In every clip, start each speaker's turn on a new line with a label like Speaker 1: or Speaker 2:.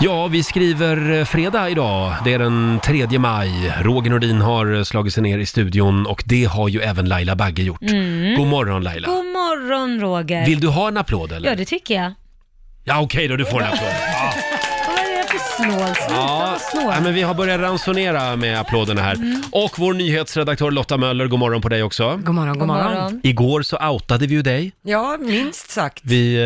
Speaker 1: Ja, vi skriver eh, fredag idag. Det är den 3 maj. Roger Nordin har eh, slagit sig ner i studion och det har ju även Laila Bagge gjort.
Speaker 2: Mm.
Speaker 1: God morgon Laila.
Speaker 2: God morgon Roger.
Speaker 1: Vill du ha en applåd eller?
Speaker 2: Ja, det tycker jag.
Speaker 1: Ja, okej då, du får en applåd. Ja.
Speaker 2: Vad är det för snål? Sluta
Speaker 1: Ja,
Speaker 2: vara snål.
Speaker 1: ja, men vi har börjat ransonera med applåderna här. Och vår nyhetsredaktör Lotta Möller, god morgon på dig också.
Speaker 3: God morgon, god morgon.
Speaker 1: Igår så outade vi ju dig.
Speaker 3: Ja, minst sagt.
Speaker 1: Vi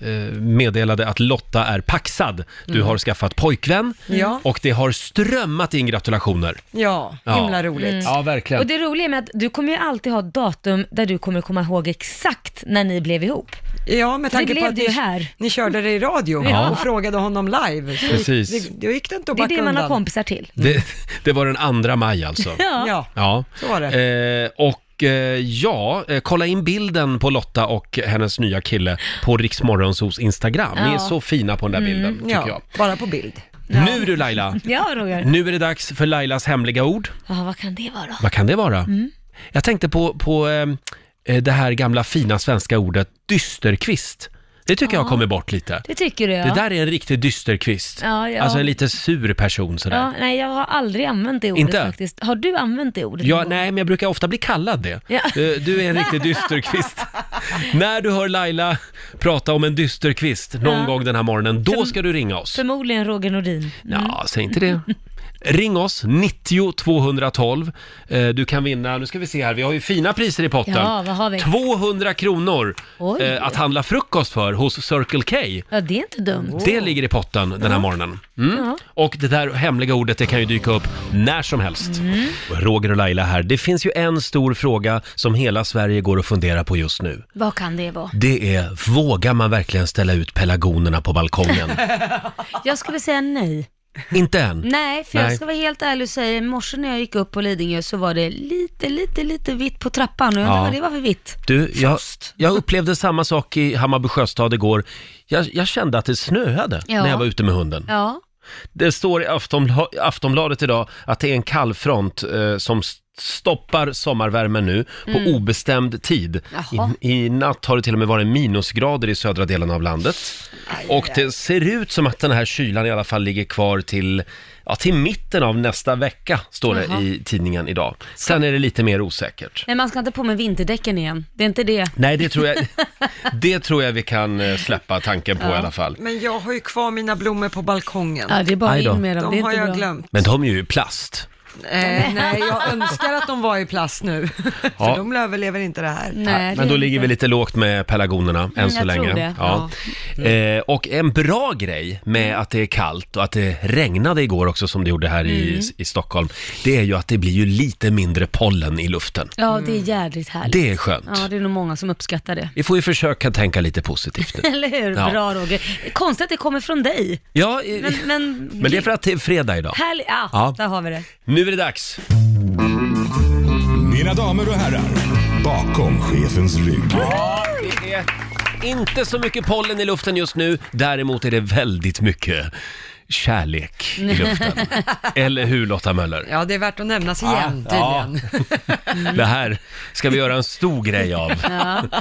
Speaker 1: eh, eh, meddelade att Lotta är paxad. Du har skaffat pojkvän
Speaker 3: Ja.
Speaker 1: och det har strömmat in gratulationer.
Speaker 3: Ja, himla roligt.
Speaker 1: Ja, verkligen.
Speaker 2: Mm. Och det roliga med att du kommer ju alltid ha ett datum där du kommer komma ihåg exakt när ni blev ihop.
Speaker 3: Ja, med tanke
Speaker 2: blev
Speaker 3: på att
Speaker 2: det
Speaker 3: ni,
Speaker 2: ju här.
Speaker 3: ni körde det i radio
Speaker 1: Ja.
Speaker 3: och frågade honom live. Så
Speaker 1: Precis.
Speaker 3: Det, då gick det inte att
Speaker 2: Det är
Speaker 3: backa
Speaker 2: det man har
Speaker 3: undan.
Speaker 2: kompisar till.
Speaker 1: Det, det var den andra maj alltså.
Speaker 2: Mm. Ja.
Speaker 3: Ja,
Speaker 1: Ja.
Speaker 3: så var det.
Speaker 1: Eh, och eh, ja, eh, kolla in bilden på Lotta och hennes nya kille på Riksmorgonsos Instagram. Ni är
Speaker 2: Ja. Mm,
Speaker 1: så fina på den där bilden, tycker
Speaker 3: Ja,
Speaker 1: jag.
Speaker 3: bara på bild.
Speaker 1: Nu du Laila,
Speaker 2: Ja, Roger.
Speaker 1: nu är det dags för Lailas hemliga ord.
Speaker 2: Ja, vad kan det vara?
Speaker 1: Vad kan det vara?
Speaker 2: Mm.
Speaker 1: Jag tänkte på, på ehm, eh, det här gamla fina svenska ordet dysterkvist. Det tycker jag har kommit bort lite.
Speaker 2: Det tycker du ja.
Speaker 1: Det där är en riktig dysterkvist.
Speaker 2: Ja, ja.
Speaker 1: Alltså en lite sur person sådär.
Speaker 2: ja. Nej, jag har aldrig använt det ordet
Speaker 1: Inte?
Speaker 2: faktiskt. Har du använt det ordet?
Speaker 1: Ja,
Speaker 2: någon gång?
Speaker 1: nej, men jag brukar ofta bli kallad det.
Speaker 2: Ja.
Speaker 1: Eh, Du är en riktig dysterkvist. När du hör Laila prata om en dysterkvist någon
Speaker 2: Ja.
Speaker 1: gång den här morgonen, då ska du ringa oss.
Speaker 2: Förmodligen Roger Nordin. Mm.
Speaker 1: Ja, säg inte det. Ring oss, 90 212. Eh, Du kan vinna, nu ska vi se här, vi har ju fina priser i potten.
Speaker 2: Ja, vad har vi?
Speaker 1: 200 kronor
Speaker 2: Oj.
Speaker 1: eh, att handla frukost för hos Circle K.
Speaker 2: Ja, det är inte dumt.
Speaker 1: Det ligger i potten den här morgonen. Mm.
Speaker 2: Ja.
Speaker 1: Och det där hemliga ordet det kan ju dyka upp när som helst.
Speaker 2: Mm.
Speaker 1: Roger och Laila här. Det finns ju en stor fråga som hela Sverige går och funderar på just nu.
Speaker 2: Vad kan det vara?
Speaker 1: Det är, vågar man verkligen ställa ut pelargonerna på balkongen?
Speaker 2: Jag skulle säga nej.
Speaker 1: Inte än.
Speaker 2: Nej, för
Speaker 1: Nej.
Speaker 2: jag ska vara helt ärlig och säga, i morse när jag gick upp på Lidingö så var det lite, lite, lite vitt på trappan och jag undrar
Speaker 1: Ja.
Speaker 2: vad det var för vitt.
Speaker 1: Du, jag,
Speaker 2: Först.
Speaker 1: jag upplevde samma sak i Hammarby sjöstad igår. Jag, jag kände att det snöade
Speaker 2: Ja.
Speaker 1: när jag var ute med hunden.
Speaker 2: Ja,
Speaker 1: Det står i Aftonbla- Aftonbladet idag att det är en kallfront eh, som s- stoppar sommarvärmen nu på obestämd tid.
Speaker 2: Mm. Jaha.
Speaker 1: I, I natt har det till och med varit minusgrader i södra delen av landet. Och det ser ut som att den här kylan i alla fall ligger kvar till, ja, till mitten av nästa vecka, står det
Speaker 2: Jaha.
Speaker 1: i tidningen idag. Sen är det lite mer osäkert.
Speaker 2: men man ska inte på med vinterdäcken igen. Det är inte det.
Speaker 1: Nej, det tror jag, det tror jag vi kan eh, släppa tanken på i alla fall.
Speaker 3: Men jag har ju kvar mina blommor på balkongen.
Speaker 2: Ja, det är bara
Speaker 1: Aj då.
Speaker 2: in med dem.
Speaker 3: De
Speaker 2: Det är
Speaker 3: har
Speaker 2: inte
Speaker 3: jag
Speaker 2: bra.
Speaker 3: glömt.
Speaker 1: Men de är ju i plast.
Speaker 3: Eh, nej, jag önskar att de var i plast nu.
Speaker 1: Ja.
Speaker 3: För de överlever inte det här.
Speaker 2: Nej,
Speaker 1: Men
Speaker 2: det
Speaker 1: då
Speaker 2: är
Speaker 1: ligger
Speaker 2: inte. Mm,
Speaker 1: vi lite lågt med pelargonerna än
Speaker 2: jag
Speaker 1: så
Speaker 2: tror
Speaker 1: länge.
Speaker 2: det.
Speaker 1: Ja. Eh, och en bra grej med
Speaker 2: Mm.
Speaker 1: att det är kallt och att det regnade igår också som det gjorde här
Speaker 2: Mm.
Speaker 1: i, i Stockholm, det är ju att det blir ju lite mindre pollen i luften.
Speaker 2: Ja,
Speaker 3: Mm.
Speaker 2: det är jädrigt härligt.
Speaker 1: Det är skönt.
Speaker 2: Ja, det är nog många som uppskattar det.
Speaker 1: Vi får ju försöka tänka lite positivt nu.
Speaker 2: Eller hur?
Speaker 1: Ja.
Speaker 2: Bra Roger. Konstigt att det kommer från dig.
Speaker 1: Ja, eh,
Speaker 2: Men, men,
Speaker 1: men det är för att det är fredag idag.
Speaker 2: Härligt, ja,
Speaker 1: Ja.
Speaker 2: där har vi det.
Speaker 1: Nu är det dags.
Speaker 4: Mina damer och herrar, bakom chefens rygg.
Speaker 1: Det är inte så mycket pollen i luften just nu, däremot är det väldigt mycket kärlek i luften. Eller hur Lotta Möller? Ah,
Speaker 3: Ja, det är värt att nämnas igen
Speaker 1: Ja.
Speaker 3: tydligen. Mm.
Speaker 1: Det här ska vi göra en stor grej av.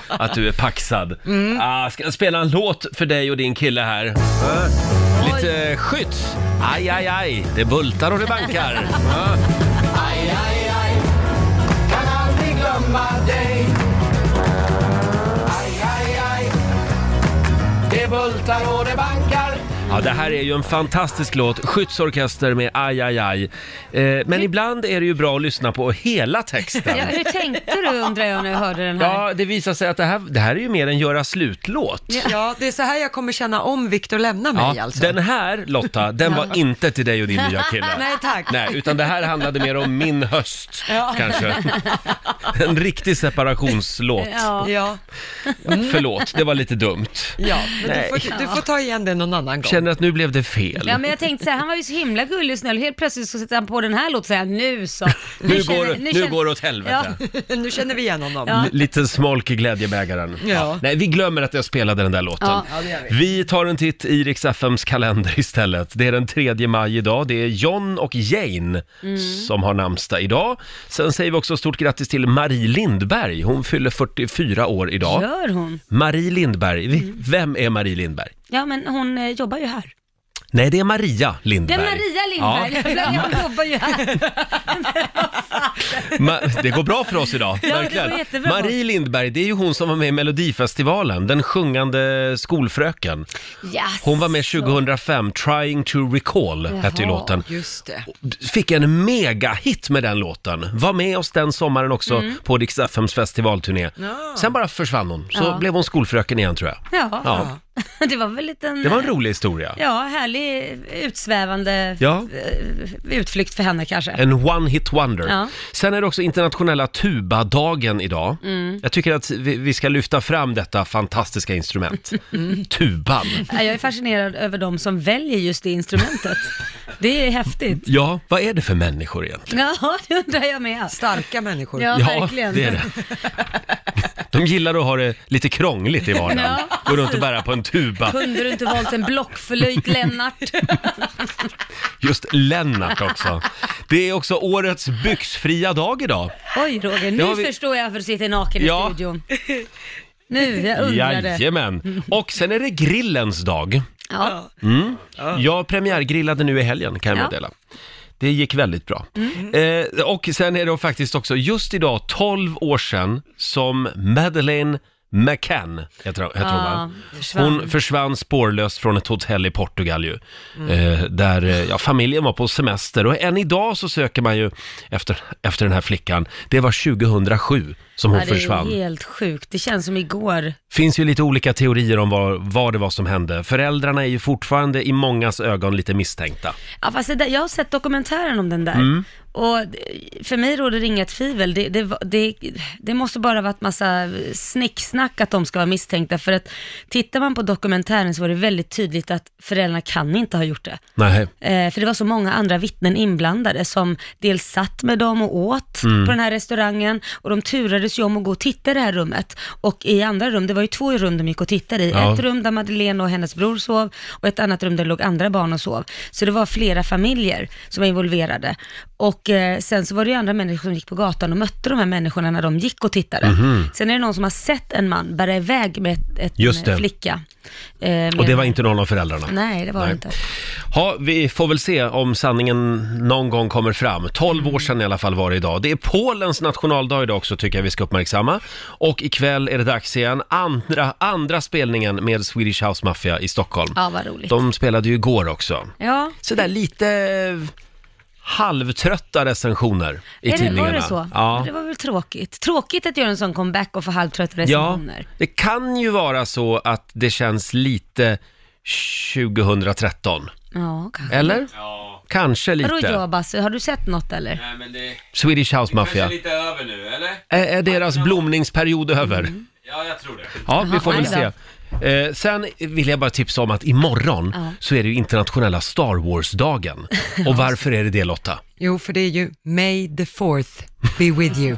Speaker 1: Att du är paxad.
Speaker 3: Mm.
Speaker 1: Ah, ska jag spela en låt för dig och din kille här?
Speaker 3: Äh.
Speaker 1: Ah, Lite skjuts. Aj, aj, aj. Det bultar och det bankar. Ah.
Speaker 5: Aj, aj, aj, kan aldrig glömma dig. Aj, aj, aj, det bultar och det bankar.
Speaker 1: Ja, det här är ju en fantastisk låt. Skyddsorkester med Aj, aj, aj. Eh, men ibland är det ju bra att lyssna på hela texten.
Speaker 2: Ja, hur tänkte du undrar jag när jag hörde den här.
Speaker 1: Ja, det visar sig att det här, det här är ju mer en göra slut-låt.
Speaker 3: Ja, det är så här jag kommer känna om Viktor lämnar mig
Speaker 1: Ja,
Speaker 3: alltså.
Speaker 1: den här Lotta, den var inte till dig och din nya kille.
Speaker 3: Nej, tack.
Speaker 1: Nej, utan det här handlade mer om min höst, kanske. En riktig separationslåt. Mm.
Speaker 2: Ja.
Speaker 3: Ja,
Speaker 1: Förlåt, det var lite dumt.
Speaker 3: ja, men du får, du får ta igen det någon annan gång.
Speaker 1: Känner att nu blev det fel.
Speaker 2: Ja men jag tänkte så här, han var ju så himla gullig och snäll och helt plötsligt så sätter han på den här låten och säger nu så.
Speaker 1: Nu,
Speaker 2: känner-
Speaker 1: går, nu
Speaker 2: känner-
Speaker 1: går det åt helvete.
Speaker 2: Ja.
Speaker 3: Nu känner vi igen honom.
Speaker 1: L- Lite smolk i glädjebägaren.
Speaker 3: Ja.
Speaker 1: Nej, vi glömmer att jag spelade den där låten.
Speaker 2: Ja.
Speaker 3: Ja, det gör vi.
Speaker 1: Vi tar en titt i Rix FMs kalender istället. Det är den 3 maj idag. Det är John och Jane
Speaker 2: Mm.
Speaker 1: som har namnsdag idag. Sen säger vi också stort grattis till Marie Lindberg. Hon fyller 44 år idag.
Speaker 2: Gör Mm. hon?
Speaker 1: Marie Lindberg, V- vem är Marie Lindberg?
Speaker 2: Ja men hon eh, jobbar ju här.
Speaker 1: Nej, det är Maria
Speaker 2: Det är
Speaker 1: Lindberg.
Speaker 2: Maria Lindberg, jag jobbar ju här.
Speaker 1: Ja, ma- det går bra för oss idag,
Speaker 2: det går
Speaker 1: verkligen.
Speaker 2: jättebra.
Speaker 1: Marie Lindberg, det är ju hon som var med i Melodifestivalen, den sjungande skolfröken.
Speaker 2: Yes.
Speaker 1: Hon var med 2005, Trying to recall hette ju
Speaker 2: Jaha.
Speaker 1: låten.
Speaker 3: Just det.
Speaker 1: Fick en megahit med den låten. Var med oss den sommaren också
Speaker 2: Mm.
Speaker 1: på Rix FMs festivalturné. Sen bara försvann hon, så
Speaker 2: Ja.
Speaker 1: blev hon skolfröken igen tror jag.
Speaker 2: Ja.
Speaker 1: Ja.
Speaker 2: det var väl en liten,
Speaker 1: Det var en rolig historia.
Speaker 2: ja, härlig utsvävande
Speaker 1: Ja.
Speaker 2: eh, utflykt för henne kanske.
Speaker 1: En one hit wonder.
Speaker 2: Ja.
Speaker 1: Sen är det också internationella tubadagen idag.
Speaker 2: Mm.
Speaker 1: Jag tycker att vi, vi ska lyfta fram detta fantastiska instrument.
Speaker 3: Mm.
Speaker 1: Tuban.
Speaker 2: Ja, Jag är fascinerad över de som väljer just det instrumentet. Det är häftigt.
Speaker 1: Ja, vad är det för människor egentligen?
Speaker 2: Ja, det undrar jag med.
Speaker 3: Starka människor.
Speaker 2: Ja, verkligen.
Speaker 1: det är det. De gillar att ha det lite krångligt i vardagen.
Speaker 2: Ja.
Speaker 1: Går runt och bära på en tuba.
Speaker 2: Kunde du inte valt en blockflöjt, Lennart?
Speaker 1: Just Lennart också. Det är också årets byxfria dag idag.
Speaker 2: Oj, Roger,
Speaker 1: Det
Speaker 2: nu
Speaker 1: har vi-
Speaker 2: förstår jag varför du sitter naken
Speaker 1: Ja.
Speaker 2: i studion. Nu, jag undrade.
Speaker 1: Jajamän. Och sen är det grillens dag.
Speaker 2: Ja.
Speaker 1: Mm. Jag premiärgrillade nu i helgen kan jag
Speaker 2: Ja. Mm.
Speaker 1: meddela. Det gick väldigt bra. Eh, och sen är det faktiskt också just idag 12 år sedan som Madeleine McCann, heter, heter hon va?
Speaker 2: Ja, försvann.
Speaker 1: Hon försvann spårlöst från ett hotell i Portugal ju.
Speaker 2: Mm.
Speaker 1: Eh, där eh, ja, familjen var på semester och än idag så söker man ju efter, efter den här flickan. Det var 2007 som hon
Speaker 2: ja, det är
Speaker 1: försvann
Speaker 2: helt sjukt. Det känns som igår.
Speaker 1: finns ju lite olika teorier om vad, vad det var som hände. Föräldrarna är ju fortfarande i mångas ögon lite misstänkta.
Speaker 2: Ja, fast det där, jag har sett dokumentären om den där.
Speaker 1: Mm.
Speaker 2: Och det- för mig råder det inget tvivel. Det, det, var- det, det måste bara varit massa snicksnack att de ska vara misstänkta. För att tittar man på dokumentären så var det väldigt tydligt att föräldrarna kan inte ha gjort det.
Speaker 1: Nej.
Speaker 2: Eh, för det var så många andra vittnen inblandade som dels satt med dem och åt
Speaker 1: Mm.
Speaker 2: på den här restaurangen och de turades ju om att gå och titta i det här rummet. Och i andra rum, det var ju två rum de gick och tittade i.
Speaker 1: Ja.
Speaker 2: Ett rum där Madeleine och hennes bror sov och ett annat rum där låg andra barn och sov. Så det var flera familjer som var involverade. Och eh, sen så var det ju andra människor som gick på gatan och mötte de här människorna när de gick och tittade. Sen är det någon som har sett en man bära iväg med ett, ett,
Speaker 1: Mhm. Just det.
Speaker 2: en flicka. Eh, med-
Speaker 1: Och det var inte någon av föräldrarna.
Speaker 2: Nej, det var
Speaker 1: Nej.
Speaker 2: det inte.
Speaker 1: Ja, vi får väl se om sanningen någon gång kommer fram. 12
Speaker 2: Mm.
Speaker 1: år sedan i alla fall var det idag. Det är Polens nationaldag idag också tycker jag vi ska uppmärksamma. Och ikväll är det dags igen. Andra, andra spelningen med Swedish House Mafia i Stockholm.
Speaker 2: Ja, vad roligt.
Speaker 1: De spelade ju igår också.
Speaker 2: Ja.
Speaker 1: sådär lite eh, halvtrötta recensioner i
Speaker 2: är det,
Speaker 1: tidningarna.
Speaker 2: var det så?
Speaker 1: Ja.
Speaker 2: Det var väl tråkigt. Tråkigt att göra en sån comeback och få halvtrötta
Speaker 1: ja,
Speaker 2: recensioner.
Speaker 1: det kan ju vara så att det känns lite 2013,
Speaker 2: Ja, kanske.
Speaker 1: eller? Kanske
Speaker 2: Vadå
Speaker 1: lite.
Speaker 2: jag Basse, har du sett något eller?
Speaker 6: Nej men det
Speaker 1: Swedish House
Speaker 6: kanske
Speaker 1: Mafia.
Speaker 6: är lite över nu, eller?
Speaker 1: Är, är deras blomningsperiod över?
Speaker 6: Ja, jag tror det.
Speaker 1: Ja, vi får väl
Speaker 2: Mm. Jaha,
Speaker 1: se.
Speaker 2: nej
Speaker 1: Eh, sen vill jag bara tipsa om att imorgon
Speaker 2: Ja.
Speaker 1: så är det ju internationella Star Wars-dagen. Och varför är det det Lotta?
Speaker 3: Jo, för det är ju May the fourth be with you.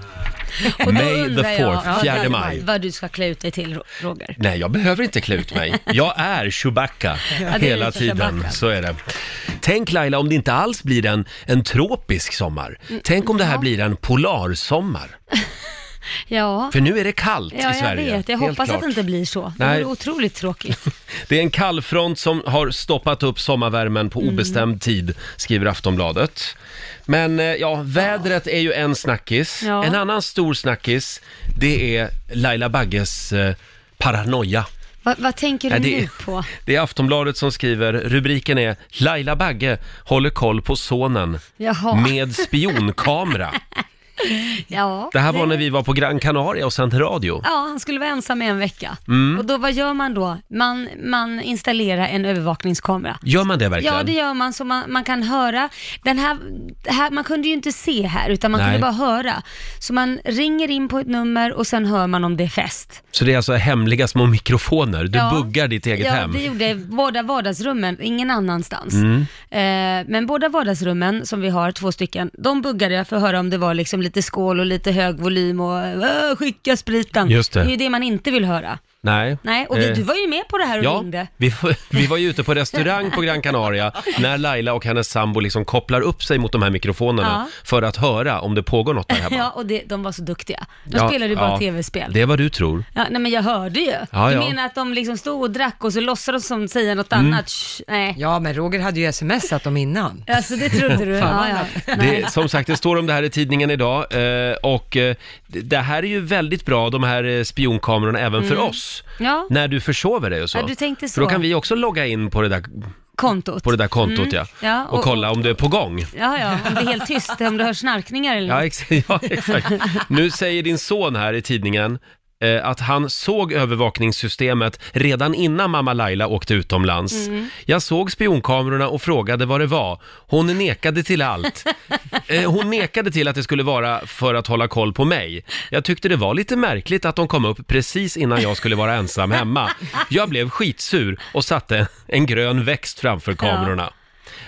Speaker 2: Och då
Speaker 1: May the
Speaker 2: undrar jag-
Speaker 1: 4th,
Speaker 2: Ja,
Speaker 1: 4
Speaker 2: vad-
Speaker 1: maj.
Speaker 2: Vad du ska klä ut dig till, Ro- Roger.
Speaker 1: Nej, jag behöver inte klä ut mig. Jag är Chewbacca
Speaker 2: är
Speaker 1: hela
Speaker 2: lite
Speaker 1: tiden.
Speaker 2: Chewbacca.
Speaker 1: Så är det. Tänk Laila om det inte alls blir en, en tropisk sommar.
Speaker 2: Mm.
Speaker 1: Tänk om det här blir en polarsommar.
Speaker 2: Ja,
Speaker 1: För nu är det kallt
Speaker 2: ja
Speaker 1: i
Speaker 2: jag
Speaker 1: Sverige.
Speaker 2: vet. Jag
Speaker 1: Helt
Speaker 2: hoppas att
Speaker 1: klart.
Speaker 2: det inte blir så. Det
Speaker 1: Nej.
Speaker 2: vore otroligt tråkigt.
Speaker 1: Det är en kallfront som har stoppat upp sommarvärmen på
Speaker 2: Mm.
Speaker 1: obestämd tid, skriver Aftonbladet. Men eh, ja, vädret är ju en snackis.
Speaker 2: Ja.
Speaker 1: En annan stor snackis, det är Laila Bagges eh, paranoia.
Speaker 2: Va, vad tänker du
Speaker 1: Nej, det,
Speaker 2: nu på?
Speaker 1: det är Aftonbladet som skriver, rubriken är Laila Bagge håller koll på sonen
Speaker 2: Jaha.
Speaker 1: med spionkamera.
Speaker 2: Ja.
Speaker 1: Det här var när vi var på Gran Canaria och sände radio.
Speaker 2: Ja, han skulle vara ensam i en vecka.
Speaker 1: Mm.
Speaker 2: Och då, vad gör man då? Man, man installerar en övervakningskamera.
Speaker 1: Gör man det verkligen?
Speaker 2: Ja, det gör man så man, man kan höra. Den här, det här, man kunde ju inte se här utan man
Speaker 1: Nej.
Speaker 2: kunde bara höra. Så man ringer in på ett nummer och sen hör man om det är fest.
Speaker 1: Så det är alltså hemliga små mikrofoner. Du
Speaker 2: Ja.
Speaker 1: buggar ditt eget
Speaker 2: ja,
Speaker 1: hem. Mm.
Speaker 2: det gjorde jag i båda vardagsrummen, ingen annanstans. Eh, men båda vardagsrummen som vi har, två stycken, de buggade jag för att höra om det var liksom lite skål och lite hög volym och "Åh, skicka spriten.
Speaker 1: Just det.
Speaker 2: det är ju det man inte vill höra.
Speaker 1: Nej.
Speaker 2: Nej, och vi,
Speaker 1: Eh,
Speaker 2: du var ju med på det här och
Speaker 1: Ja,
Speaker 2: ringde.
Speaker 1: vi, var- vi var ju ute på restaurang på Gran Canaria när Laila och hennes sambo liksom kopplar upp sig mot de här mikrofonerna
Speaker 2: Ja.
Speaker 1: för att höra om det pågår något där hemma.
Speaker 2: Ja, och det, de var så duktiga. De
Speaker 1: Ja,
Speaker 2: spelade ju bara
Speaker 1: ja.
Speaker 2: tv-spel.
Speaker 1: Det är vad du tror.
Speaker 2: Ja, nej men jag hörde ju.
Speaker 1: Ja,
Speaker 2: du
Speaker 1: ja. Mm.
Speaker 2: menar att de liksom stod och drack och så låtsades de som säga något annat? Shh, nej.
Speaker 3: Ja, men Roger hade ju smsat dem innan.
Speaker 2: Alltså det trodde du?
Speaker 3: Fan,
Speaker 2: ja,
Speaker 3: vad
Speaker 2: ja. Nej.
Speaker 1: Det, som sagt, det står om det här i tidningen idag eh, och eh, det här är ju väldigt bra, de här eh, spionkamerorna, även för oss.
Speaker 2: Ja,
Speaker 1: När du försover dig och så.
Speaker 2: Mm. Ja, du tänkte så.
Speaker 1: För då kan vi också logga in på det där,
Speaker 2: kontot. Mm.
Speaker 1: på det där kontot ja.
Speaker 2: Ja,
Speaker 1: och,
Speaker 2: och-
Speaker 1: kolla om du är på gång.
Speaker 2: Ja, ja, om det är helt tyst, om du hör snarkningar eller
Speaker 1: Ja,
Speaker 2: något.
Speaker 1: ex ja exakt. Nu säger din son här i tidningen eh, att han såg övervakningssystemet redan innan mamma Laila åkte utomlands.
Speaker 2: Mm.
Speaker 1: Jag såg spionkamerorna och frågade vad det var. Hon nekade till allt. Eh, Hon nekade till att det skulle vara för att hålla koll på mig. Jag tyckte det var lite märkligt att de kom upp precis innan jag skulle vara ensam hemma. Jag blev skitsur och satte en grön växt framför kamerorna.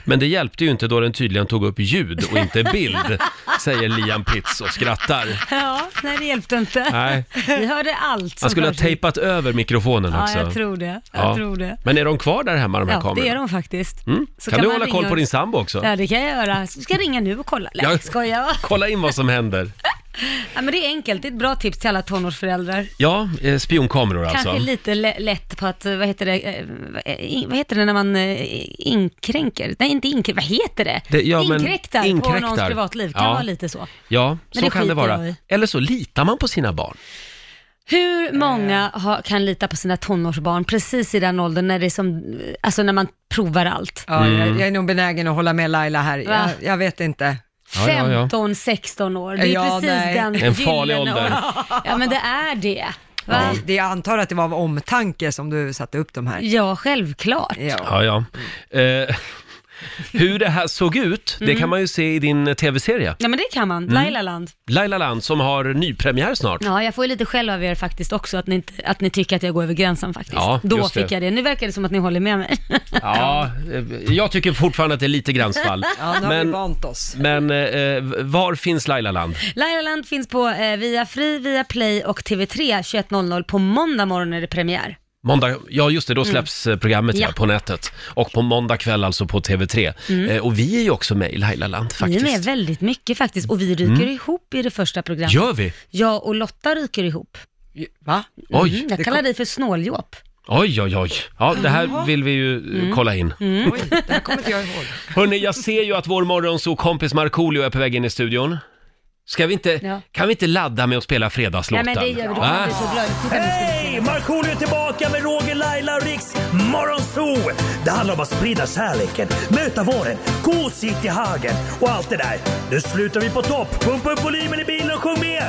Speaker 1: Men det hjälpte ju inte då den tydligen tog upp ljud och inte bild, säger Liam Pitts och skrattar.
Speaker 2: Ja, nej det hjälpte inte.
Speaker 1: Nej.
Speaker 2: Vi hörde allt. som
Speaker 1: Han skulle ha
Speaker 2: försiggick.
Speaker 1: tejpat över mikrofonen
Speaker 2: Ja,
Speaker 1: också.
Speaker 2: jag tror det. Jag
Speaker 1: Ja.
Speaker 2: tror det.
Speaker 1: Men är de kvar där hemma, de här
Speaker 2: Ja,
Speaker 1: kamerorna? Mm,
Speaker 2: det är de faktiskt. Så
Speaker 1: Kan, du
Speaker 2: man
Speaker 1: hålla
Speaker 2: ringa
Speaker 1: koll
Speaker 2: och-
Speaker 1: på din sambo också?
Speaker 2: Ja, det kan jag göra. Du ska ringa nu och kolla. Nej,
Speaker 1: Ja.
Speaker 2: jag skojar.
Speaker 1: Kolla in vad som händer.
Speaker 2: Ja, men det är enkelt. Det är ett bra tips till alla tonårsföräldrar.
Speaker 1: Ja, eh, spionkameror alltså.
Speaker 2: Kanske lite lä- lätt på att, eh, vad heter det, eh, in- vad heter det när man eh, inkränker? Nej, inte inkränker, vad heter det?
Speaker 1: Det- ja, men-
Speaker 2: inkräktar, på
Speaker 1: inkräktar.
Speaker 2: någons privatliv, kan
Speaker 1: Ja.
Speaker 2: vara lite så.
Speaker 1: Ja, så
Speaker 2: det
Speaker 1: kan det
Speaker 2: skiter
Speaker 1: vara.
Speaker 2: jag i.
Speaker 1: Eller så litar man på sina barn.
Speaker 2: Hur många
Speaker 3: Eh.
Speaker 2: ha, kan lita på sina tonårsbarn precis i den åldern när det är som, alltså när man provar allt?
Speaker 3: Ja,
Speaker 1: Mm.
Speaker 3: jag, jag är nog benägen att hålla med Laila här.
Speaker 2: Va?
Speaker 3: Jag, jag vet inte.
Speaker 1: Ja, ja, ja.
Speaker 2: 15, 16 år, det är
Speaker 3: Ja,
Speaker 2: precis
Speaker 3: nej.
Speaker 2: den
Speaker 1: En farlig
Speaker 2: gyllene
Speaker 1: ålder.
Speaker 2: åldern. Ja men det är det. Va?
Speaker 3: Det, det, jag antar att det var av omtanke som du satte upp de här.
Speaker 2: Ja, självklart.
Speaker 3: Ja.
Speaker 1: Ja, ja. Eh, hur det här såg ut, det kan man ju se i din eh, tv-serie.
Speaker 2: Mm. Ja men det kan man,
Speaker 1: Mm.
Speaker 2: Lailaland.
Speaker 1: Laila Land som har nypremiär snart.
Speaker 2: Ja, jag får ju lite skäll av er faktiskt också, att ni, inte, att ni tycker att jag går över gränsen faktiskt.
Speaker 1: Ja,
Speaker 2: Då
Speaker 1: just det.
Speaker 2: fick jag det. Nu verkar det som att ni håller med mig.
Speaker 1: Ja, eh, jag tycker fortfarande att det är lite gränsfall.
Speaker 3: Ja, nu har vi
Speaker 1: men
Speaker 3: vant oss.
Speaker 1: men eh, eh, var finns Laila Land?
Speaker 2: Lailaland finns på eh, via Free, via Play och TV3 21.00. På måndag morgon är det premiär.
Speaker 1: Måndag, ja just det, då släpps eh, programmet ja.
Speaker 2: Mm. Ja. Mm.
Speaker 1: på nätet. Och på måndag kväll alltså på TV3. Eh, och vi är ju också med i Laila Land faktiskt. Mm.
Speaker 2: Ni är med väldigt mycket faktiskt och vi ryker ihop i det första programmet.
Speaker 1: Gör vi?
Speaker 2: Jag och Lotta ryker ihop.
Speaker 3: Va?
Speaker 1: Oj,
Speaker 2: Mm, jag kallar dig för snåljåp.
Speaker 1: oj, oj, oj. Ja, det här vill vi ju eh,
Speaker 2: Mm.
Speaker 1: kolla in.
Speaker 3: Oj, det här kommer inte jag ihåg.
Speaker 1: Hörni, jag ser ju att vår morgonsokompis Markoolio är på väg in i studion. Ska vi inte,
Speaker 2: Ja.
Speaker 1: kan vi inte ladda med att spela fredagslåten?
Speaker 2: Nej men det gör vi, då
Speaker 1: Va?
Speaker 2: kommer bli så glad. Titta nu.
Speaker 7: Hej! Markoolio är tillbaka med Roger, Laila och Riks Morgonzoo! Det handlar om att sprida kärleken, möta våren, gosigt i hagen och allt det där. Nu slutar vi på topp! Pumpa upp volymen i bilen och sjung med!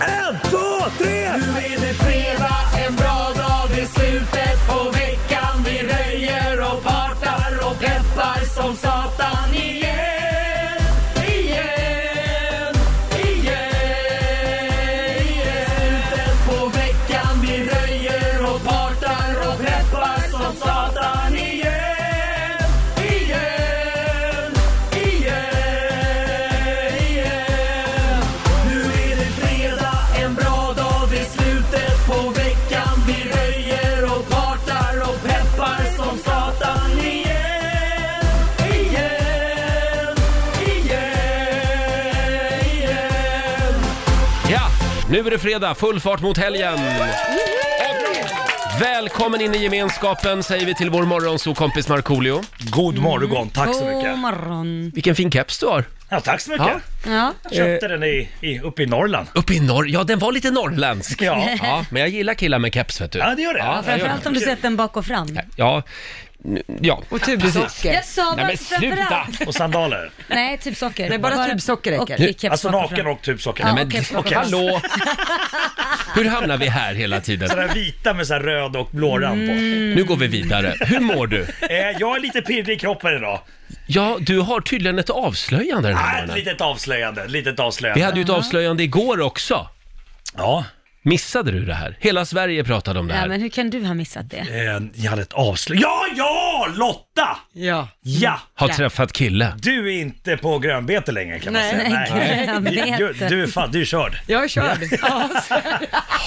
Speaker 7: En, två, tre!
Speaker 5: Nu är det fredag, en bra dag, det är slutet på veckan Vi röjer och partar och peppar som satan igen Igen, igen, igen Slutet på veckan, vi röjer och partar och peppar som satan igen Igen, igen, igen nu är det fredag, en bra dag, det är slutet på veckan Vi röjer och partar och peppar som satan igen Igen, igen, igen
Speaker 1: Ja, nu är det fredag, full fart mot helgen! Välkommen in i gemenskapen säger vi till vår morgonsokompis Markoolio.
Speaker 7: God morgon, tack så
Speaker 2: Mm. God
Speaker 7: mycket!
Speaker 2: morgon.
Speaker 1: Vilken fin keps du har!
Speaker 7: Ja, tack så mycket!
Speaker 2: Ja.
Speaker 7: Köpte den i, i, uppe i Norrland.
Speaker 1: Eh, Uppe i norr, ja den var lite norrländsk.
Speaker 7: Ja.
Speaker 1: Ja, men jag gillar killar med keps vet du.
Speaker 7: Ja, det gör det.
Speaker 1: Ja, jag gör det.
Speaker 2: Framförallt om du sett den bak och fram.
Speaker 1: Ja, n- ja.
Speaker 3: Och tubsocker.
Speaker 2: Jag sa
Speaker 1: Nej
Speaker 2: bara
Speaker 1: men sluta!
Speaker 2: framförallt.
Speaker 7: Och sandaler.
Speaker 2: Nej, tubsocker.
Speaker 3: Nej, bara tubsocker
Speaker 2: Och
Speaker 3: räcker.
Speaker 2: i keps
Speaker 7: Alltså
Speaker 2: bak och
Speaker 7: naken
Speaker 2: fram.
Speaker 7: och tubsocker.
Speaker 2: Ja,
Speaker 1: Men
Speaker 2: Okej, förlåt.
Speaker 7: Okej.
Speaker 1: hallå! Hur hamnar vi här hela tiden?
Speaker 7: Sådär vita med så här röd och blå rand på.
Speaker 1: Mm. Nu går vi vidare. Hur mår du?
Speaker 7: Eh, jag är lite pirrig i kroppen idag.
Speaker 1: Ja, du har tydligen ett avslöjande den här
Speaker 7: Ah, ett
Speaker 1: morgonen.
Speaker 7: litet avslöjande, ett litet avslöjande.
Speaker 1: Vi hade ju ett avslöjande igår också.
Speaker 7: Ja.
Speaker 1: Missade du det här? Hela Sverige pratade om det
Speaker 2: Ja,
Speaker 1: här.
Speaker 2: men hur kan du ha missat det?
Speaker 7: Eh, jag hade ett avslöj. Ja, ja, Lotta!
Speaker 3: Ja.
Speaker 7: Ja!
Speaker 1: Har träffat kille.
Speaker 7: Du är inte på grönbete längre kan man
Speaker 3: Nej.
Speaker 7: säga.
Speaker 2: Nej, grönbete.
Speaker 7: Du, du, du är fan, du är körd.
Speaker 3: Jag är körd. Ja, så-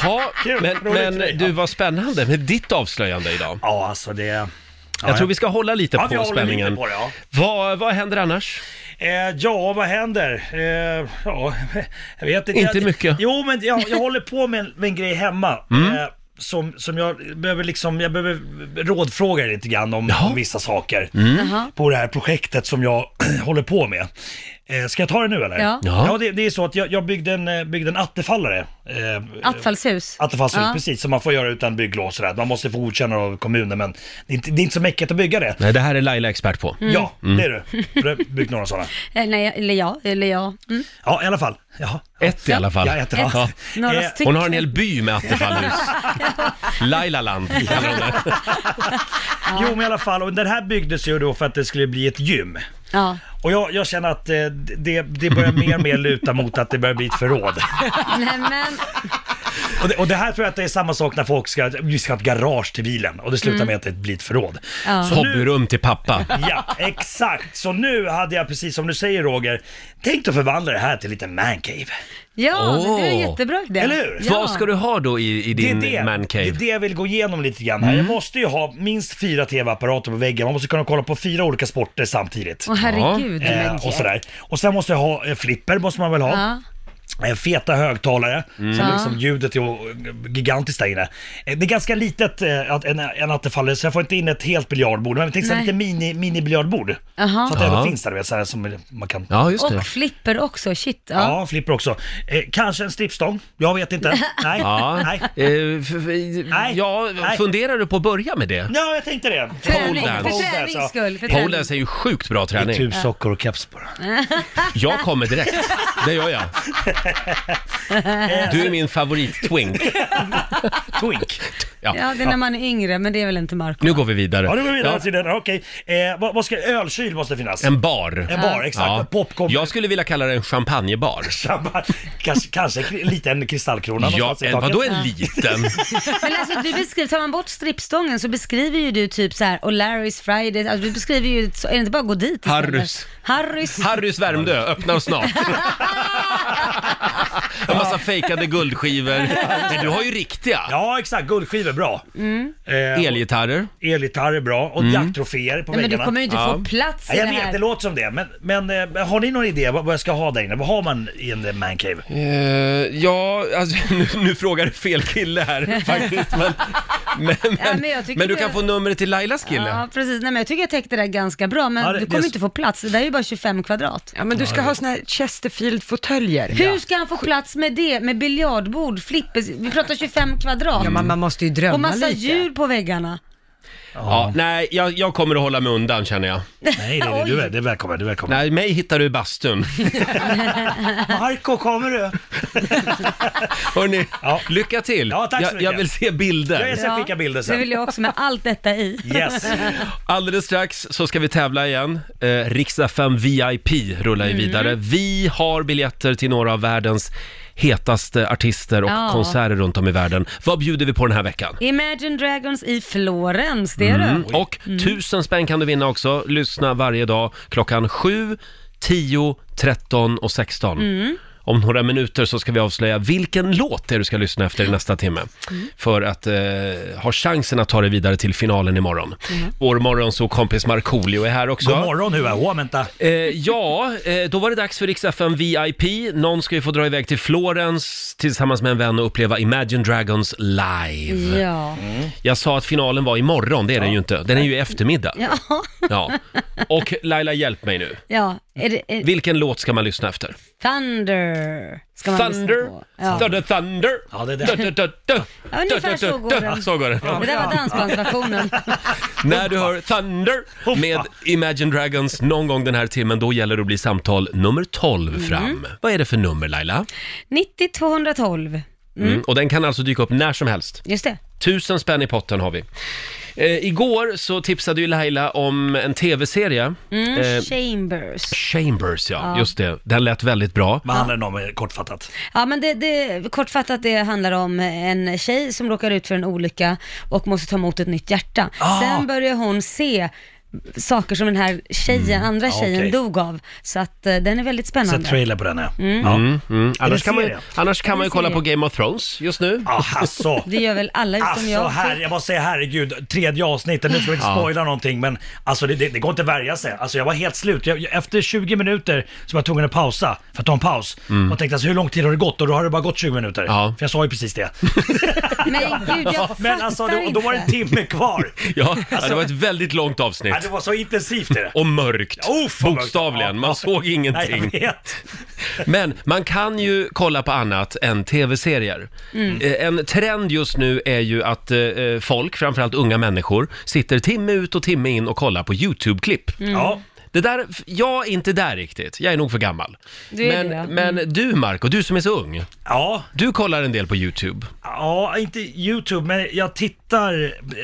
Speaker 1: Ja,
Speaker 7: Kul,
Speaker 1: men,
Speaker 7: roligt för dig,
Speaker 1: men du
Speaker 7: ja.
Speaker 1: var spännande med ditt avslöjande idag.
Speaker 7: Ja, alltså det... Ja,
Speaker 1: Jag tror vi ska hålla lite
Speaker 7: Ja, vi
Speaker 1: på
Speaker 7: håller
Speaker 1: spänningen.
Speaker 7: lite på det, ja.
Speaker 1: vad, vad händer annars?
Speaker 7: Eh, ja, vad händer? Eh, ja, jag vet inte.
Speaker 1: Inte
Speaker 7: jag,
Speaker 1: mycket. Mm.
Speaker 7: Jo, men jag, jag håller på med en, med en grej hemma. Eh, som, som jag behöver liksom, jag behöver rådfråga er lite grann om, om vissa saker.
Speaker 1: Mm.
Speaker 2: Jaha.
Speaker 7: På det här projektet som jag håller på med. Eh, ska jag ta det nu eller?
Speaker 2: Ja.
Speaker 1: Ja.
Speaker 7: det, det är så att jag, jag byggde en, eh, byggde en attefallare. Eh,
Speaker 2: Attefallshus?
Speaker 7: Attefallshus,
Speaker 2: Ja.
Speaker 7: precis, som man får göra utan bygglov och sådär. Man måste få godkännande av kommunen men det är inte, det är inte så mäckigt att bygga det. Mm.
Speaker 1: Nej, det här är Laila expert på. Mm.
Speaker 7: Ja, det är du. För Du har byggt några sådana.
Speaker 2: Eh, Nej, eller ja, eller ja. Mm.
Speaker 7: Ja, i alla fall. Jaha.
Speaker 1: Ett i alla fall.
Speaker 7: Ja, ett, ja.
Speaker 1: Ja.
Speaker 2: Några
Speaker 7: Eh,
Speaker 2: stycken.
Speaker 1: Hon har en hel by med attefallshus. Lailaland kallar hon det.
Speaker 7: Jo men i alla fall, och den här byggdes ju då för att det skulle bli ett gym.
Speaker 2: Ja.
Speaker 7: Och jag, jag känner att eh, det, det börjar mer och mer luta mot att det börjar bli ett förråd.
Speaker 2: Nej, men,
Speaker 7: Och det, och det här tror jag att det är samma sak när folk ska, vi ska ha ett garage till bilen och det slutar med att det blir ett förråd.
Speaker 2: Mm. Ja.
Speaker 7: Så nu,
Speaker 1: Hobbyrum till pappa.
Speaker 7: ja, exakt. Så nu hade jag precis som du säger Roger, tänkt att förvandla det här till lite mancave.
Speaker 2: ja men det är en
Speaker 1: Åh.
Speaker 2: jättebra idé.
Speaker 7: Eller hur?
Speaker 2: Ja.
Speaker 1: Vad ska du ha då i, i din Mm.
Speaker 7: det, är det, det
Speaker 1: mancave?
Speaker 7: är det jag vill gå igenom lite grann här. Jag måste ju ha minst fyra tv-apparater på väggen, man måste kunna kolla på fyra olika sporter samtidigt.
Speaker 2: Åh herregud.
Speaker 7: Eh,
Speaker 2: men
Speaker 7: och sådär. Och sen måste jag ha eh, flipper, måste man väl ha.
Speaker 2: Ja.
Speaker 7: Eh, Feta högtalare, så
Speaker 2: Mm. Ja.
Speaker 7: liksom ljudet är o- gigantiskt där inne. Eh, Det är ganska litet eh, att- en, en attefallare, så jag får inte in ett helt biljardbord. Men tänk sig
Speaker 2: Nej.
Speaker 7: lite mini, mini-biljardbord.
Speaker 2: Jaha.
Speaker 7: Så att det ändå
Speaker 1: Ja.
Speaker 7: finns där, du vet, så här, som man kan... Ja.
Speaker 1: Ja, just det.
Speaker 2: Och flipper också, shit. Ja.
Speaker 7: flipper också. Eh, kanske en strippstång, jag vet inte. Nej,
Speaker 1: Ja.
Speaker 7: nej.
Speaker 1: Eh, f- f-
Speaker 7: Nej.
Speaker 1: ja,
Speaker 7: Nej.
Speaker 1: funderar du på att börja med det?
Speaker 7: Ja, jag tänkte det.
Speaker 2: Träning,
Speaker 1: Pole dance.
Speaker 2: för tränings skull. För
Speaker 1: Pole
Speaker 2: träning.
Speaker 1: dance är ju sjukt bra
Speaker 7: Det är
Speaker 1: träning.
Speaker 7: Tur sockor och keps bara.
Speaker 1: Jag kommer direkt. Det gör jag. Du är min favorit-twink.
Speaker 7: Twink.
Speaker 2: Ja, det är när man är yngre, men det är väl inte Marco?
Speaker 1: Nu går vi vidare.
Speaker 7: Ja, nu går vi vidare
Speaker 1: Ja,
Speaker 7: till den. Okej. Eh, vad, vad ska, ölkyl måste finnas.
Speaker 1: En bar.
Speaker 7: En bar, exakt. Popcorn.
Speaker 1: Jag skulle vilja kalla det en champagnebar.
Speaker 7: Samma, kanske, kanske en liten kristallkrona
Speaker 1: Ja,
Speaker 7: någonstans i
Speaker 1: en,
Speaker 7: taket.
Speaker 1: vadå en liten?
Speaker 2: Men alltså, du beskriver, tar man bort strippstången så beskriver ju du typ så här, och Larry's Friday, alltså, du beskriver ju, så, är det inte bara att gå dit istället?
Speaker 1: Harrys.
Speaker 2: Harrys.
Speaker 1: Harrys Värmdö öppnar snart. En massa fejkade guldskivor. Men du har ju riktiga.
Speaker 7: Ja, exakt. Guldskivor bra. Eh,
Speaker 1: Elgitarrer. Mm.
Speaker 7: Elgitarr är bra och jakttroféer på
Speaker 2: Nej, men du
Speaker 7: väggarna.
Speaker 2: kommer ju inte
Speaker 1: Ja.
Speaker 2: få plats i
Speaker 7: Nej, jag
Speaker 2: det här.
Speaker 7: vet, det låter som det. Men, men eh, har ni någon idé vad, vad jag ska ha där inne? Vad har man i en eh, mancave?
Speaker 1: Eh, ja, alltså, nu, nu frågar du fel kille här faktiskt. Men, men, men,
Speaker 2: Ja, men
Speaker 1: men,
Speaker 2: jag tycker
Speaker 1: du
Speaker 2: det-
Speaker 1: kan få numret till Lailas kille.
Speaker 2: Ja, precis. Nej, men jag tycker jag täckte det där ganska bra, men
Speaker 7: Ja, det-
Speaker 2: du kommer
Speaker 7: det-
Speaker 2: inte få plats. Det där är ju bara 25 kvadrat.
Speaker 3: ja, men du ska ha såna här Chesterfield-fåtöljer.
Speaker 2: Hur ska han få plats med det? Med biljardbord, flippers, vi pratar 25 kvadrat.
Speaker 3: Ja, man, man måste ju drömma
Speaker 2: och massa
Speaker 3: lite.
Speaker 2: djur på väggarna.
Speaker 1: Ja, nej, jag, jag kommer att hålla mig undan känner jag.
Speaker 7: Nej, det, det, du är, det är välkommen. Du är välkommen.
Speaker 1: Nej, mig hittar du i bastun.
Speaker 7: Marco, kommer du?
Speaker 1: Hörrni,
Speaker 7: Ja.
Speaker 1: lycka till.
Speaker 7: Ja, tack så
Speaker 1: jag,
Speaker 7: mycket.
Speaker 1: jag vill se
Speaker 7: Jag
Speaker 1: bilder.
Speaker 7: är- ska skicka bilder sen.
Speaker 2: Det vill jag också med allt detta i.
Speaker 7: Yes.
Speaker 1: Alldeles strax så ska vi tävla igen. Eh, Riksdag 5 VIP rullar ju
Speaker 2: Mm.
Speaker 1: vidare. Vi har biljetter till några av världens hetaste artister och
Speaker 2: Ja.
Speaker 1: konserter runt om i världen. Vad bjuder vi på den här veckan?
Speaker 2: Imagine Dragons i Florens, det är
Speaker 1: Mm.
Speaker 2: det.
Speaker 1: Och tusen spänn kan du vinna också. Lyssna varje dag klockan 7, 10, 13 och 16.
Speaker 2: Mm.
Speaker 1: Om några minuter så ska vi avslöja vilken låt det är du ska lyssna efter i nästa timme.
Speaker 7: Mm.
Speaker 1: För att eh, ha chansen att ta dig vidare till finalen imorgon.
Speaker 2: Mm.
Speaker 1: Vår morgonsåkompis kompis Markoolio är här också.
Speaker 7: God morgon, hur är det? vänta.
Speaker 1: Eh, ja, eh, då var det dags för Rix FM VIP. Någon ska ju få dra iväg till Florens tillsammans med en vän och uppleva Imagine Dragons live.
Speaker 2: Ja.
Speaker 7: Mm.
Speaker 1: Jag sa att finalen var imorgon, det är den ju inte. Den är ju i eftermiddag.
Speaker 2: Ja.
Speaker 1: Ja. Och Laila, hjälp mig nu.
Speaker 2: ja. Är det, är
Speaker 1: Vilken låt ska man lyssna efter?
Speaker 2: Thunder ska man lyssna
Speaker 1: Thunder,
Speaker 2: på. Ja.
Speaker 1: thunder, thunder.
Speaker 7: Ja, det där.
Speaker 1: Du, du, du, du.
Speaker 2: Ja, ungefär
Speaker 1: Du, du, du,
Speaker 2: så går
Speaker 1: du.
Speaker 2: den.
Speaker 1: Så går den.
Speaker 2: Det där var dansbandsversionen.
Speaker 1: När du hör Thunder med Imagine Dragons någon gång den här timmen, då gäller det att bli samtal nummer 12
Speaker 2: Mm.
Speaker 1: fram. Vad är det för nummer Laila?
Speaker 2: 90 212.
Speaker 1: Mm. Och den kan alltså dyka upp när som helst.
Speaker 2: Just det.
Speaker 1: Tusen spänn i potten har vi. Eh, igår så tipsade ju Laila om en tv-serie.
Speaker 2: Mm,
Speaker 1: Eh,
Speaker 2: Chambers.
Speaker 1: Chambers, ja,
Speaker 2: Ja.
Speaker 1: Just det. Den lät väldigt bra.
Speaker 7: Vad handlar det om eh, kortfattat?
Speaker 2: Ja, men det, det, kortfattat det handlar om en tjej som råkar ut för en olycka och måste ta emot ett nytt hjärta.
Speaker 7: Ah.
Speaker 2: Sen börjar hon se saker som den här tjejen, andra tjejen
Speaker 7: Mm. Ah, okej.
Speaker 2: dog av. Så att eh, den är väldigt
Speaker 7: Sett
Speaker 2: spännande.
Speaker 7: trailer på den här. Ja.
Speaker 1: Mm. Annars, kan man,
Speaker 7: serie?
Speaker 1: annars kan man ju
Speaker 2: En
Speaker 1: kolla
Speaker 2: serie.
Speaker 1: på Game of Thrones just nu.
Speaker 7: Ah, alltså.
Speaker 2: Det gör väl alla utom
Speaker 7: Alltså
Speaker 2: jag.
Speaker 7: här, jag måste säga herregud, tredje avsnittet, nu ska vi inte spoila någonting men alltså det, det, det går inte att värja sig. Alltså jag var helt slut. Jag, jag- efter 20 minuter så var jag tvungen att pausa för att ta en paus.
Speaker 2: Mm.
Speaker 7: Och tänkte alltså hur lång tid har det gått? Och då har det bara gått 20 minuter.
Speaker 1: Ja.
Speaker 7: För jag sa ju precis det.
Speaker 2: Men gud, jag
Speaker 7: men
Speaker 2: fattar
Speaker 7: alltså då,
Speaker 2: inte.
Speaker 7: då var det en timme kvar.
Speaker 1: Ja, ja, det var ett väldigt långt
Speaker 7: Ja, det
Speaker 1: avsnitt.
Speaker 7: var så intensivt i det.
Speaker 1: Och mörkt,
Speaker 7: Oh, fan, vad-
Speaker 1: bokstavligen. Man såg
Speaker 7: Nej,
Speaker 1: ingenting.
Speaker 7: jag vet.
Speaker 1: Men man kan ju kolla på annat än tv-serier.
Speaker 7: Mm.
Speaker 1: Eh, En trend just nu är ju att eh, eh, folk, framförallt unga människor, sitter timme ut och timme in och kollar på YouTube-klipp.
Speaker 7: Ja.
Speaker 1: Det där, f- jag är inte där riktigt, jag är nog för gammal.
Speaker 2: Du är
Speaker 1: men,
Speaker 2: det, Mm. ja.
Speaker 1: men du Marco, du som är så ung,
Speaker 7: Ja,
Speaker 1: du kollar en del på YouTube.
Speaker 7: Ja, inte YouTube, men jag tittar...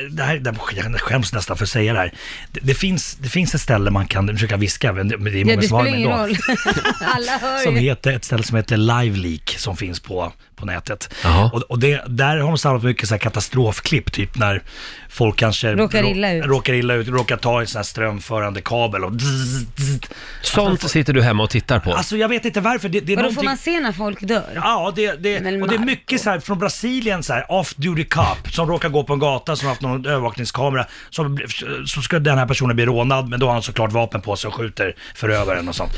Speaker 7: Det här, det här, jag skäms nästan för att säga det här. Det, det, finns, det finns ett ställe man kan... Försöka viska, men det, men det är
Speaker 2: Ja,
Speaker 7: många
Speaker 2: det
Speaker 7: som har
Speaker 2: spelar
Speaker 7: det
Speaker 2: ingen
Speaker 7: ändå.
Speaker 2: roll. alla hör
Speaker 7: Som
Speaker 2: ju.
Speaker 7: heter, ett ställe som heter LiveLeak som finns på, på nätet.
Speaker 1: Jaha.
Speaker 7: Och, och det, där har de samlat mycket så här katastrofklipp, typ när folk kanske
Speaker 2: Råkar
Speaker 7: rå-
Speaker 2: illa ut.
Speaker 7: råkar illa ut, råkar ta en sån här strömförande kabel och dzz, dzz.
Speaker 1: Sånt sitter du hemma och tittar på.
Speaker 7: Alltså jag vet inte varför, det, det är
Speaker 2: Och då får
Speaker 7: någonting...
Speaker 2: man se när folk dör.
Speaker 7: Ja, det, det,
Speaker 2: Men
Speaker 7: och det är
Speaker 2: Marco.
Speaker 7: mycket så här från Brasilien så här, off duty cop, som råkar gå på en gata som har haft någon övervakningskamera, som, så ska den här personen bli rånad, men då har han såklart vapen på sig och skjuter förövaren och sånt.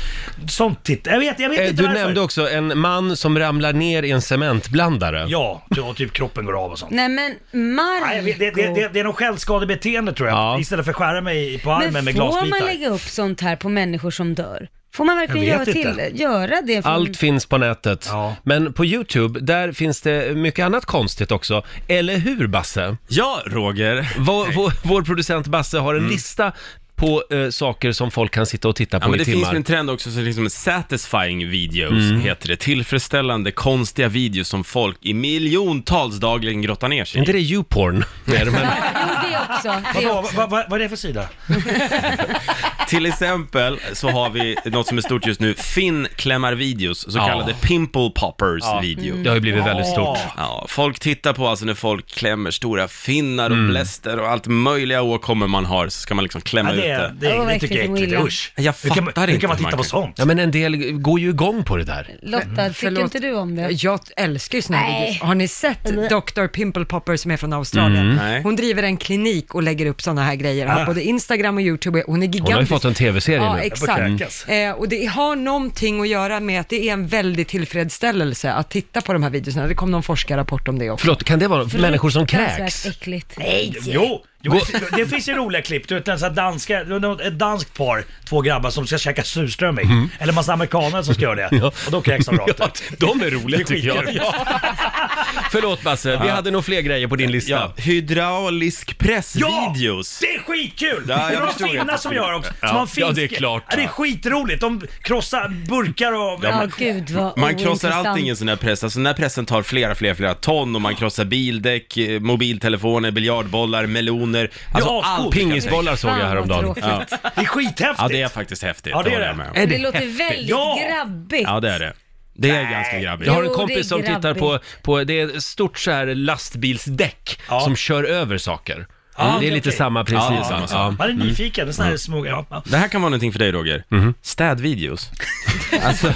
Speaker 7: Sånt titt. Jag vet, jag vet
Speaker 1: Eh,
Speaker 7: inte
Speaker 1: Du
Speaker 7: varför.
Speaker 1: nämnde också en man som ramlar ner i en cementblandare.
Speaker 7: Ja, och typ kroppen går av och sånt.
Speaker 2: Nej men Marco.
Speaker 7: Nej, jag vet, det, det, det, det är något självskadebeteende tror jag,
Speaker 1: Ja.
Speaker 7: istället för att skära mig på armen
Speaker 2: men
Speaker 7: med
Speaker 2: får
Speaker 7: glasbitar.
Speaker 2: man lägga upp sånt här på människor som dör? Får man verkligen
Speaker 7: Jag
Speaker 2: göra,
Speaker 7: vet inte.
Speaker 2: till, göra det? Från...
Speaker 1: Allt finns på nätet.
Speaker 7: Ja.
Speaker 1: Men på YouTube, där finns det mycket annat konstigt också. Eller hur Basse?
Speaker 6: Ja, Roger.
Speaker 1: Vår, vår, vår producent Basse har en
Speaker 7: Mm.
Speaker 1: lista på eh, saker som folk kan sitta och titta på
Speaker 6: Ja, men
Speaker 1: i
Speaker 6: det finns
Speaker 1: timmar.
Speaker 6: en trend också som liksom satisfying videos,
Speaker 1: Mm.
Speaker 6: heter det. Tillfredsställande, konstiga videos som folk i miljontals dagligen grottar ner sig i.
Speaker 1: Är inte det YouPorn? Nej, men,
Speaker 2: Ja, jo, det också. Det
Speaker 7: Vadå,
Speaker 2: också.
Speaker 7: vad, vad, vad är det för sida?
Speaker 6: Till exempel så har vi något som är stort just nu, finnklämmar-videos, så
Speaker 1: Ja.
Speaker 6: kallade pimple poppers-video.
Speaker 1: det har ju blivit väldigt
Speaker 7: Ja.
Speaker 1: stort.
Speaker 6: Ja, folk tittar på alltså när folk klämmer stora finnar
Speaker 1: Mm.
Speaker 6: och bläster och allt möjliga åkommor man har, så ska man liksom
Speaker 7: Ja,
Speaker 6: klämma
Speaker 7: det,
Speaker 6: ut
Speaker 7: det,
Speaker 6: det.
Speaker 7: det,
Speaker 2: Åh,
Speaker 7: det
Speaker 2: vad
Speaker 7: tycker jag är
Speaker 2: äckligt,
Speaker 7: äckligt.
Speaker 2: Ola.
Speaker 7: Usch.
Speaker 6: Jag
Speaker 7: hur kan, man-
Speaker 6: fattar
Speaker 7: hur
Speaker 6: inte,
Speaker 7: kan man titta på
Speaker 6: Marco.
Speaker 7: sånt?
Speaker 1: Ja, men en del går ju igång på det där.
Speaker 2: Lotta, fick
Speaker 3: Mm. Förlåt.
Speaker 2: inte du om det?
Speaker 3: Jag älskar ju såna här videos. Har ni sett Dr. Pimple Popper som är från Australien?
Speaker 6: Nej.
Speaker 3: Hon driver en klinik och lägger upp såna här grejer. Har både Instagram och YouTube. Hon är gigantisk.
Speaker 1: Hon har ju fått en tv-serie
Speaker 3: Ja,
Speaker 1: nu.
Speaker 3: exakt.
Speaker 7: kräkas.
Speaker 3: Eh, och det har någonting att göra med att det är en väldig tillfredsställelse att titta på de här videorna. Det kom någon forskarrapport om det också.
Speaker 1: Förlåt, kan det vara människor som kräks?
Speaker 2: Fruktansvärt äckligt.
Speaker 7: Jo, jo det finns- det finns ju roliga klipp. Du vet, en sån här danska, det var ett danskt par, två grabbar som ska käka surströmming. Eller massa amerikaner som ska göra det. Och då kräks de rakt
Speaker 1: Mhm. Ja,
Speaker 7: ut.
Speaker 1: de är roliga tycker
Speaker 7: skitkul.
Speaker 1: jag. Förlåt Basse, vi hade nog fler grejer på din lista.
Speaker 6: Ja, hydraulisk
Speaker 7: Ja!
Speaker 6: press-videos.
Speaker 7: Det är skitkul!
Speaker 6: Ja, jag
Speaker 7: det är
Speaker 6: förstod
Speaker 7: de
Speaker 6: att
Speaker 7: finnar
Speaker 6: det
Speaker 7: som
Speaker 6: skulle-
Speaker 7: gör också.
Speaker 6: Ja.
Speaker 7: Som har en
Speaker 1: Ja,
Speaker 7: finsk.
Speaker 1: det är klart.
Speaker 7: Ja, det är skitroligt. De krossar burkar och...
Speaker 2: Ja, gud vad
Speaker 6: Man krossar
Speaker 2: ointressant.
Speaker 6: allting i en sån här press, alltså den här pressen tar flera, flera, flera ton och man krossar bildäck, eh, mobiltelefoner, biljardbollar, meloner, alltså
Speaker 7: Ja,
Speaker 6: allt.
Speaker 7: skit.
Speaker 1: Pingisbollar såg
Speaker 2: Fan,
Speaker 1: jag
Speaker 2: vad
Speaker 1: häromdagen.
Speaker 2: tråkigt.
Speaker 6: Ja.
Speaker 7: Det är skithäftigt.
Speaker 6: ja, det är faktiskt häftigt.
Speaker 7: Ja, det är
Speaker 6: håller
Speaker 7: det.
Speaker 6: jag med om.
Speaker 1: Är
Speaker 2: Det
Speaker 1: det
Speaker 2: låter
Speaker 1: häftigt?
Speaker 2: väldigt
Speaker 7: Ja.
Speaker 2: grabbigt.
Speaker 6: Ja, det är det. Det är ganska grabbigt.
Speaker 1: Jag har en
Speaker 2: Jo, det är
Speaker 1: kompis som tittar på,
Speaker 2: grabbigt.
Speaker 1: på det är ett stort så här lastbilsdäck
Speaker 7: Ja,
Speaker 1: som kör över saker.
Speaker 7: Ja,
Speaker 1: det är
Speaker 7: Ah, okej,
Speaker 1: lite
Speaker 7: okej.
Speaker 1: samma princip.
Speaker 6: Ja, samma
Speaker 1: va?
Speaker 6: sak.
Speaker 1: Ja. Mhm.
Speaker 7: Man är nyfiken. Såna här små... Ja, ja.
Speaker 6: Det här kan vara någonting för dig Roger. Städvideos. alltså,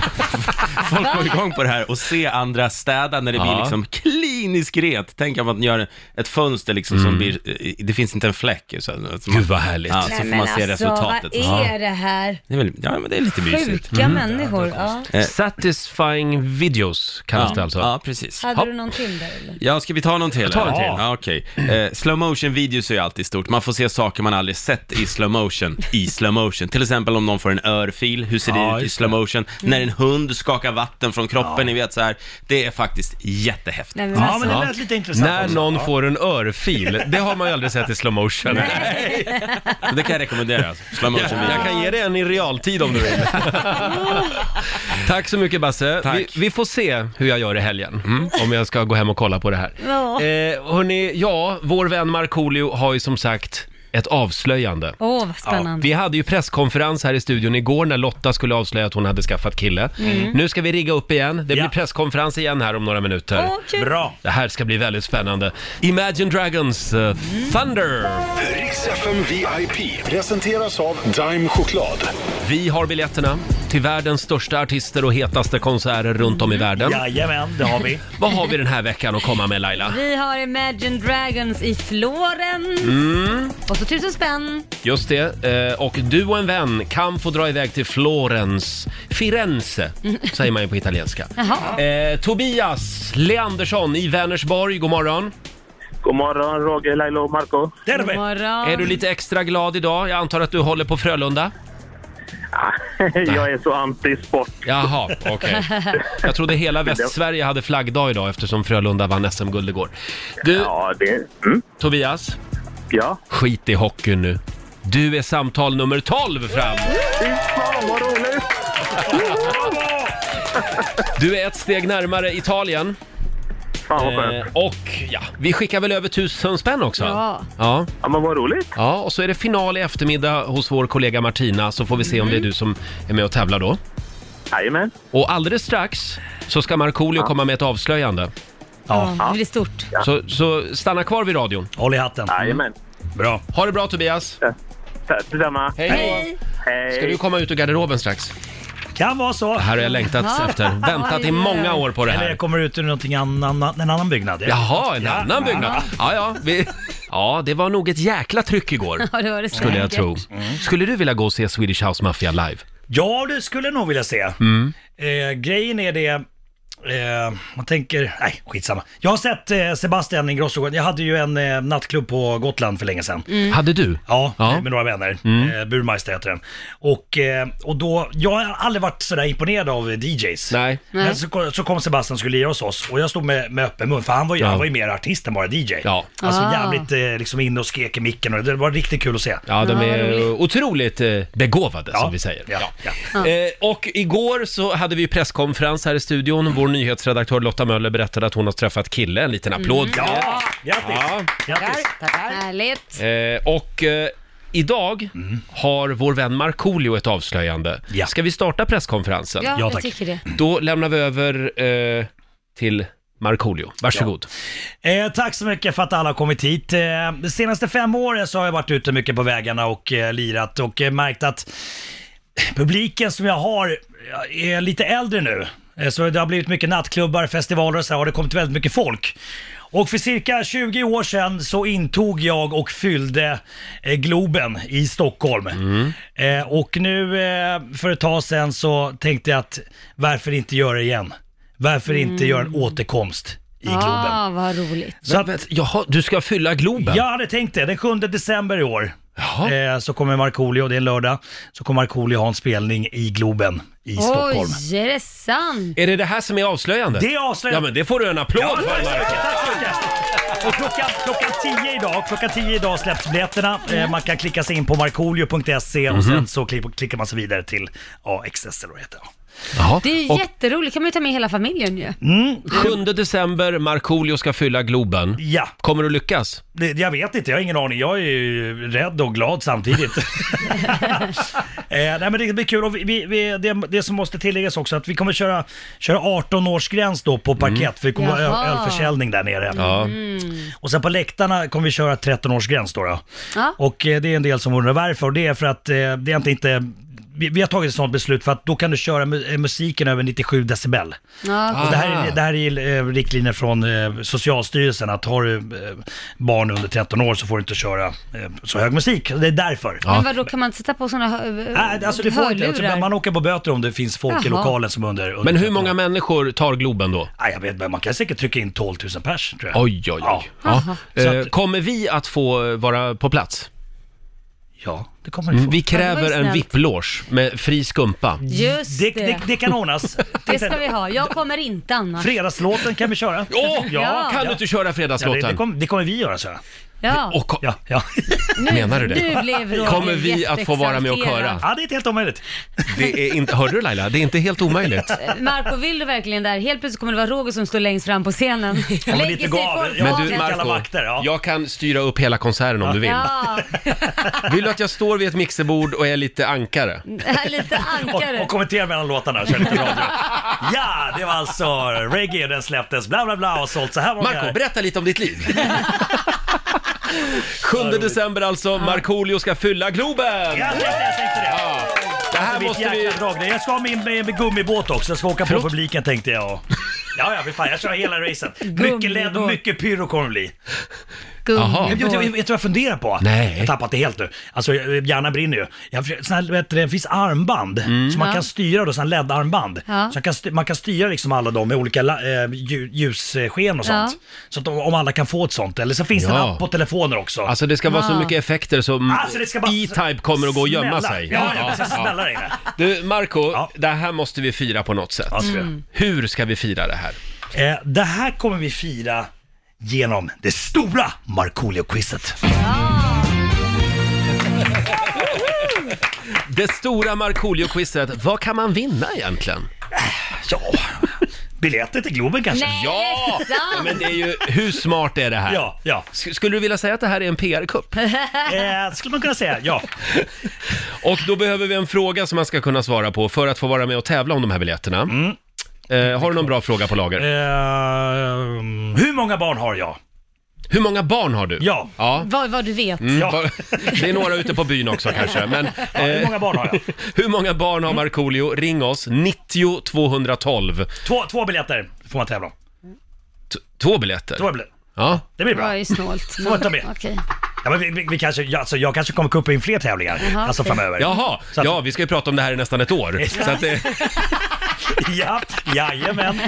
Speaker 6: folk går igång på det här och se andra städa när det blir
Speaker 1: Ja.
Speaker 6: liksom kliniskt rent. Tänk om att man gör ett fönster liksom som blir, eh, det finns inte en fläck. eh, Så, att man,
Speaker 1: Mm. Gud vad härligt.
Speaker 6: Ja, så
Speaker 2: Nej,
Speaker 6: får
Speaker 2: men
Speaker 6: man se
Speaker 2: alltså,
Speaker 6: resultatet.
Speaker 2: Vad är det här?
Speaker 6: Det är, väl, ja, men det är lite mysigt. Eh.
Speaker 2: Sjuka människor. Mm. Ja.
Speaker 1: Mhm. Satisfying videos kallas det alltså.
Speaker 6: ja, precis.
Speaker 2: Hade
Speaker 1: Hopp.
Speaker 2: du någon till där eller?
Speaker 6: Ja, ska vi ta någon till? Jag
Speaker 1: tar en
Speaker 7: till.
Speaker 6: Ja, okej. Eh, slow motion videos är ju alltid stort. Man får se saker man aldrig sett i slow motion i slow motion. Till exempel om någon får en örfil, hur ser
Speaker 7: Ja,
Speaker 6: det ut i
Speaker 7: just
Speaker 6: slow motion? När en hund skakar vatten från kroppen, ni vet så här. Det är faktiskt jättehäftigt.
Speaker 2: Nej, men alltså-
Speaker 7: Ja, men det
Speaker 1: Ja.
Speaker 7: lät lite intressant
Speaker 1: När
Speaker 7: också.
Speaker 1: någon
Speaker 7: Ja.
Speaker 1: får en örfil, det har man ju aldrig sett i slow motion.
Speaker 6: Så det kan jag rekommendera. alltså. Slow motion
Speaker 1: Jag, jag
Speaker 6: video.
Speaker 1: kan ge dig en i realtid om du vill. Tack så mycket Basse.
Speaker 6: Tack.
Speaker 1: Vi, vi får se hur jag gör i helgen.
Speaker 7: Mm.
Speaker 1: Om jag ska gå hem och kolla på det här.
Speaker 2: Ja.
Speaker 1: Eh, hörni, ja, vår vän Markoolio har ju som sagt ett avslöjande.
Speaker 2: Åh, vad spännande.
Speaker 1: Vi hade ju presskonferens här i studion igår när Lotta skulle avslöja att hon hade skaffat kille.
Speaker 2: Mm.
Speaker 1: Nu ska vi rigga upp igen. Det blir
Speaker 7: Ja.
Speaker 1: presskonferens igen här om några minuter.
Speaker 2: Åh, kul.
Speaker 7: Bra.
Speaker 1: Det här ska bli väldigt spännande. Imagine Dragons eh, Thunder!
Speaker 4: Riks-FM VIP presenteras av Dime Choklad.
Speaker 1: Vi har biljetterna till världens största artister och hetaste konserter runt om i världen.
Speaker 7: Mm. Jajamän, det har vi.
Speaker 1: Vad har vi den här veckan att komma med Laila?
Speaker 2: Vi har Imagine Dragons i Florens. Och så tusen spänn.
Speaker 1: Mm, Just det, eh, och du och en vän kan få dra iväg till Florens, Firenze
Speaker 7: Mm.
Speaker 1: säger man ju på italienska.
Speaker 2: Jaha.
Speaker 1: Eh, Tobias Leandersson i Vänersborg, god morgon.
Speaker 8: God morgon, Roger, Laila och Marco.
Speaker 7: Där har
Speaker 2: God
Speaker 7: vi.
Speaker 2: morgon.
Speaker 1: Är du lite extra glad idag? Jag antar att du håller på Frölunda?
Speaker 8: Jag är så anti-sport.
Speaker 1: Jaha, okej. Jag trodde hela Västsverige hade flaggdag idag eftersom Frölunda vann SM-guld igår. Du,
Speaker 8: Ja, det... Mm,
Speaker 1: Tobias,
Speaker 8: ja.
Speaker 1: skit i hockeyn nu. Du är samtal nummer 12 fram!
Speaker 8: Fy fan, vad roligt!
Speaker 1: Du är ett steg närmare Italien.
Speaker 8: Fan, vad
Speaker 1: Eh,
Speaker 8: skönt.
Speaker 1: och ja, vi skickar väl över tusen spänn också?
Speaker 2: Ja.
Speaker 1: ja.
Speaker 8: Ja, men vad roligt.
Speaker 1: Ja, och så är det final i eftermiddag hos vår kollega Martina så får vi se om det är du som är med och tävlar då.
Speaker 8: Mm. Jajamän.
Speaker 1: Och alldeles strax så ska Markoolio komma med ett avslöjande.
Speaker 2: Ja, det blir stort.
Speaker 1: Så, så stanna kvar vid radion.
Speaker 7: Håll i hatten.
Speaker 8: Jajamän.
Speaker 7: Bra.
Speaker 1: Ha det bra Tobias!
Speaker 8: Tack Detsamma.
Speaker 1: Hej!
Speaker 2: Hej!
Speaker 8: Hej.
Speaker 1: Ska du komma ut ur garderoben strax?
Speaker 7: Kan vara så.
Speaker 1: Det här har jag längtat
Speaker 2: Ja.
Speaker 1: efter. Väntat i
Speaker 2: Oj.
Speaker 1: många år på det
Speaker 7: Eller
Speaker 1: här.
Speaker 7: jag kommer ut ur någonting annan, en annan byggnad.
Speaker 1: Jaha, en
Speaker 7: Ja.
Speaker 1: annan byggnad. Ja, ja, vi... ja, det var nog ett jäkla tryck igår.
Speaker 2: Ja, det var det
Speaker 1: Skulle jag
Speaker 2: säkert.
Speaker 1: tro. Skulle du vilja gå och se Swedish House Mafia live?
Speaker 7: Mm. Ja, det skulle jag nog vilja se.
Speaker 1: Mm.
Speaker 7: Eh, grejen är det, eh, man tänker, nej skitsamma. Jag har sett eh, Sebastian Ingrosso, jag hade ju en eh, nattklubb på Gotland för länge sedan.
Speaker 2: Mm.
Speaker 1: Hade du?
Speaker 7: Ja,
Speaker 1: Ja. Mm.
Speaker 7: med några vänner. Eh, Burmeister heter den. Och, eh, och då, jag har aldrig varit sådär imponerad av eh, DJs.
Speaker 1: Nej.
Speaker 7: Men så, kom- så kom Sebastian och skulle lira hos oss och jag stod med, med öppen mun för han var, ju
Speaker 1: Ja.
Speaker 7: han var ju mer artist än bara DJ.
Speaker 1: Ja.
Speaker 7: Alltså
Speaker 2: Ah.
Speaker 7: jävligt eh, liksom inne och skrek i micken och det var riktigt kul att se.
Speaker 1: Ja, de
Speaker 2: Ja, vad
Speaker 1: är
Speaker 2: Ah, roligt.
Speaker 1: otroligt eh, begåvade
Speaker 7: Ja,
Speaker 1: som vi säger.
Speaker 7: ja,
Speaker 1: Eh, och igår så hade vi ju presskonferens här i studion. Vår nyhetsredaktör Lotta Möller berättade att hon har träffat kille. En
Speaker 2: Mm.
Speaker 1: liten applåd. för det.
Speaker 7: Mm. Ja, grattis!
Speaker 1: Ja.
Speaker 7: grattis.
Speaker 2: Härligt.
Speaker 1: Eh, och eh, idag har vår vän Markoolio ett avslöjande.
Speaker 7: Ja.
Speaker 1: Ska vi starta presskonferensen?
Speaker 2: Ja, jag
Speaker 7: tack.
Speaker 2: tycker det.
Speaker 1: Då lämnar vi över eh, till Markoolio. Varsågod.
Speaker 7: Eh, tack så mycket för att alla har kommit hit. Eh, de senaste fem åren så har jag varit ute mycket på vägarna och eh, lirat och eh, märkt att publiken som jag har eh, är lite äldre nu. Eh, så det har blivit mycket nattklubbar, festivaler och så här, har det kommit väldigt mycket folk. Och för cirka 20 år sedan så intog jag och fyllde eh, Globen i Stockholm.
Speaker 5: Mm.
Speaker 7: Eh, och nu eh, för ett tag sedan så tänkte jag att varför inte göra det igen? Varför inte göra en återkomst i Globen?
Speaker 2: Ja, Ah, vad roligt.
Speaker 7: Så att,
Speaker 1: Vänta, Jaha, du ska fylla Globen?
Speaker 7: jag hade tänkt det, den 7 december i år
Speaker 1: Jaha.
Speaker 7: eh, så kommer Markoolio, det är en lördag, så kommer Markoolio ha en spelning i Globen i Stockholm.
Speaker 2: Oj, är det sant?
Speaker 1: Är det det här som är avslöjandet?
Speaker 7: Det är avslöjat.
Speaker 1: Ja, men det får du en applåd
Speaker 7: Ja,
Speaker 1: för,
Speaker 7: tack så
Speaker 1: Marko.
Speaker 7: mycket, tack så mycket. Och klockan, klockan 10 idag, klockan 10 idag släpps biljetterna. Eh, man kan klicka sig in på markoolio.se
Speaker 1: Mhm.
Speaker 7: och sen så klick, klickar man sig vidare till AXS eller vad det heter.
Speaker 1: Jaha.
Speaker 2: Det är ju
Speaker 1: Och
Speaker 2: jätteroligt, kan man ju ta med hela familjen ju.
Speaker 7: Mm.
Speaker 1: 7 december, Markoolio ska fylla Globen.
Speaker 7: Ja,
Speaker 1: Kommer du lyckas?
Speaker 7: det, jag vet inte, jag har ingen aning. Jag är ju rädd och glad samtidigt. eh, nej men det blir kul och vi, vi, vi, det, det som måste tilläggas också att vi kommer köra, köra 18-årsgräns då på parkett för vi kommer ha
Speaker 2: Jaha.
Speaker 7: öl, ölförsäljning där nere.
Speaker 1: Ja. Mm.
Speaker 7: Och sen på läktarna kommer vi köra 13-årsgräns då. då.
Speaker 2: Ja.
Speaker 7: Och eh, det är en del som undrar varför och det är för att eh, det är egentligen inte vi, vi har tagit ett sånt beslut för att då kan du köra mu- eh, musiken över 97 decibel.
Speaker 2: Ja,
Speaker 7: Och det här
Speaker 1: Aha.
Speaker 7: är, det här är eh, riktlinjer från eh, Socialstyrelsen att har du eh, barn under 13 år så får du inte köra eh, så hög musik. Det är därför.
Speaker 1: Ja.
Speaker 2: Men vadå, kan man inte sätta på sådana hö-
Speaker 7: Nej, alltså du får inte,
Speaker 2: hörlurar?
Speaker 7: alltså, man åker på böter om det finns folk i
Speaker 2: Jaha.
Speaker 7: lokalen som är under, under
Speaker 1: Men hur
Speaker 7: 13 år.
Speaker 1: många människor tar Globen då?
Speaker 7: Nej, jag vet inte, man kan säkert trycka in 12 000 pers tror jag.
Speaker 1: Oj, oj, oj.
Speaker 7: Ja.
Speaker 1: Ja.
Speaker 7: Så
Speaker 1: Eh,
Speaker 7: att-
Speaker 1: Kommer vi att få vara på plats?
Speaker 7: Ja, det kommer ni få.
Speaker 1: Mm, Vi
Speaker 2: Ja, det
Speaker 1: kräver
Speaker 2: var ju
Speaker 1: en
Speaker 2: snällt.
Speaker 1: vipploge med fri skumpa.
Speaker 2: Just
Speaker 7: Det,
Speaker 2: det.
Speaker 7: det, det kan ordnas.
Speaker 2: Det ska vi ha. Jag kommer inte annars.
Speaker 7: Fredagslåten kan vi köra.
Speaker 1: Åh!
Speaker 7: ja.
Speaker 1: Kan du inte köra
Speaker 7: Ja, det, det,
Speaker 1: fredagslåten?
Speaker 7: kommer, det kommer vi göra, så jag.
Speaker 2: Ja.
Speaker 1: Och ko-
Speaker 7: Ja, ja.
Speaker 2: nu,
Speaker 1: menar du det?
Speaker 2: Nu blev Roger
Speaker 1: Kommer vi att få vara med och
Speaker 2: jätteexalterad.
Speaker 1: köra?
Speaker 7: ja, det är inte helt omöjligt.
Speaker 1: det är inte, hörde du Laila? Det är inte helt omöjligt.
Speaker 2: Marco, vill du verkligen där? Helt plötsligt kommer det vara Roger som står längst fram på scenen.
Speaker 7: men
Speaker 2: Lägger
Speaker 7: lite
Speaker 2: sig
Speaker 7: gav.
Speaker 2: folk
Speaker 7: Ja,
Speaker 1: Men
Speaker 2: bakom.
Speaker 1: du
Speaker 7: Alla
Speaker 1: Marco,
Speaker 7: vakter, ja.
Speaker 1: jag kan styra upp hela konserten om du vill.
Speaker 2: Ja,
Speaker 1: Vill du att jag står vid ett mixerbord och är lite ankare?
Speaker 2: lite ankare.
Speaker 7: Och, och kommentera mellan låtarna. Kör lite radio. Ja, det var alltså reggae och den släpptes bla bla bla och sålt så här många.
Speaker 1: Marco, berätta lite om ditt liv. 7 december alltså, Markoolio ska fylla Globen!
Speaker 7: Ja, jag tänkte det.
Speaker 1: Det här
Speaker 7: Alltså, Mitt
Speaker 1: måste
Speaker 7: jäkla
Speaker 1: vi...
Speaker 7: drag. Jag ska ha min med, med gummibåt också, jag ska åka
Speaker 1: Förlåt?
Speaker 7: på publiken tänkte jag. Ja, ja, för fan, jag kör hela racet. Mycket
Speaker 2: Gummibåt.
Speaker 7: LED och mycket pyro kommer det bli.
Speaker 1: Jaha.
Speaker 2: Gummi
Speaker 7: Jag, jag, jag,
Speaker 2: på.
Speaker 7: vet du vad jag funderar på?
Speaker 1: Nej.
Speaker 7: Jag har tappat det helt nu. Alltså jag- hjärnan brinner ju. Jag, försöker- sån här, vet du, det finns armband
Speaker 1: Mm.
Speaker 7: som man
Speaker 2: Ja.
Speaker 7: kan styra då, sån här LED-armband.
Speaker 2: Ja.
Speaker 7: Så man kan, sty- man kan styra liksom alla dem med olika la- eh, lju- ljussken och sånt.
Speaker 2: Ja.
Speaker 7: Så att de, om alla kan få ett sånt. Eller så finns det
Speaker 1: Ja.
Speaker 7: en app på telefoner också.
Speaker 1: Alltså det ska vara så
Speaker 2: Ah.
Speaker 1: mycket effekter som
Speaker 7: Alltså, det ska bara
Speaker 1: E-Type kommer att gå och gömma
Speaker 7: smälla.
Speaker 1: sig.
Speaker 7: Ja, ja, precis.
Speaker 1: Ja.
Speaker 7: Smälla där inne.
Speaker 1: Du, Marco,
Speaker 7: Ja.
Speaker 1: det här måste vi fira på något sätt.
Speaker 7: Ja, ska vi.
Speaker 2: Mm.
Speaker 1: Hur ska vi fira det här?
Speaker 7: Eh, det här kommer vi fira genom det stora Markoolio-quizet.
Speaker 1: Det stora Markoolio-quizet, vad kan man vinna egentligen?
Speaker 7: Ja, biljetter till Globen kanske?
Speaker 2: Nej,
Speaker 1: Ja! Ja,
Speaker 2: sant!
Speaker 1: Men det är ju, hur smart är det här?
Speaker 7: Ja, ja.
Speaker 1: S- Skulle du vilja säga att det här är en PR-kupp?
Speaker 7: Eh, skulle man kunna säga, ja.
Speaker 1: Och då behöver vi en fråga som man ska kunna svara på för att få vara med och tävla om de här biljetterna.
Speaker 7: Mm.
Speaker 1: Eh, har du någon bra fråga på lager?
Speaker 7: Eh, hur många barn har jag?
Speaker 1: Hur många barn har du?
Speaker 7: Ja.
Speaker 1: ja.
Speaker 2: Vad, vad du vet.
Speaker 7: Ja.
Speaker 1: Va- Det är några ute på byn också kanske, men
Speaker 7: Ja, hur
Speaker 1: eh,
Speaker 7: många barn har jag? Mm.
Speaker 1: hur många barn har Markoolio? Ring oss, 90 212.
Speaker 7: Två, två biljetter får man tävla om.
Speaker 1: T- två biljetter.
Speaker 7: Två biljetter.
Speaker 1: Ja.
Speaker 7: Det blir
Speaker 2: Det var
Speaker 7: bra.
Speaker 2: ju snålt.
Speaker 7: Får jag ta med?
Speaker 2: Okej.
Speaker 7: Ja, men vi, vi, vi kanske, ja, alltså, jag kanske kommer kuppa in fler tävlingar
Speaker 2: Jaha,
Speaker 7: alltså
Speaker 2: okej.
Speaker 7: framöver.
Speaker 1: Jaha,
Speaker 7: Så att-
Speaker 1: ja vi ska ju prata om det här i nästan ett år. Så, att det,
Speaker 7: ja. Jajamän.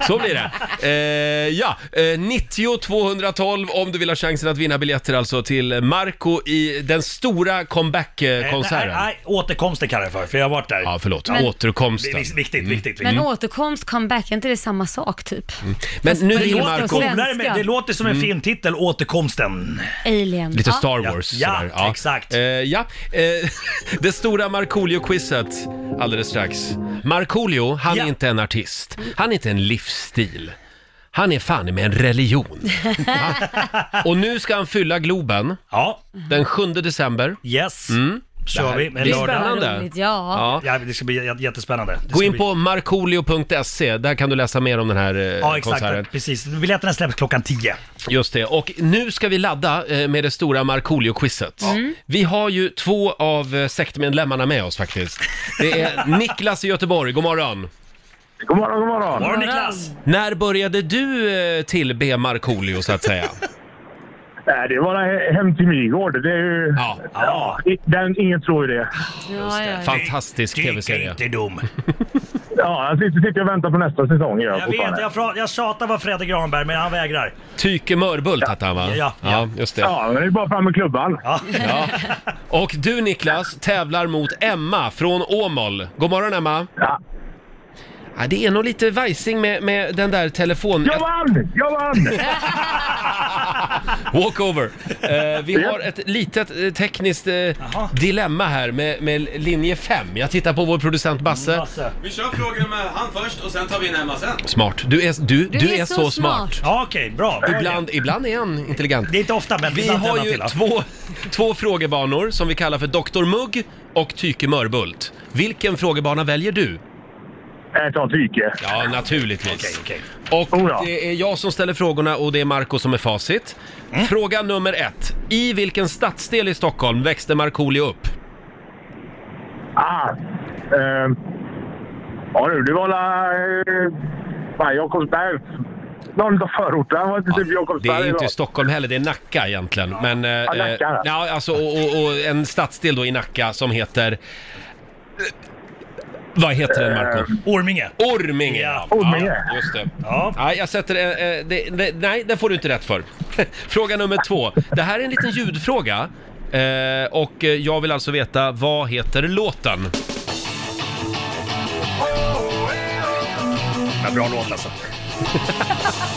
Speaker 1: så blir det. Eh, ja, eh, 90 212 om du vill ha chansen att vinna biljetter alltså till Marco i den stora eh,
Speaker 7: Eh, Nej,
Speaker 1: comeback-konserten.
Speaker 7: nej, återkomsten kallar jag för, för jag har varit där.
Speaker 1: Ja, förlåt.
Speaker 2: Men-
Speaker 7: Vi-
Speaker 1: Återkomsten. Mm.
Speaker 7: vi- Viktigt, viktigt.
Speaker 2: Men
Speaker 7: viktigt.
Speaker 2: återkomst, comeback, är inte det samma sak typ?
Speaker 1: Mm. Men nu Mm.
Speaker 2: det
Speaker 1: vill
Speaker 2: låter
Speaker 1: Marco...
Speaker 2: svenska.
Speaker 7: Coolare med, det låter som en filmtitel, Återkomsten.
Speaker 2: Alien.
Speaker 1: Lite
Speaker 2: Ja.
Speaker 1: Star
Speaker 7: Ja,
Speaker 1: Wars.
Speaker 7: ja,
Speaker 1: sådär.
Speaker 7: exakt.
Speaker 1: Eh, ja. Eh, det stora Markoolio-quizet alldeles strax. Markoolio, han
Speaker 7: Ja.
Speaker 1: är inte en artist. Han är inte en livsstil. Han är fan med en religion. Ja. Och nu ska han fylla Globen
Speaker 7: Ja,
Speaker 1: den 7 december. Mm.
Speaker 7: yes.
Speaker 1: Det
Speaker 7: Kör
Speaker 1: här-
Speaker 7: vi en
Speaker 1: det är
Speaker 7: lördag.
Speaker 1: Spännande.
Speaker 2: Roligt, ja.
Speaker 1: Ja. Eh,
Speaker 7: Ja, det ska bli jä- jättespännande. Det
Speaker 1: Gå
Speaker 7: ska
Speaker 1: in
Speaker 7: bli-
Speaker 1: på markoolio.se, där kan du läsa mer om den här eh,
Speaker 7: Ja, exakt.
Speaker 1: konserten.
Speaker 7: Precis. Biljetterna släpps klockan 10.
Speaker 1: Just det, och nu ska vi ladda eh, med det stora Markoolio-quizet.
Speaker 7: Mm.
Speaker 1: Vi har ju två av eh, sektmedlemmarna med oss faktiskt. Det är Niklas i Göteborg, god morgon.
Speaker 8: God morgon, god morgon.
Speaker 7: Morgon Niklas!
Speaker 1: När började du eh, tillbe Markoolio så att säga?
Speaker 8: Nej, det är bara he- hem till Mygård. Det är ju...
Speaker 1: Ja,
Speaker 7: Ja,
Speaker 8: I- Den, ingen tror ju
Speaker 2: ja,
Speaker 8: det.
Speaker 2: ja, ja.
Speaker 1: fantastisk
Speaker 7: tycker
Speaker 1: tv-serie.
Speaker 7: inte dum.
Speaker 8: Ja, jag sitter, sitter och väntar på nästa säsong. gör Jag,
Speaker 7: Jag
Speaker 8: fortfarande.
Speaker 7: vet, jag, fra- jag tjatar på Fredrik Granberg men han vägrar.
Speaker 1: Tyke Mörbult hette han va?
Speaker 7: Ja, ja.
Speaker 1: ja just det.
Speaker 8: Ja, men det är bara fram med klubban.
Speaker 7: Ja.
Speaker 1: Ja. Och du Niklas tävlar mot Emma från Åmål. God morgon Emma!
Speaker 8: Ja.
Speaker 1: Ja, det är nog lite vajsing med, med den där telefon...
Speaker 8: Jag vann! Jag vann!
Speaker 1: Walkover. Eh, vi har ett litet eh, tekniskt eh, dilemma här med, med linje 5. Jag tittar på vår producent Basse.
Speaker 7: Basse.
Speaker 6: Vi kör frågorna med han först och sen tar vi in Emma sen.
Speaker 1: Smart. Du är, du, du är, så, smart.
Speaker 7: Ja, okej, bra.
Speaker 1: Ibland, ibland är han intelligent.
Speaker 7: Det är inte ofta men
Speaker 1: Vi
Speaker 7: ibland är
Speaker 1: har
Speaker 7: man
Speaker 1: ju
Speaker 7: till, ja.
Speaker 1: två, två frågebanor som vi kallar för Dr. Mugg och Tyke Mörbult. Vilken frågebana väljer du?
Speaker 8: Jag tar tyke.
Speaker 1: Ja, naturligtvis.
Speaker 7: Okej, okej.
Speaker 1: Och
Speaker 8: Oh ja.
Speaker 1: det är jag som ställer frågorna och det är Marco som är facit.
Speaker 7: Mm.
Speaker 1: Fråga nummer ett. I vilken stadsdel i Stockholm växte Markoolio upp?
Speaker 8: Ah. ehm. ja du, det var la... eh, Fan, Jakobsberg. Någon av förorterna var inte typ
Speaker 1: Det
Speaker 8: Jakobsberg.
Speaker 1: är
Speaker 8: eller
Speaker 1: inte
Speaker 8: något.
Speaker 1: Stockholm heller, det är Nacka egentligen. Men, eh,
Speaker 8: Ja, Nacka,
Speaker 1: eh,
Speaker 8: ja.
Speaker 1: ja, alltså, och, och, och en stadsdel då i Nacka som heter... eh, Vad heter den Marco?
Speaker 7: Orminge.
Speaker 1: Orminge!
Speaker 7: Ja,
Speaker 8: Eh, Orminge.
Speaker 1: Ja, just det.
Speaker 7: Ja.
Speaker 1: Ja, jag sätter... eh, eh, det, det, nej, det får du inte rätt för. Fråga nummer två. Det här är en liten ljudfråga. Eh, och eh, jag vill alltså veta, vad heter låten?
Speaker 7: Ja, bra låt alltså.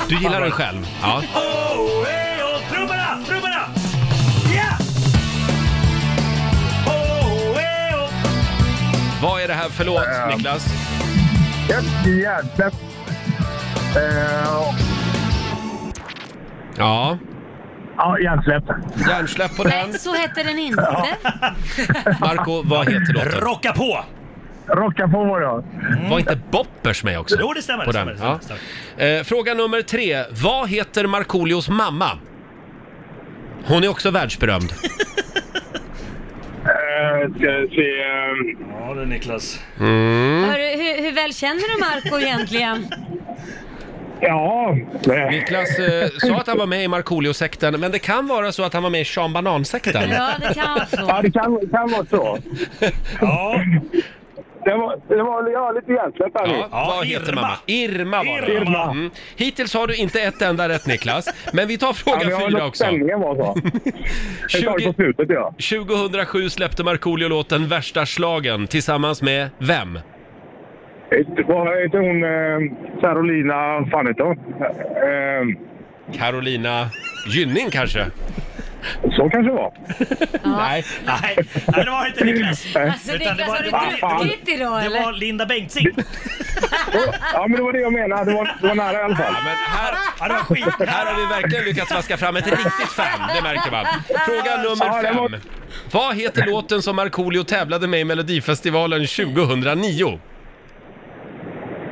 Speaker 1: Du gillar den själv? Ja.
Speaker 7: Oh, hey, oh, trummorna, trummorna! Ja! Oh, hey, oh.
Speaker 1: Vad är det här för låt,
Speaker 8: Ehm.
Speaker 1: Niklas?
Speaker 8: Ett jävla... Eh,
Speaker 1: Ja,
Speaker 8: ja, hjärnsläpp.
Speaker 1: hjärnsläpp på den.
Speaker 2: Nej, så hette den inte.
Speaker 1: Marco, vad heter låten? Mm.
Speaker 7: Rocka på!
Speaker 8: Rocka på var jag.
Speaker 1: Var inte Boppers med också?
Speaker 7: Jo, det stämmer.
Speaker 1: På
Speaker 7: det
Speaker 1: den.
Speaker 7: stämmer, det
Speaker 1: Ja.
Speaker 7: stämmer.
Speaker 1: Eh, fråga nummer tre. Vad heter Markoolios mamma? Hon är också världsberömd.
Speaker 8: Eh, ska se... eh,
Speaker 7: Ja du Niklas.
Speaker 2: Hör, hur, hur väl känner du Marco egentligen?
Speaker 8: ja... eh,
Speaker 1: Niklas eh, sa att han var med i Markoolio-sekten, men det kan vara så att han var med i Sean Banan-sekten.
Speaker 2: Ja, det kan vara
Speaker 8: Ja,
Speaker 2: så.
Speaker 8: det kan, kan vara så.
Speaker 7: Ja,
Speaker 8: Det var, det var ja, lite hjärnsläpp här
Speaker 1: Ja,
Speaker 8: nu.
Speaker 1: vad heter
Speaker 7: Irma.
Speaker 1: mamma? Irma var det.
Speaker 7: Irma.
Speaker 1: Mm. Hittills har du inte ett enda rätt Niklas, men vi tar
Speaker 8: Ja, men
Speaker 1: fråga
Speaker 8: jag har
Speaker 1: fyra
Speaker 8: låtit
Speaker 1: också.
Speaker 8: stämningen vara så. Jag tar det
Speaker 1: 20,
Speaker 8: på slutet, ja.
Speaker 1: 2007 släppte Markoolio låten Värsta slagen tillsammans med vem?
Speaker 8: Det var- Heter hon eh, Carolina... fan heter hon? Eh,
Speaker 1: Carolina Gynning kanske?
Speaker 8: så kanske det var.
Speaker 1: Nej.
Speaker 7: nej, nej det var inte Niklas.
Speaker 2: Alltså
Speaker 7: Utan det
Speaker 2: Niklas,
Speaker 7: var-
Speaker 2: har du
Speaker 7: det var-
Speaker 2: druckit idag
Speaker 7: Det var
Speaker 2: eller?
Speaker 7: Linda Bengtzing.
Speaker 8: oh, Ja, men det var det jag menade. Det var, det var nära i alla fall.
Speaker 1: Ja, men här,
Speaker 7: Ja, det var skit.
Speaker 1: här har vi verkligen lyckats vaska fram ett riktigt fan, det märker man. Fråga nummer
Speaker 8: Ja, det var-
Speaker 1: fem. Vad heter låten som Markoolio tävlade med i Melodifestivalen 2009?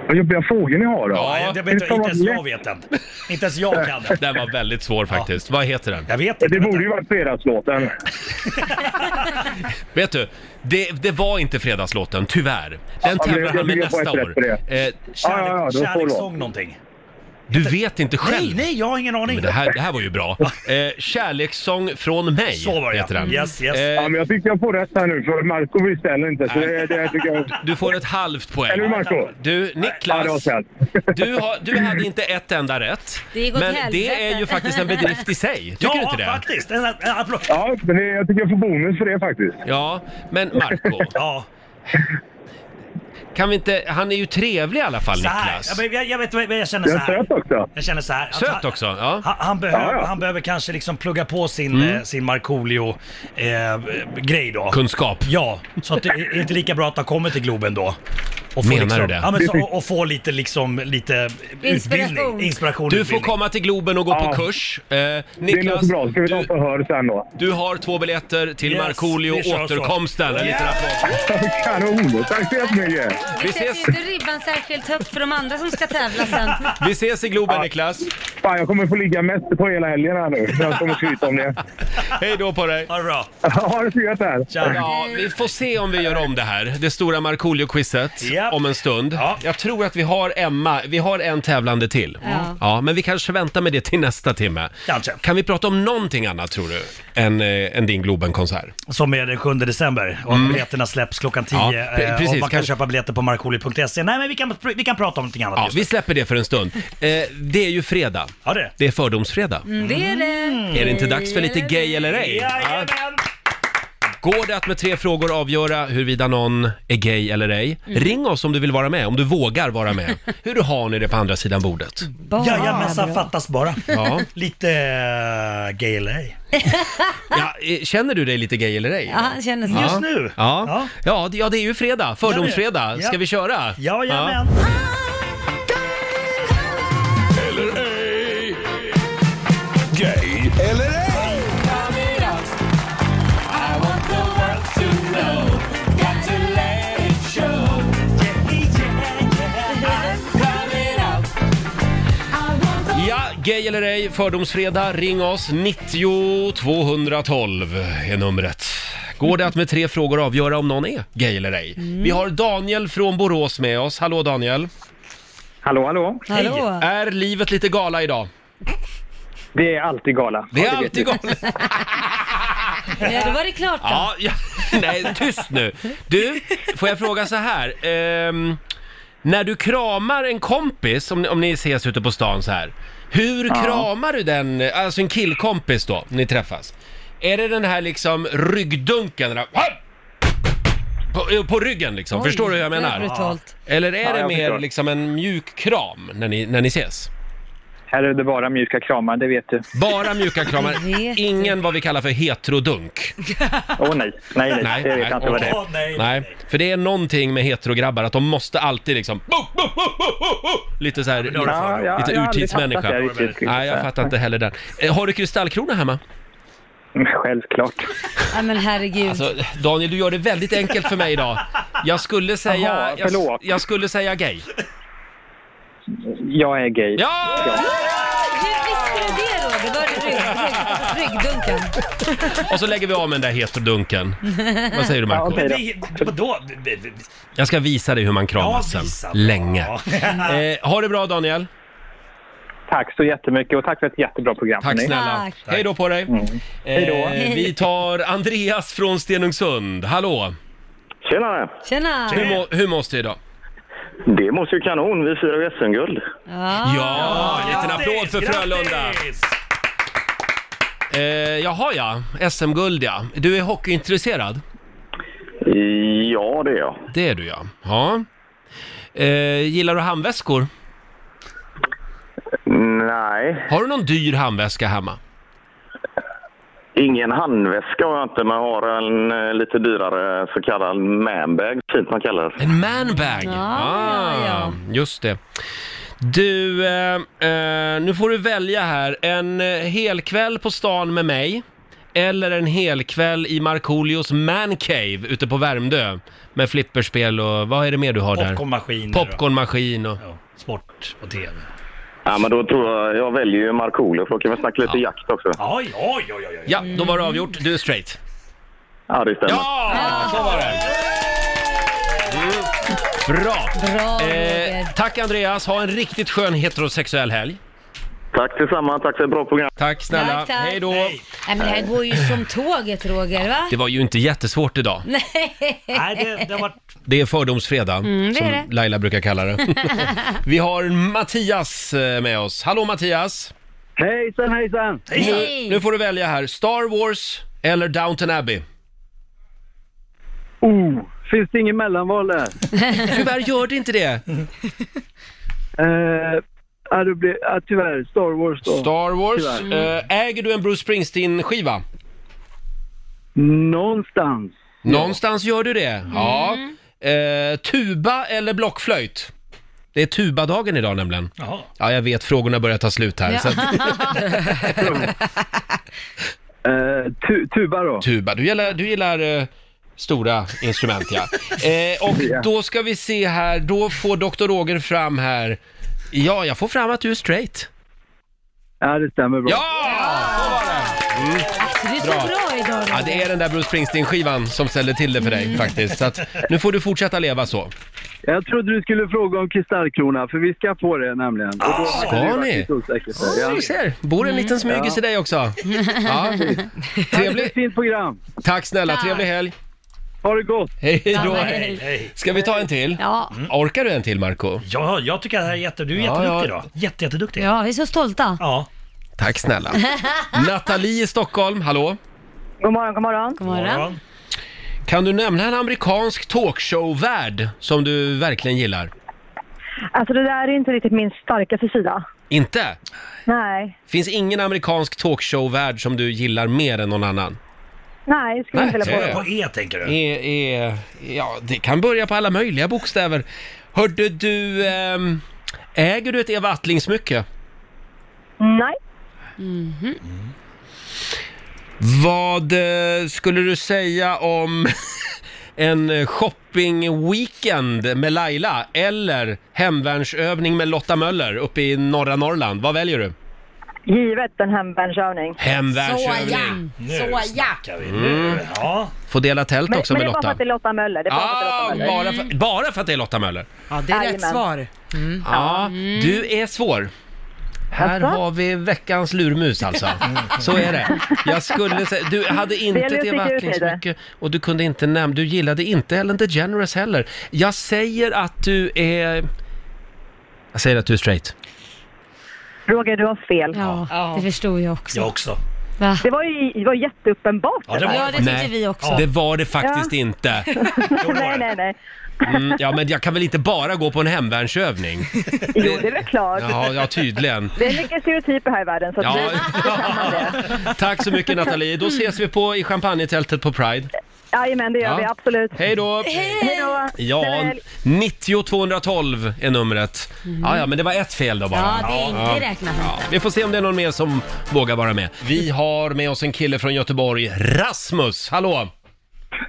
Speaker 8: Vad jobbiga frågor ni har då.
Speaker 1: Ja,
Speaker 7: Ja, det
Speaker 8: Det
Speaker 7: vet
Speaker 8: ska
Speaker 7: jag, inte
Speaker 8: vara
Speaker 7: ens jag
Speaker 8: lätt.
Speaker 7: vet den. Inte ens jag kan den.
Speaker 1: Den var väldigt svår faktiskt. Vad heter den?
Speaker 7: Jag vet inte.
Speaker 8: Det
Speaker 7: vänta.
Speaker 8: borde ju varit fredagslåten.
Speaker 1: Vet du, det, det var inte fredagslåten, tyvärr. Den
Speaker 8: Ja, men
Speaker 1: tävlar
Speaker 8: jag-
Speaker 1: han med
Speaker 8: jag får
Speaker 1: nästa
Speaker 8: ett rätt
Speaker 1: år.
Speaker 8: för det.
Speaker 1: Eh,
Speaker 7: Kärlek,
Speaker 8: Ja, ja, ja, det var så
Speaker 7: kärlekssång
Speaker 8: låt.
Speaker 7: någonting.
Speaker 1: du vet inte själv.
Speaker 7: Nej, nej, jag har ingen aning.
Speaker 1: Men det här, det här var ju bra. Eh, kärlekssång från mig
Speaker 7: Så var det, ja.
Speaker 1: heter den.
Speaker 7: Yes, yes.
Speaker 1: Eh,
Speaker 8: Ja, men jag tyckte jag får rätt här nu för Marco visste heller inte. Så Alltså, det, det tycker jag...
Speaker 1: du får ett halvt
Speaker 8: Eller hur
Speaker 1: poäng.
Speaker 8: Marco?
Speaker 1: Du,
Speaker 8: Ja, det var
Speaker 1: Niklas,
Speaker 8: snällt.
Speaker 1: du, har, du hade inte ett enda rätt.
Speaker 2: Det går åt
Speaker 1: men
Speaker 2: helvete.
Speaker 1: det är ju faktiskt en bedrift i sig. Tycker du
Speaker 7: ja,
Speaker 1: inte det?
Speaker 7: faktiskt. En, en applåd.
Speaker 8: Ja, men det, jag tycker jag får bonus för det faktiskt.
Speaker 1: Ja, men Marco,
Speaker 7: Ja,
Speaker 1: kan vi inte... Han är ju trevlig i alla fall,
Speaker 7: så här.
Speaker 1: Niklas.
Speaker 7: Jag, jag, jag vet vad jag känner
Speaker 8: Jag
Speaker 7: så
Speaker 8: är
Speaker 7: här.
Speaker 8: söt också.
Speaker 7: Jag känner så här. att
Speaker 1: Söt
Speaker 7: han-
Speaker 1: också, ja. Mm.
Speaker 7: Han, han, behöver,
Speaker 8: Ja, ja.
Speaker 7: han behöver kanske liksom plugga på sin, eh, sin Markoolio-grej då.
Speaker 1: Kunskap.
Speaker 7: Ja, så att det är inte lika bra att ha kommit till Globen då. Och få
Speaker 1: Menar
Speaker 7: liksom,
Speaker 1: du det?
Speaker 7: Ja, men så, och, och få lite, liksom, lite
Speaker 2: Inspiration.
Speaker 7: utbildning. Inspiration.
Speaker 1: Du får
Speaker 7: utbildning.
Speaker 1: komma till Globen och gå
Speaker 8: Ja.
Speaker 1: på kurs. Eh,
Speaker 8: Det låter
Speaker 1: Niklas,
Speaker 8: bra. Ska vi ta
Speaker 1: du,
Speaker 8: förhör sen då?
Speaker 1: du har två biljetter till
Speaker 7: Yes,
Speaker 1: Markoolio
Speaker 7: vi kör så.
Speaker 1: återkomsten. En liten applåd.
Speaker 8: Kanon! Tack så jättemycket!
Speaker 1: Vi
Speaker 2: Vi sätter ju
Speaker 1: ses.
Speaker 2: inte ribban särskilt högt för de andra som ska tävla sen.
Speaker 1: Vi ses i Globen, Niklas.
Speaker 8: Fan, jag kommer få ligga mest på hela helgen här nu. Jag kommer skryta om det.
Speaker 1: Hej då på dig.
Speaker 7: Ha det bra.
Speaker 8: Ha det så gött här!
Speaker 7: Tja.
Speaker 1: Ja, vi får se om vi gör om det här. Det stora Markoolio-quizet
Speaker 7: Japp.
Speaker 1: om en stund.
Speaker 7: Ja.
Speaker 1: Jag tror att vi har Emma, vi har en tävlande till.
Speaker 2: Ja.
Speaker 1: ja, men vi kanske väntar med det till nästa timme.
Speaker 7: Kanske.
Speaker 1: Kan vi prata om någonting annat tror du, än, eh, än din Globen-konsert?
Speaker 7: Som är den 7 december och biljetterna släpps klockan 10.
Speaker 1: Mm. Ja,
Speaker 7: eh,
Speaker 1: pre- precis.
Speaker 7: Och man kan
Speaker 1: Kan-
Speaker 7: köpa biljetter på markoolio.se. Nej men vi kan, vi kan prata om någonting annat
Speaker 1: Ja,
Speaker 7: just nu.
Speaker 1: vi släpper det för en stund. Eh, det är ju fredag.
Speaker 7: Ja det.
Speaker 1: Det är fördomsfredag.
Speaker 2: Mm, Det är det.
Speaker 7: Mm.
Speaker 1: Är det inte dags för lite gay eller ej? Ja.
Speaker 7: Jajamän!
Speaker 1: Går det att med tre frågor avgöra huruvida någon är gay eller ej? Ring oss om du vill vara med, om du vågar vara med. Hur har ni det på andra sidan bordet?
Speaker 2: Bara
Speaker 7: Jajamensan,
Speaker 2: bra.
Speaker 7: fattas bara.
Speaker 1: Ja.
Speaker 7: Lite eh, gay eller ej.
Speaker 1: Ja, eh, känner du dig lite gay eller ej?
Speaker 2: Ja, han känner sig.
Speaker 7: Just nu?
Speaker 1: Ja.
Speaker 7: Ja.
Speaker 1: Ja, det- ja, det är ju fredag, fördomsfredag.
Speaker 7: Ja.
Speaker 1: Ska vi köra?
Speaker 7: Jajamän!
Speaker 4: Eller ej. Gay eller ej.
Speaker 1: Ja, gay eller ej, fördomsfredag. Ring oss, 90 212 är numret. Går det att med tre frågor avgöra om någon är gay eller ej?
Speaker 2: Mm.
Speaker 1: Vi har Daniel från Borås med oss. Hallå Daniel!
Speaker 9: Hallå, hallå.
Speaker 2: Hallå.
Speaker 1: Är livet lite gala idag?
Speaker 9: Det är alltid gala.
Speaker 1: Det är
Speaker 9: Ja, vet
Speaker 1: alltid
Speaker 9: du.
Speaker 1: galet.
Speaker 2: Ja, då var det klart då.
Speaker 1: Ja, ja, nej, tyst nu. Du, får jag fråga så här? Ehm, när du kramar en kompis, om ni, om ni ses ute på stan så här. Hur kramar du den, alltså en killkompis då, ni träffas? Är det den här liksom ryggdunken? Den här, på, på ryggen liksom,
Speaker 2: Oj,
Speaker 1: förstår du hur jag
Speaker 2: det är
Speaker 1: menar?
Speaker 2: brutalt.
Speaker 1: Eller
Speaker 9: Ja,
Speaker 1: är det
Speaker 9: jag
Speaker 1: mer
Speaker 9: förstår.
Speaker 1: liksom en mjuk kram när ni, när ni ses?
Speaker 9: Här är det bara mjuka kramar, det vet du.
Speaker 1: Bara mjuka kramar,
Speaker 2: Jag vet
Speaker 1: ingen vad vi kallar för heterodunk.
Speaker 9: Åh nej, nej, nej,
Speaker 1: Nej,
Speaker 9: det vet
Speaker 1: nej,
Speaker 9: jag inte vad det är.
Speaker 7: Åh, nej, nej.
Speaker 1: Nej, för det är någonting med heterograbbar att de måste alltid liksom... Lite så här,
Speaker 9: Ja, jag-
Speaker 1: lite
Speaker 9: jag har aldrig
Speaker 1: urtidsmänniska.
Speaker 9: fattat det riktigt.
Speaker 1: Nej, jag fattar inte heller den. Eh, Har du kristallkrona hemma?
Speaker 9: Mm, Självklart.
Speaker 2: Nej men herregud.
Speaker 1: Alltså, Daniel, du gör det väldigt enkelt för mig idag. Jag skulle säga...
Speaker 9: Jaha,
Speaker 1: jag,
Speaker 9: förlåt.
Speaker 1: jag skulle säga gay.
Speaker 9: Jag är gay.
Speaker 1: Ja!
Speaker 2: Hur visste du det då? Det var rygg, rygg, ryggdunken.
Speaker 1: Och så lägger vi av med den där heterodunken. Vad säger du, Marco? Eh,
Speaker 9: Ja, okej.
Speaker 7: Det, vadå?
Speaker 1: Jag ska visa dig hur man
Speaker 7: Ja,
Speaker 1: kramas
Speaker 7: visa.
Speaker 1: sen. Länge.
Speaker 7: Ja.
Speaker 1: Eh, ha det bra, Daniel.
Speaker 9: Tack så jättemycket och tack för ett jättebra program.
Speaker 1: Tack
Speaker 9: hörni. Mm.
Speaker 1: snälla.
Speaker 2: Tack.
Speaker 1: Hej då på dig.
Speaker 9: då.
Speaker 1: Eh, vi tar Andreas från Stenungsund. Hallå!
Speaker 10: Tjenare!
Speaker 2: Tjena!
Speaker 1: Hur, må, hur måste det idag?
Speaker 10: Det måste ju kanon, vi firar ju SM-guld.
Speaker 2: Ja.
Speaker 1: Ja, en liten applåd för
Speaker 7: Ah, Grattis,
Speaker 1: Frölunda!
Speaker 7: grattis!
Speaker 1: Eh, jaha ja, SM-guld ja. Du är hockeyintresserad?
Speaker 10: Ja, det är jag.
Speaker 1: Det är du ja. ja. Eh, gillar du handväskor?
Speaker 10: Nej,
Speaker 1: Har du någon dyr handväska hemma?
Speaker 10: ingen handväska har jag inte, men jag har en eh, lite dyrare så kallad manbag, fint man kallar det.
Speaker 1: En manbag! Ah,
Speaker 2: Ja, ja, ja.
Speaker 1: Just det. Du, eh, eh, nu får du välja här. En eh, helkväll på stan med mig eller en helkväll i Markoolios mancave ute på Värmdö med flipperspel och vad är det mer du har där?
Speaker 7: Popcornmaskin.
Speaker 1: Popcornmaskin och...
Speaker 7: Ja, sport och tv.
Speaker 10: Ja, men då tror jag, jag väljer ju Markoolio, för då kan vi snacka lite jakt också.
Speaker 7: Oj, oj, oj, oj. oj.
Speaker 1: Ja, då var det avgjort. Du är straight.
Speaker 10: Ja, det stämmer.
Speaker 1: Ja, så var det. Mm. Bra!
Speaker 2: Bra Roger.
Speaker 1: Eh, tack Andreas, ha en riktigt skön heterosexuell helg.
Speaker 10: Tack tillsammans, tack för ett bra program.
Speaker 1: Tack snälla,
Speaker 2: Tack, tack.
Speaker 1: hej då.
Speaker 7: Nej,
Speaker 2: Nej men det här går ju som tåget Roger va?
Speaker 1: Det var ju inte jättesvårt idag.
Speaker 7: nej det, det har varit...
Speaker 1: Det är fördomsfredag,
Speaker 2: Mm, det
Speaker 1: som
Speaker 2: är det.
Speaker 1: Laila brukar kalla det. Vi har Mattias eh, med oss. Hallå Mattias!
Speaker 9: Hejsan, hejsan!
Speaker 2: Nej.
Speaker 1: Nu får du välja här, Star Wars eller Downton Abbey.
Speaker 9: Oh, finns det inget mellanval där?
Speaker 1: Tyvärr gör det inte det.
Speaker 9: Eh, ja, det blir, ja, tyvärr, Star Wars då.
Speaker 1: Star Wars. eh, Äger du en Bruce Springsteen-skiva?
Speaker 9: Någonstans.
Speaker 1: Någonstans gör du det. Ja. Eh, tuba eller blockflöjt? Det är tubadagen idag nämligen.
Speaker 7: Jaha.
Speaker 1: Ja, jag vet, frågorna börjar ta slut här. Så att,
Speaker 9: Eh, tu, tuba då.
Speaker 1: tuba, du gillar, du gillar eh, stora instrument ja. Eh, och då ska vi se här, då får Dr. Roger fram här. Ja, jag får fram att du är straight.
Speaker 9: Ja, det stämmer bra.
Speaker 1: Ja!
Speaker 2: Du är så
Speaker 1: Bra.
Speaker 2: bra, idag
Speaker 1: Mm. Ja,
Speaker 2: Roger.
Speaker 1: det är den där Bruce Springsteen-skivan som ställde till det för dig
Speaker 9: Mm.
Speaker 1: faktiskt. Så att, nu får du fortsätta leva så.
Speaker 9: Jag trodde du skulle fråga om kristallkrona, för vi ska få det nämligen. Och då
Speaker 1: Ah, Ska
Speaker 9: hade det varit
Speaker 1: ni?
Speaker 9: lite osäkert där.
Speaker 1: Ja,
Speaker 9: Ja.
Speaker 1: du ser, bor en liten smygis i dig också. Ja. Trevlig,
Speaker 9: Ett fint program.
Speaker 1: Tack snälla,
Speaker 2: Tack.
Speaker 1: trevlig helg.
Speaker 9: Ha det gott.
Speaker 1: Hej då.
Speaker 2: Nej.
Speaker 7: Hej.
Speaker 1: Ska vi ta en till?
Speaker 2: Ja.
Speaker 1: Orkar du en till Marco?
Speaker 7: Ja, jag tycker att det här är jätte... Du är
Speaker 1: Ja,
Speaker 7: jätteduktig
Speaker 1: ja.
Speaker 7: idag. Jätte, jätteduktig.
Speaker 2: ja, vi är så stolta.
Speaker 7: Ja.
Speaker 1: Tack snälla. Nathalie i Stockholm, hallå?
Speaker 11: God morgon, god morgon.
Speaker 2: God morgon.
Speaker 7: Morgon.
Speaker 1: Kan du nämna en amerikansk talkshow-värd som du verkligen gillar?
Speaker 11: Alltså det där är inte riktigt min starkaste sida.
Speaker 1: Inte?
Speaker 11: Nej,
Speaker 1: Finns ingen amerikansk talkshow-värd som du gillar mer än någon annan?
Speaker 11: nej, skulle
Speaker 1: Nej,
Speaker 11: inte vilja
Speaker 1: det-
Speaker 11: på.
Speaker 7: På E tänker du?
Speaker 1: E, e, ja, det kan börja på alla möjliga bokstäver. Hörde du, ehm, äger du ett Eva Attling-smycke?
Speaker 11: Nej,
Speaker 1: Mhm. Vad eh, skulle du säga om en eh, shoppingweekend med Laila eller hemvärnsövning med Lotta Möller uppe i norra Norrland? Vad väljer du?
Speaker 11: givet en hemvärnsövning.
Speaker 1: Hemvärnsövning.
Speaker 7: Nu snackar vi. Nu. Ja.
Speaker 1: Får dela tält
Speaker 11: Men,
Speaker 1: också
Speaker 11: men det
Speaker 1: med
Speaker 11: är bara för
Speaker 1: Lotta.
Speaker 11: att det är Lotta Möller. Det är bara för att det är Lotta Möller.
Speaker 1: Ah, bara, för, bara för att det är Lotta Möller?
Speaker 3: Ja, det är rätt
Speaker 11: Jajamän.
Speaker 3: svar. Mm.
Speaker 1: Ja, du är svår. Här
Speaker 11: Jaså?
Speaker 1: har vi veckans lurmus alltså. Så är det. Jag skulle säga, du hade inte
Speaker 11: Det
Speaker 1: ett
Speaker 11: lustiga
Speaker 1: Eva
Speaker 11: är ju
Speaker 1: Attling så
Speaker 11: det.
Speaker 1: mycket och du kunde inte nämna, du gillade inte Ellen DeGeneres heller. Jag säger att du är... Jag säger att du är straight.
Speaker 11: Roger, du har fel.
Speaker 2: Ja, det förstod jag också.
Speaker 7: Jag också.
Speaker 11: Det var ju det var jätteuppenbart.
Speaker 1: Det var det faktiskt
Speaker 11: Ja.
Speaker 1: inte.
Speaker 11: nej, nej, nej.
Speaker 1: Mm, ja, men jag kan väl inte bara gå på en hemvärnsövning?
Speaker 11: Jo, det är väl klart.
Speaker 1: Ja, ja tydligen.
Speaker 11: Det är mycket stereotyper här i världen. Så att
Speaker 1: Ja.
Speaker 11: vi- då kan man det.
Speaker 1: Tack så mycket Nathalie. Då ses vi på i champagnetältet på Pride.
Speaker 11: Jajamän, det gör
Speaker 1: Ja.
Speaker 11: vi absolut.
Speaker 1: Hej då!
Speaker 11: Hej då!
Speaker 1: Ja, 90 212 är numret. Ja, ja, men det var ett fel då bara.
Speaker 2: Mhm. Ja, det är inte räknat med.
Speaker 1: Ja, Vi får se om det är någon mer som vågar vara med. Vi har med oss en kille från Göteborg, Rasmus. Hallå!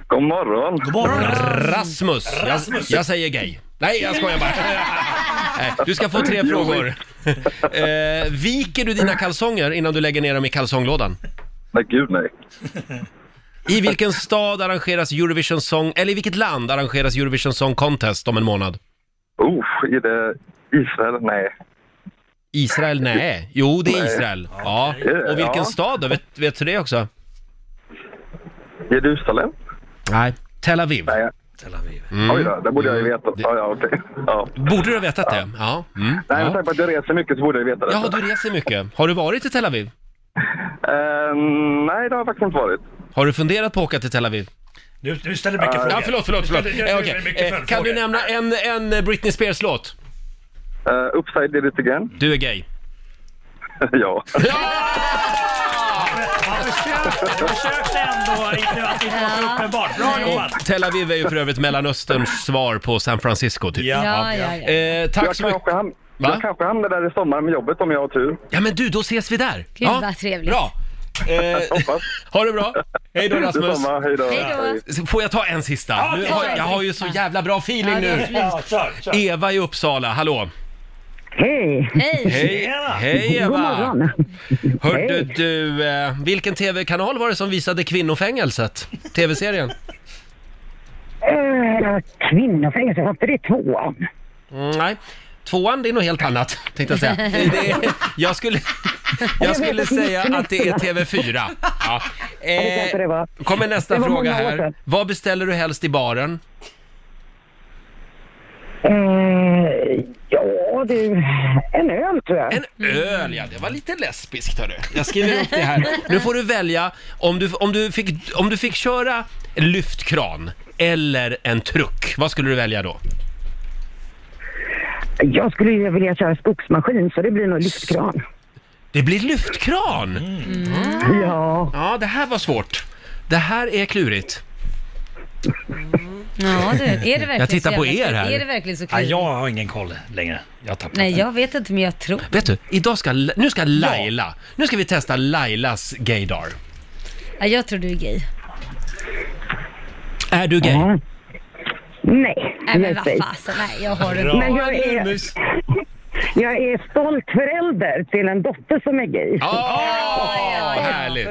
Speaker 10: God morgon!
Speaker 1: God morgon! Rasmus! Jag, jag säger gay. Nej, jag skojar bara. Nej, Du ska få tre frågor. Eh, viker du dina kalsonger innan du lägger ner dem i kalsonglådan?
Speaker 10: Nej, gud nej.
Speaker 1: I vilken stad arrangeras Eurovision Song, eller i vilket land arrangeras Eurovision Song Contest om en månad?
Speaker 10: Oh, är det Israel? Nej.
Speaker 1: Israel? Nej. Jo, det är
Speaker 10: Nej.
Speaker 1: Israel. Ja. Och vilken
Speaker 10: Ja.
Speaker 1: stad då? Vet, vet du det också?
Speaker 10: Jerusalem?
Speaker 1: Nej. Tel Aviv.
Speaker 10: Nej.
Speaker 1: Tel Aviv.
Speaker 10: Oj då, det borde
Speaker 1: Mm.
Speaker 10: jag ju veta. Ja, ja, okej. Ja.
Speaker 1: Borde du ha vetat det? Ja. Mm.
Speaker 10: Nej,
Speaker 1: ja.
Speaker 10: med tanke på att jag reser mycket så borde jag veta det.
Speaker 1: Jaha, du reser mycket. Har du varit i Tel Aviv?
Speaker 10: Eh, nej, det har jag faktiskt inte varit.
Speaker 1: Har du funderat på att åka till Tel Aviv?
Speaker 7: Du, du ställer mycket
Speaker 10: Ja,
Speaker 7: frågor.
Speaker 1: Ah, Ja, förlåt, förlåt, förlåt.
Speaker 7: Du ställer,
Speaker 1: Eh,
Speaker 7: du
Speaker 1: okej.
Speaker 7: ställer mycket
Speaker 1: Eh, Kan du
Speaker 7: följdfrågor.
Speaker 1: nämna en, en eh, Britney Spears-låt?
Speaker 10: Uh, upside did it again.
Speaker 1: Du är gay.
Speaker 10: ja.
Speaker 7: Jag försökte ändå inte att det inte var så uppenbart. Bra jobbat!
Speaker 1: Och Tel Aviv är ju för övrigt Mellanösterns svar på San Francisco, typ.
Speaker 7: Ja,
Speaker 2: ja, ja.
Speaker 1: Eh, tack
Speaker 10: jag
Speaker 1: så mycket.
Speaker 10: kanske ham-
Speaker 1: Va?
Speaker 10: Jag kanske hamnar där i sommar med jobbet om jag har tur.
Speaker 1: Ja, men du, då ses vi där. Gud, ja.
Speaker 2: vad trevligt.
Speaker 1: Bra. Eh,
Speaker 10: Hoppas.
Speaker 1: ha det bra. Hej då, Rasmus.
Speaker 10: Detsamma, hej då.
Speaker 2: Hej då.
Speaker 1: Får jag ta en sista?
Speaker 7: Ja,
Speaker 1: nu
Speaker 7: ta
Speaker 1: har,
Speaker 7: en
Speaker 1: jag har ju så
Speaker 2: sista.
Speaker 1: jävla bra feeling
Speaker 2: Ja, det är
Speaker 1: nu.
Speaker 2: fint.
Speaker 7: Ja, kör, kör.
Speaker 1: Eva i Uppsala, hallå!
Speaker 12: Hej!
Speaker 2: Hej!
Speaker 1: Hej,
Speaker 7: Tjena.
Speaker 1: hej
Speaker 12: God
Speaker 1: Eva!
Speaker 12: morgon!
Speaker 1: Hörde du, eh, vilken tv-kanal var det som visade Kvinnofängelset? Tv-serien?
Speaker 12: Eh, Kvinnofängelse, var inte det tvåan?
Speaker 1: Mm, nej. Tvåan, det är något helt annat, tänkte jag säga. Det är, jag skulle, jag skulle säga att det är TV4. Ja. Eh,
Speaker 12: det kanske det var.
Speaker 1: kommer nästa
Speaker 12: Det var
Speaker 1: fråga
Speaker 12: många år
Speaker 1: här.
Speaker 12: sedan.
Speaker 1: Vad beställer du helst i baren?
Speaker 12: Eh, ja du, en öl tror jag.
Speaker 1: En öl, ja. Det var lite lesbiskt, hörru. Jag skriver upp det här. Nu får du välja om du, om du, fick, om du fick köra en lyftkran eller en truck. Vad skulle du välja då?
Speaker 12: Jag skulle ju vilja köra skogsmaskin så det blir nog lyftkran.
Speaker 1: Det blir lyftkran!
Speaker 2: Mm.
Speaker 12: Ja,
Speaker 1: Ja, det här var svårt. Det här är klurigt.
Speaker 2: Ja, du. Är det verkligen
Speaker 1: Jag tittar
Speaker 2: så
Speaker 1: på
Speaker 2: jävla-
Speaker 1: er här.
Speaker 2: Är det verkligen så
Speaker 7: Ja,
Speaker 2: kul?
Speaker 7: jag har ingen koll längre. Jag har tappat
Speaker 2: Nej,
Speaker 7: den.
Speaker 2: jag vet inte, men jag tror.
Speaker 1: Vet du, idag ska, nu ska Laila, nu ska vi testa Lailas gaydar.
Speaker 2: Ja, jag tror du är gay.
Speaker 1: Är du gay?
Speaker 12: nej.
Speaker 2: Nej, men
Speaker 12: jag
Speaker 2: vad
Speaker 12: säger.
Speaker 2: fasen. Nej, jag har
Speaker 7: Bra.
Speaker 2: en...
Speaker 12: Men jag är, jag är stolt förälder till en dotter som är gay.
Speaker 1: Ja, härligt!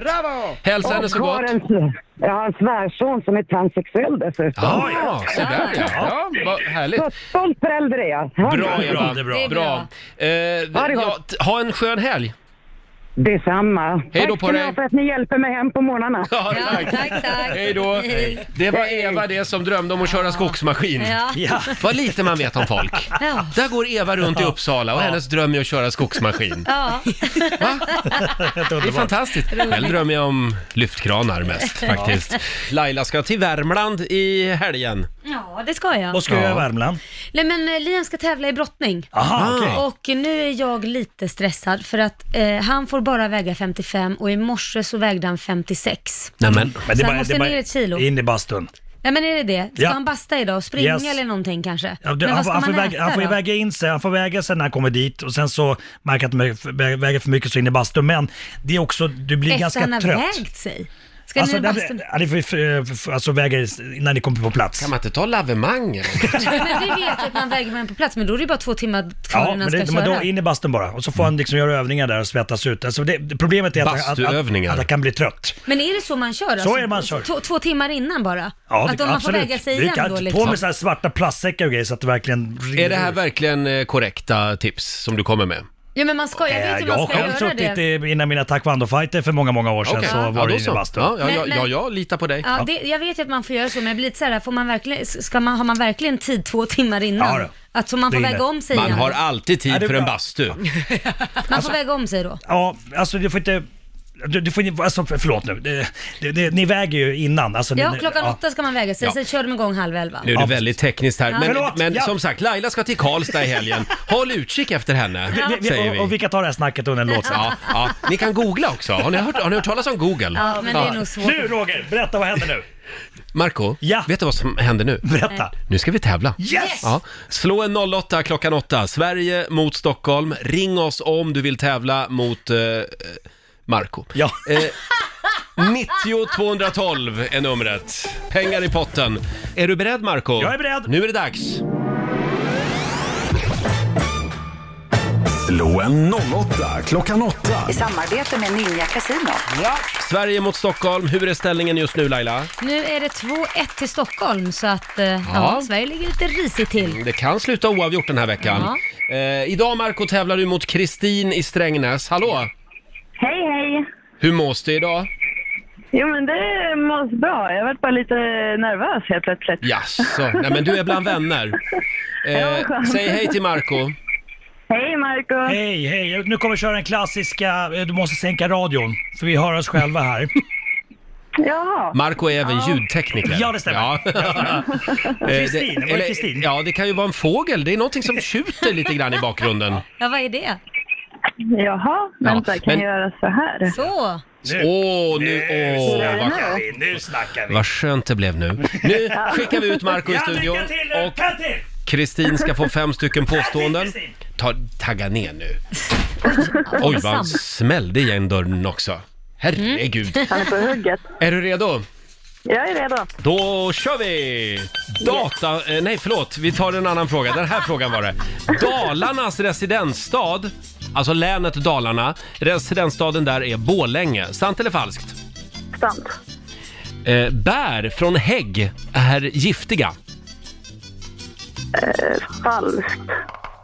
Speaker 1: Hälsa henne så
Speaker 12: Och har
Speaker 1: gott!
Speaker 12: en- Jag har en svärson som är transsexuell dessutom.
Speaker 1: Ja, så där ja. ja vad härligt.
Speaker 12: Så stolt förälder är jag. Ja,
Speaker 1: Bra
Speaker 12: det-
Speaker 1: Eva,
Speaker 7: Det är bra.
Speaker 2: Det är bra.
Speaker 1: Eh,
Speaker 12: Ha det gott.
Speaker 1: ja, t- ha en skön helg!
Speaker 12: Detsamma.
Speaker 1: Hej då
Speaker 12: Tack ska
Speaker 1: på
Speaker 12: ni
Speaker 1: dig.
Speaker 12: ha för att ni hjälper mig hem på morgnarna.
Speaker 1: Ja,
Speaker 2: Ja, tack, tack.
Speaker 1: Hej då! Det var Eva det som drömde om att köra skogsmaskin.
Speaker 2: Ja.
Speaker 7: Ja.
Speaker 1: Vad lite man vet om folk.
Speaker 2: Ja.
Speaker 1: Där går Eva runt i Uppsala och hennes dröm är att köra skogsmaskin.
Speaker 2: Ja.
Speaker 1: Det är fantastiskt. Själv drömmer jag om lyftkranar mest faktiskt. Laila ska till Värmland i helgen.
Speaker 2: ja, det ska jag.
Speaker 7: Vad ska jag göra i Värmland?
Speaker 2: Nej, men eh, Liam ska tävla i brottning.
Speaker 7: Aha, okej.
Speaker 2: Och nu är jag lite stressad för att eh, han får bara väga 55 och i morse så vägde han 56.
Speaker 1: Nej, men,
Speaker 7: Men
Speaker 2: Så han måste ner ett kilo.
Speaker 7: In i bastun.
Speaker 2: Nej men är det det? Ska
Speaker 7: Ja.
Speaker 2: han basta idag och springa
Speaker 7: Yes.
Speaker 2: eller någonting kanske?
Speaker 7: Ja, det,
Speaker 2: men
Speaker 7: han,
Speaker 2: vad ska
Speaker 7: får-
Speaker 2: man
Speaker 7: han, får
Speaker 2: äta
Speaker 7: väga, han får ju
Speaker 2: då?
Speaker 7: väga in sig, han får väga sig när han kommer dit och sen så märker han att han vä- väger för mycket så in i bastun. Men det är också, du blir
Speaker 2: Efter
Speaker 7: ganska
Speaker 2: han har
Speaker 7: trött.
Speaker 2: vägt sig? Ska
Speaker 7: Alltså,
Speaker 2: ni
Speaker 7: där-
Speaker 2: basta?
Speaker 7: ja, ni får ju f- f- alltså väga när ni kommer på plats.
Speaker 1: kan man inte ta lavemang?
Speaker 2: men vi vet att man väger varandra på plats, men då är det bara två timmar kvar
Speaker 7: Ja,
Speaker 2: innan
Speaker 7: men,
Speaker 2: han ska
Speaker 7: det, men
Speaker 2: köra.
Speaker 7: då in i bastun bara. Och så får han liksom göra övningar där och svettas ut. Alltså det, det- problemet är att, att, att,
Speaker 1: Bastuövningar.
Speaker 7: att han kan bli trött.
Speaker 2: Men är det så man kör? alltså,
Speaker 7: är det man kör.
Speaker 2: Två, två timmar innan bara?
Speaker 7: Ja,
Speaker 2: att
Speaker 7: det-
Speaker 2: om man får väga sig
Speaker 7: Det
Speaker 2: igen
Speaker 7: kan-
Speaker 2: då
Speaker 7: På
Speaker 2: liksom?
Speaker 7: med så här svarta plastsäckar och grejer så att det verkligen rinner
Speaker 1: Är det här
Speaker 7: ur.
Speaker 1: verkligen eh, korrekta tips som du kommer med?
Speaker 2: Ja men man ska, jag vet
Speaker 7: Eh,
Speaker 2: hur
Speaker 7: Jag
Speaker 2: man
Speaker 7: har
Speaker 2: ska
Speaker 7: själv
Speaker 2: göra
Speaker 7: suttit
Speaker 2: det.
Speaker 7: i- innan mina taekwondo-fighter för många, många år sedan
Speaker 1: Okej.
Speaker 7: så var det
Speaker 1: då
Speaker 7: inne i bastun.
Speaker 1: Ja, ja, ja,
Speaker 2: Men-
Speaker 1: ja, jag litar på dig.
Speaker 2: Ja, det, jag vet ju att man får göra så, men jag blir lite så här, får man verkligen, ska man, har man verkligen tid två timmar innan?
Speaker 7: Ja, då.
Speaker 2: att så man får
Speaker 7: Det är
Speaker 2: väga
Speaker 7: det.
Speaker 2: om sig
Speaker 1: Man
Speaker 2: igen.
Speaker 1: har Alltså, alltid
Speaker 7: Ja,
Speaker 1: tid
Speaker 7: det är
Speaker 1: för en
Speaker 7: bra.
Speaker 1: bastu.
Speaker 2: Man får väga om sig då.
Speaker 7: Ja, alltså du får inte... Du, du får, ni- alltså, för- förlåt nu, det, det, det, ni väger ju innan. Alltså,
Speaker 2: Ja,
Speaker 7: ni,
Speaker 2: klockan
Speaker 7: ja.
Speaker 2: åtta ska man väga sig,
Speaker 7: Ja.
Speaker 2: sen kör de igång halv elva.
Speaker 1: Nu är det väldigt tekniskt här,
Speaker 2: Ja.
Speaker 1: men,
Speaker 2: Förlåt,
Speaker 1: men
Speaker 7: ja.
Speaker 1: som sagt, Laila ska till Karlstad i helgen. Håll utkik efter henne,
Speaker 7: Vi, vi,
Speaker 1: säger
Speaker 7: vi,
Speaker 1: vi.
Speaker 7: och, och vi kan ta det här snacket under en låt sen.
Speaker 1: Ja, ja. Ni kan googla också. Har ni hört, har ni hört talas om Google?
Speaker 7: Nu Roger, berätta vad händer nu?
Speaker 1: Marco, vet du vad som händer nu?
Speaker 7: Berätta.
Speaker 1: Nu ska vi tävla.
Speaker 7: Yes!
Speaker 1: Ja. Slå en 08 klockan 8. Sverige mot Stockholm. Ring oss om du vill tävla mot eh, Marco.
Speaker 7: Ja.
Speaker 1: Eh, 90 212 är numret. Pengar i potten. Är du beredd Marco?
Speaker 7: Jag är beredd.
Speaker 1: Nu är det dags.
Speaker 13: Slå en 08 klockan 8.
Speaker 14: I samarbete med Ninja Casino.
Speaker 1: Ja. Sverige mot Stockholm. Hur är ställningen just nu Laila?
Speaker 2: Nu är det 2-1 till Stockholm, så att eh, ja.
Speaker 1: Ja.
Speaker 2: Sverige ligger lite risigt till.
Speaker 1: Mm, Det kan sluta oavgjort den här veckan. Eh, idag Marco tävlar du mot Kristin i Strängnäs. Hallå!
Speaker 5: Hej, hej!
Speaker 1: Hur mås det idag?
Speaker 5: Jo, men det mås bra. Jag vart bara lite nervös helt plötsligt.
Speaker 1: Jaså, nej men du är bland vänner.
Speaker 5: Ja,
Speaker 1: Eh,
Speaker 5: skönt.
Speaker 1: säg hej till Marco.
Speaker 5: Hej Marco!
Speaker 7: Hej, hej. Nu kommer vi köra den klassiska, eh, du måste sänka radion, för vi hör oss själva här.
Speaker 5: Jaha.
Speaker 1: Marco är även ljudtekniker.
Speaker 7: Ja, det stämmer.
Speaker 1: Ja. Eh,
Speaker 7: Kristin, var det
Speaker 1: eller-
Speaker 7: Kristin?
Speaker 1: Ja, det kan ju vara en fågel. Det är någonting som tjuter lite grann i bakgrunden.
Speaker 2: Ja, vad är det?
Speaker 5: Jaha, vänta, kan
Speaker 1: men-
Speaker 5: jag göra så här?
Speaker 2: Så!
Speaker 1: Åh, nu, åh, vad,
Speaker 7: Nu snackar
Speaker 1: vad skönt det blev nu. Nu skickar vi ut Marco i studion.
Speaker 7: och
Speaker 1: Kristin ska få fem stycken påståenden. Ta, tagga ner nu. Oj, vad han smällde igen dörren också. Herregud.
Speaker 5: Han är på hugget.
Speaker 1: Är du redo?
Speaker 5: Jag är redo.
Speaker 1: Då kör vi! Data... eh, Nej, förlåt. Vi tar en annan fråga. Den här frågan var det. Dalarnas residensstad, alltså länet Dalarna, residensstaden där är Borlänge. Sant eller falskt?
Speaker 5: Sant.
Speaker 1: Eh, bär från hägg är giftiga.
Speaker 5: Eh, falskt.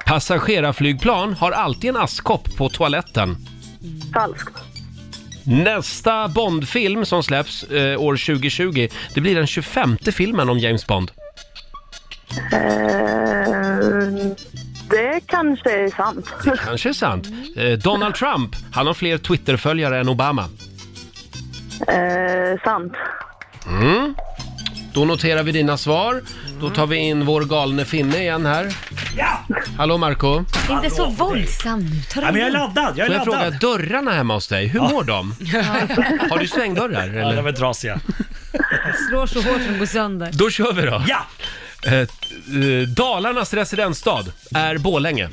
Speaker 1: Passagerarflygplan har alltid en askkopp på toaletten.
Speaker 5: Falskt.
Speaker 1: Nästa Bondfilm som släpps eh, år 2020, det blir den 25 filmen om James Bond.
Speaker 5: Eh, det kanske är sant.
Speaker 1: Kanske är sant. Eh, Donald Trump, han har fler Twitterföljare än Obama.
Speaker 5: Eh, sant.
Speaker 1: Mm. Då noterar vi dina svar. Då tar vi in vår galne finne igen här. Hallå Marco.
Speaker 2: Inte så våldsam nu, ta det lugnt.
Speaker 1: Får jag fråga, dörrarna hemma hos dig, hur mår de? Har du svängdörrar? Eller?
Speaker 7: de är trasiga.
Speaker 2: Slår så hårt som går sönder.
Speaker 1: Då kör vi då.
Speaker 7: Ja!
Speaker 1: Eh, eh, Dalarnas residensstad är Borlänge.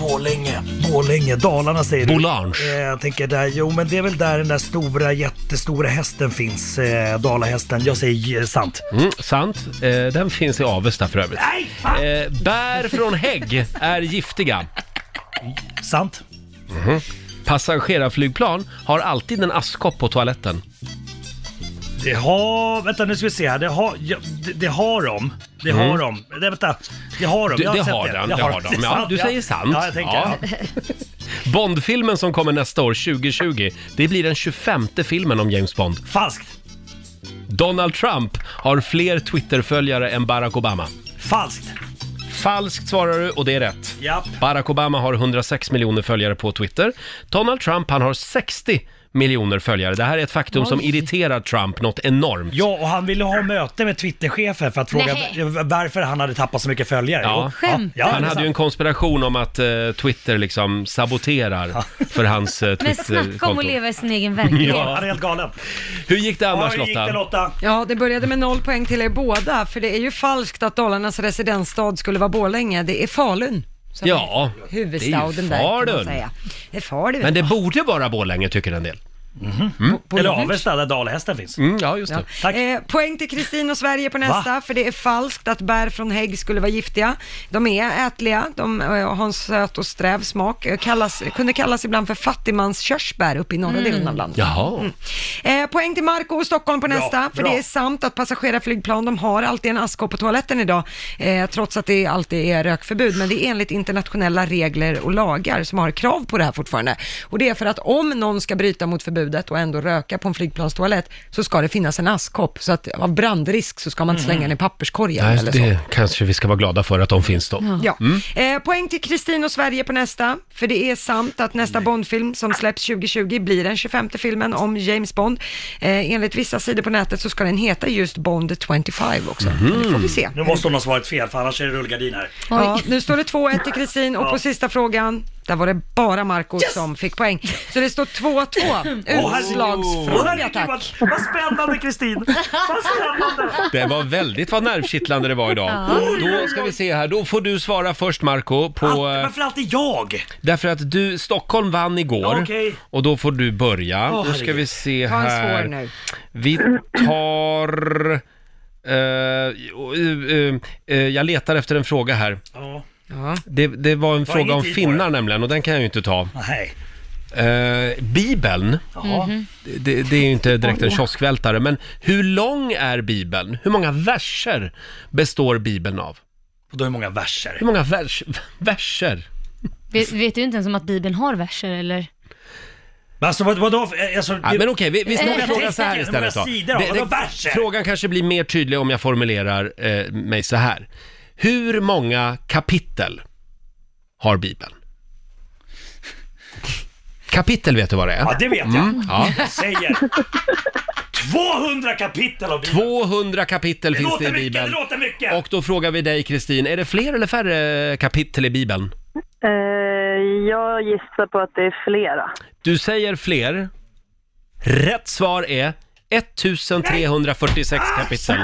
Speaker 7: Borlänge, Borlänge, Dalarna säger du.
Speaker 1: Bolange.
Speaker 7: Eh, jag tänker där, jo men det är väl där den där stora, jättestora hästen finns, eh, Dalahästen. Jag säger eh, sant.
Speaker 1: Mm, sant. Eh, den finns i Avesta för övrigt.
Speaker 7: Nej!
Speaker 1: Eh, bär från hägg är giftiga.
Speaker 7: Sant.
Speaker 1: Mhm. Passagerarflygplan har alltid en askkopp på toaletten.
Speaker 7: Det har, vänta nu ska vi se här, det har, ja, det, det har de. Det
Speaker 1: Mm.
Speaker 7: har de. Det, vänta, det har de.
Speaker 1: Du-
Speaker 7: Jag har
Speaker 1: det
Speaker 7: sett
Speaker 1: har
Speaker 7: det.
Speaker 1: den,
Speaker 7: Jag
Speaker 1: det har de. Ja,
Speaker 7: sant,
Speaker 1: du säger sant.
Speaker 7: Ja, jag tänker.
Speaker 1: Ja.
Speaker 7: Ja.
Speaker 1: Bondfilmen som kommer nästa år, 2020, det blir den 25 filmen om James Bond.
Speaker 7: Falskt!
Speaker 1: Donald Trump har fler Twitterföljare än Barack Obama.
Speaker 7: Falskt!
Speaker 1: Falskt svarar du och det är rätt.
Speaker 7: Japp.
Speaker 1: Barack Obama har 106 miljoner följare på Twitter. Donald Trump, han har 60 miljoner följare. Det här är ett faktum som
Speaker 7: Oj.
Speaker 1: irriterar Trump något enormt.
Speaker 7: Ja, och han ville ha möte med Twitterchefen för att fråga
Speaker 1: Nej.
Speaker 7: varför han hade tappat så mycket följare.
Speaker 1: Ja.
Speaker 7: Jo. Ja,
Speaker 1: han
Speaker 7: det är
Speaker 1: hade ju en
Speaker 7: sant.
Speaker 1: konspiration om att eh, Twitter liksom saboterar för hans eh,
Speaker 2: Men snacka om
Speaker 1: Twitterkonto.
Speaker 2: att leva i sin egen verklighet.
Speaker 1: Ja, han är
Speaker 7: helt galen.
Speaker 1: Hur gick det annars Lotta?
Speaker 3: Ja, det började med noll poäng till er båda, för det är ju falskt att Dalarnas residensstad skulle vara Borlänge. Det är Falun. som
Speaker 1: Ja,
Speaker 3: är
Speaker 1: det är ju
Speaker 3: huvudstaden där kan man
Speaker 1: Falun.
Speaker 3: säga. Det är Falun.
Speaker 1: Men det borde vara Borlänge tycker en del.
Speaker 3: Bo- Eller
Speaker 7: Avesta där dalahästen finns.
Speaker 1: Mm, ja, just det.
Speaker 3: Eh, poäng till Kristin och Sverige på nästa, för det är falskt att bär från hägg skulle vara giftiga. De är ätliga, de eh, har en söt och sträv smak, Eh, kallas, kunde kallas ibland för fattigmanskörsbär uppe i norra
Speaker 15: Mm.
Speaker 3: delen av landet.
Speaker 15: Jaha.
Speaker 3: Eh, poäng till Marco och Stockholm på
Speaker 15: Bra,
Speaker 3: nästa, för
Speaker 15: bra.
Speaker 3: det är sant att passagerarflygplan, de har alltid en askkopp på toaletten idag, eh, trots att det alltid är rökförbud, men det är enligt internationella regler och lagar som har krav på det här fortfarande. Och det är för att om någon ska bryta mot förbudet förbudet och ändå röka på en flygplanstoalett så ska det finnas en askkopp. Så att av brandrisk så ska man inte slänga den i papperskorgen
Speaker 1: Mm. Nej,
Speaker 3: eller så.
Speaker 1: det kanske vi ska vara glada för att de finns då.
Speaker 3: Ja.
Speaker 1: Mm.
Speaker 3: Eh, poäng till Kristin och Sverige på nästa, för det är sant att nästa Bondfilm som släpps 2020 blir den 25 filmen om James Bond. Eh, enligt vissa sidor på nätet så ska den heta just Bond 25 också. Men Det får vi se.
Speaker 7: Mhm. Mm. Nu måste hon ha svarat fel för annars är det rullgardin här.
Speaker 3: Ja, nu står det 2-1 till Kristin och
Speaker 7: Ja.
Speaker 3: på sista frågan, där var det bara Marco som fick poäng. Så det står 2-2.
Speaker 7: Åh, herregud. Åh,
Speaker 3: Utslagsfråga
Speaker 7: herregud,
Speaker 3: tack.
Speaker 7: Vad spännande Kristin! Vad spännande!
Speaker 1: Det var väldigt vad nervkittlande det var idag.
Speaker 7: Ja.
Speaker 1: Då ska vi se här, då får du svara först Marco på... eh,
Speaker 7: Varför alltid jag?
Speaker 1: Därför att du, Stockholm vann igår
Speaker 7: Ja, okej.
Speaker 1: och då får du börja.
Speaker 7: Åh,
Speaker 1: då ska
Speaker 7: herregud.
Speaker 1: vi se
Speaker 7: Ta en svår
Speaker 1: här.
Speaker 7: nu.
Speaker 1: Vi tar... eh, eh, eh, jag letar efter en fråga här.
Speaker 7: Ja.
Speaker 1: Det, det var en
Speaker 7: Det var
Speaker 1: fråga
Speaker 7: ingen
Speaker 1: om
Speaker 7: tid på
Speaker 1: finnar nämligen och den kan jag ju inte ta.
Speaker 7: Nej.
Speaker 1: Eh, Bibeln,
Speaker 7: Jaha. Mhm.
Speaker 1: det, det är ju inte direkt en kioskvältare, men hur lång är Bibeln? Hur många verser består Bibeln av?
Speaker 7: Då hur många verser?
Speaker 1: Hur många vers, verser?
Speaker 2: Vet, vet du inte ens om att Bibeln har verser eller?
Speaker 7: Men alltså vad, vadå? Eh, Alltså,
Speaker 1: Ja, men okej, vi, vi
Speaker 2: Eh,
Speaker 1: ställer frågan så här
Speaker 2: hur
Speaker 1: istället
Speaker 7: många sidor då?
Speaker 1: Det- det-
Speaker 7: Vadå verser?
Speaker 1: Frågan kanske blir mer tydlig om jag formulerar eh, mig så här. Hur många kapitel har Bibeln? Kapitel vet du vad det är?
Speaker 7: Ja, det vet jag.
Speaker 1: Mm, ja.
Speaker 7: Jag säger 200 kapitel av Bibeln.
Speaker 1: 200 kapitel
Speaker 7: Det
Speaker 1: finns
Speaker 7: låter
Speaker 1: det i
Speaker 7: mycket,
Speaker 1: Bibeln.
Speaker 7: det låter mycket.
Speaker 1: Och då frågar vi dig Kristin, är det fler eller färre kapitel i Bibeln?
Speaker 5: Eh, jag gissar på att det är flera.
Speaker 1: Du säger fler. Rätt svar är 1346 kapitel.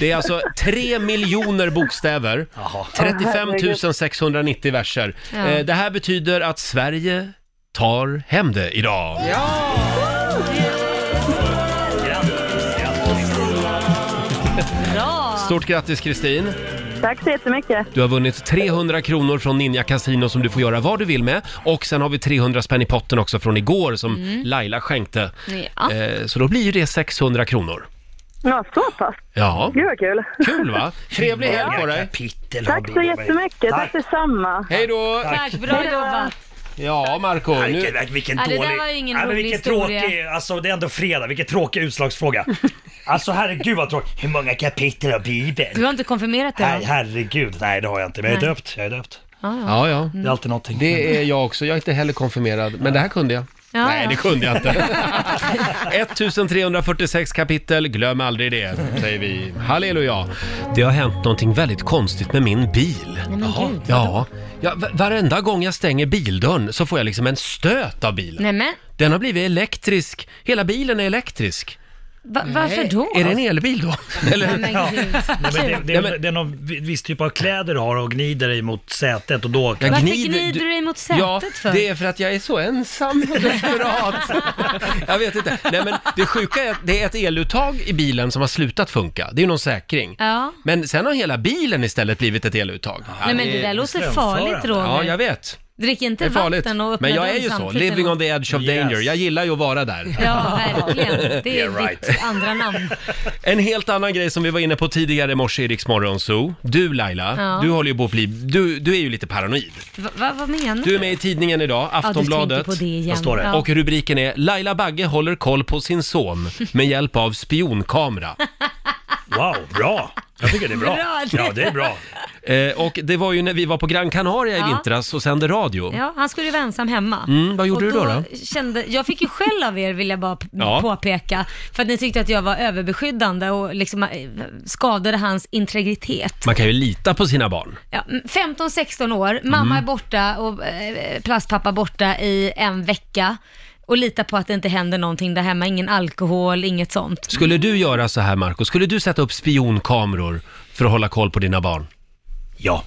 Speaker 1: Det är alltså 3 miljoner bokstäver, 35 690 verser.
Speaker 12: Ja.
Speaker 1: Eh, Det här betyder att Sverige tar hem det idag.
Speaker 5: Bra!
Speaker 1: Stort grattis Kristin!
Speaker 5: Tack så jättemycket.
Speaker 1: Du har vunnit 300 kronor från Ninja Casino som du får göra vad du vill med. Och sen har vi 300 spänn i potten också från igår som
Speaker 2: Mm.
Speaker 1: Laila skänkte.
Speaker 2: Ja.
Speaker 1: Eh, Så då blir ju det 600 kronor.
Speaker 5: Ja, så pass.
Speaker 1: Ja,
Speaker 5: Gud vad kul.
Speaker 1: kul va? Trevlig helg på dig!
Speaker 5: Tack så jättemycket. Tack, detsamma.
Speaker 1: Hej då!
Speaker 2: Tack, bra jobbat.
Speaker 1: Ja, Marco.
Speaker 7: Nu... Vilken, vilken
Speaker 2: Ja, det
Speaker 7: dålig...
Speaker 2: där var ju ingen
Speaker 7: Ja, men
Speaker 2: rolig
Speaker 7: vilken
Speaker 2: historia.
Speaker 7: Tråkig, alltså, det är ändå fredag, vilken tråkig utslagsfråga. alltså herregud vad tråkigt. Hur många kapitel av Bibeln?
Speaker 2: Du har inte konfirmerat det? va?
Speaker 7: Her herregud, nej det har jag inte. Men jag är
Speaker 2: Nej.
Speaker 7: döpt, jag är döpt.
Speaker 2: Ja, ja. Mm.
Speaker 1: Ja, ja.
Speaker 7: Det är alltid någonting.
Speaker 1: Det är jag också. Jag är inte heller konfirmerad, men det här kunde jag.
Speaker 2: Ja,
Speaker 1: Nej,
Speaker 2: ja.
Speaker 1: det kunde jag inte. 1346 kapitel, glöm aldrig det, säger vi. Halleluja! Det har hänt någonting väldigt konstigt med min bil.
Speaker 12: men
Speaker 1: Jaha.
Speaker 12: gud,
Speaker 1: ja, ja, va- varenda gång jag stänger bildörren så får jag liksom en stöt av bilen.
Speaker 2: Nej men,
Speaker 1: Den har blivit elektrisk. Hela bilen är elektrisk.
Speaker 2: va, varför då?
Speaker 1: Är det en elbil då? Eller?
Speaker 2: Nej, men gud.
Speaker 7: Nej, men det, det, det är någon vi- viss typ av kläder du har och gnider dig mot sätet och då...
Speaker 1: Jag
Speaker 2: Varför gnider du dig mot sätet
Speaker 1: Ja,
Speaker 2: för?
Speaker 1: det är för att jag är så ensam och desperat. jag vet inte. Nej, men det sjuka är att det är ett eluttag i bilen som har slutat funka. Det är ju någon säkring.
Speaker 2: Ja.
Speaker 1: Men sen har hela bilen istället blivit ett eluttag.
Speaker 2: Nej, men det där låter farligt, Roger.
Speaker 1: Ja, jag vet.
Speaker 2: Drick
Speaker 1: Det
Speaker 2: inte
Speaker 1: är farligt.
Speaker 2: vatten och öppna
Speaker 1: Men jag är
Speaker 2: dörren
Speaker 1: ju så,
Speaker 2: samtidigt
Speaker 1: living
Speaker 2: eller
Speaker 1: on the edge of danger. Jag gillar ju att vara där.
Speaker 2: Ja, verkligen. Det är
Speaker 1: Yeah, right.
Speaker 2: ditt andra namn.
Speaker 1: En helt annan grej som vi var inne på tidigare i morse i Rix Morgon Zoo. Du Laila,
Speaker 2: Ja.
Speaker 1: du håller ju på att bli, du, du är ju lite paranoid.
Speaker 2: Va, va, vad menar
Speaker 1: Mm. Du är med i tidningen idag,
Speaker 2: du
Speaker 1: Aftonbladet.
Speaker 2: tänker på det igen.
Speaker 1: Vad står det?
Speaker 2: Ja.
Speaker 1: Och rubriken är “Laila Bagge håller koll på sin son med hjälp av spionkamera”.
Speaker 7: Wow, bra! Jag tycker det är bra.
Speaker 2: Bra, det- Ja, det är bra.
Speaker 1: Eh, och det var ju när vi var på Gran Canaria
Speaker 2: Ja.
Speaker 1: i vintras och sände radio.
Speaker 2: Ja, han skulle ju vara ensam hemma.
Speaker 1: Mm, vad gjorde
Speaker 2: och
Speaker 1: du då, då?
Speaker 2: Kände, jag fick ju skäll av er vill jag bara p-
Speaker 1: Ja.
Speaker 2: påpeka, för att ni tyckte att jag var överbeskyddande och liksom eh, skadade hans integritet.
Speaker 1: Man kan ju lita på sina barn.
Speaker 2: Ja, mm, 15-16 år, mamma
Speaker 1: Mm.
Speaker 2: är borta och eh, plastpappa borta i en vecka och lita på att det inte händer någonting där hemma, ingen alkohol, inget sånt.
Speaker 1: Skulle du göra så här Marco? skulle du sätta upp spionkameror för att hålla koll på dina barn?
Speaker 7: Ja.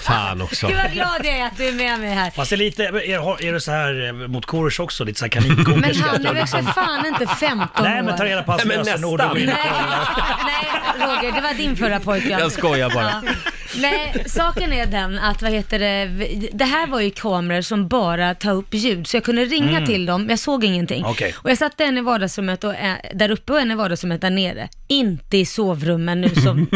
Speaker 1: Fan också.
Speaker 2: Gud vad glad jag är att du är med mig här.
Speaker 7: Fast det är lite, är, har- är du så här eh, mot kors också? Lite så här kaninkokerska?
Speaker 2: Men han är
Speaker 7: Att du
Speaker 2: väl
Speaker 7: liksom-
Speaker 2: för fan inte 15 år?
Speaker 7: Nej, men ta reda på hans lösenord och gå in
Speaker 2: Nej,
Speaker 7: och
Speaker 2: nej, Roger, det var din förra pojkvän.
Speaker 1: Jag skojar bara.
Speaker 2: Ja. Nej, saken är den att, vad heter det, vi- det här var ju kameror som bara tar upp ljud, så jag kunde ringa
Speaker 5: Mm.
Speaker 2: till dem, men jag såg ingenting.
Speaker 5: Okej.
Speaker 2: Och jag satte en i vardagsrummet och, eh, där uppe och en i vardagsrummet där nere. Inte i sovrummen nu som,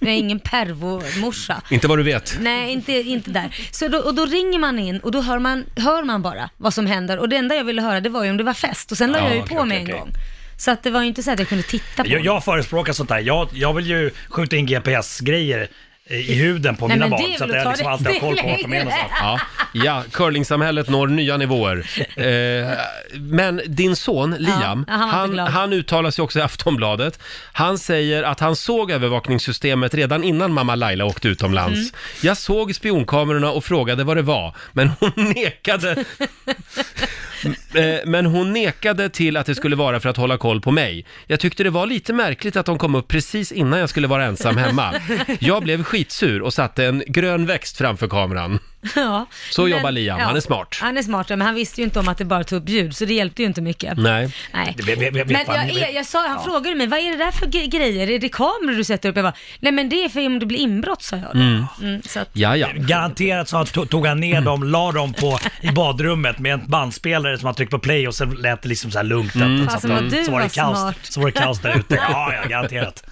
Speaker 2: jag är ingen pervomorsa.
Speaker 1: Inte vad du vet.
Speaker 2: Nej, inte, inte där. Så då, och då ringer man in och då hör man, hör man bara vad som händer. Och det enda jag ville höra det var ju om det var fest. Och sen la
Speaker 7: Ja,
Speaker 2: jag ju
Speaker 7: okej,
Speaker 2: på
Speaker 7: okej,
Speaker 2: mig
Speaker 7: okej.
Speaker 2: en gång. Så att det var ju inte så att jag kunde titta på
Speaker 7: Jag, jag förespråkar sånt där. Jag, jag vill ju skjuta in GPS-grejer eh, i huden på
Speaker 2: Nej,
Speaker 7: mina
Speaker 2: men det
Speaker 7: barn.
Speaker 2: är
Speaker 7: Så att
Speaker 2: väl att
Speaker 7: jag
Speaker 2: ta
Speaker 7: liksom
Speaker 2: det
Speaker 7: alltid har koll på vart de är
Speaker 2: längre.
Speaker 7: någonstans.
Speaker 1: Ja, ja curlingsamhället når nya nivåer. Eh, men din son Liam,
Speaker 2: Ja, han var inte
Speaker 1: han,
Speaker 2: glad.
Speaker 1: han uttalar sig också i Aftonbladet. Han säger att han såg övervakningssystemet redan innan mamma Laila åkte utomlands.
Speaker 5: Mm.
Speaker 1: Jag såg spionkamerorna och frågade vad det var, men hon nekade. Eh, Men hon nekade till att det skulle vara för att hålla koll på mig. Jag tyckte det var lite märkligt att de kom upp precis innan jag skulle vara ensam hemma. Jag blev skitsur och satte en grön växt framför kameran.
Speaker 2: Ja.
Speaker 1: Så jobbar Liam, han är smart.
Speaker 2: Han är smart, ja, men han visste ju inte om att det bara tog upp ljud, så det hjälpte ju inte mycket.
Speaker 1: Nej.
Speaker 2: Nej.
Speaker 1: Det- vi- vi- vi-
Speaker 2: Men
Speaker 1: fan,
Speaker 2: jag,
Speaker 1: vi-
Speaker 2: jag, jag sa, han
Speaker 1: Ja.
Speaker 2: frågade mig, vad är det där för ge- grejer? Är det kameror du sätter upp? Jag bara, nej men det är för om det blir inbrott, sa jag. då.
Speaker 7: Mm.
Speaker 2: Mm, så att,
Speaker 1: Ja, ja.
Speaker 7: Garanterat så han to- tog han ner dem, la dem på, i badrummet med en bandspelare som han tryckte på play och sen lät det liksom så här lugnt.
Speaker 1: Mm.
Speaker 7: Så,
Speaker 1: Fasen, vad du
Speaker 7: så var det
Speaker 1: var smart.
Speaker 7: kaos, så var det kaos där ute. Ja, ja, garanterat.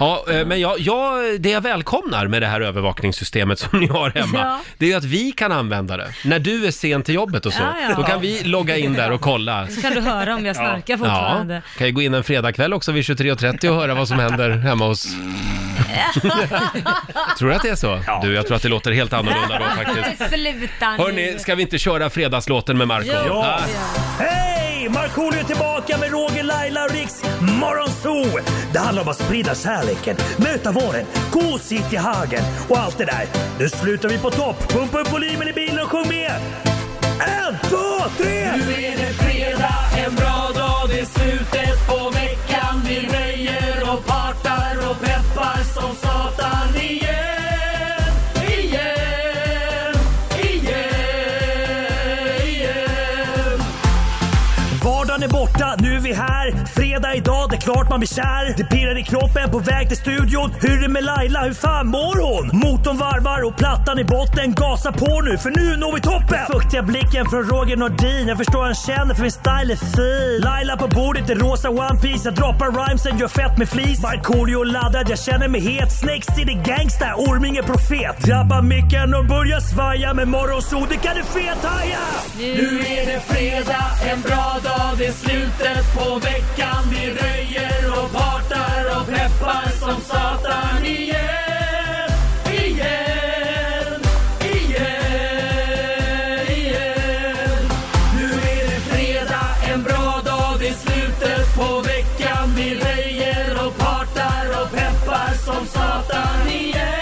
Speaker 1: Ja, eh, men jag, jag, det jag välkomnar med det här övervakningssystemet som ni har hemma,
Speaker 5: Ja.
Speaker 1: det är ju att vi kan använda det. När du är sen till jobbet och så,
Speaker 2: Ja, ja.
Speaker 1: då kan vi logga in där och kolla.
Speaker 2: så kan du höra om jag snarkar fortfarande.
Speaker 1: Ja, kan ju gå in en fredagkväll också vid 23.30 och höra vad som händer hemma hos... tror du att det är så? Du, jag tror att det låter helt annorlunda då faktiskt.
Speaker 2: Sluta nu.
Speaker 1: Hörni, ska vi inte köra fredagslåten med Marco?
Speaker 16: Jo.
Speaker 1: Ah.
Speaker 16: Hej! Markoolio är tillbaka med Roger, Laila och Riks Morgonzoo! Det handlar om att sprida kärleken, möta våren, gosigt i hagen och allt det där. Nu slutar vi på topp! Pumpa upp volymen i bilen och sjung med! En, två, tre!
Speaker 5: Nu är det fredag, en bra dag, det är slutet på veckan Vi röjer och partar och peppar som satan igen Igen, igen, igen
Speaker 16: Vardagen är borta, nu är vi här. Fredag idag, det är klart man blir kär. Det pirrar i kroppen på väg till studion. Hur är det med Laila, hur fan mår hon? Motorn varvar och plattan i botten. Gasa på nu, för nu når vi toppen! Den fuktiga blicken från Roger Nordin. Jag förstår han känner för min style är fin. Laila på bordet i rosa One Piece Jag droppar rhymesen, gör fett med flis. Markoolio laddad, jag känner mig het. Snake City gangsta, Orminge profet. Drabbar micken och börjar svaja. Med morgonsol, det kan du fethaja!
Speaker 5: Nu är det fredag, en bra dag, det är slutet på veckan Vi röjer och partar och peppar som satan igen Igen, igen, igen Nu är det fredag, en bra dag, det är slutet på veckan Vi röjer och partar och peppar som satan igen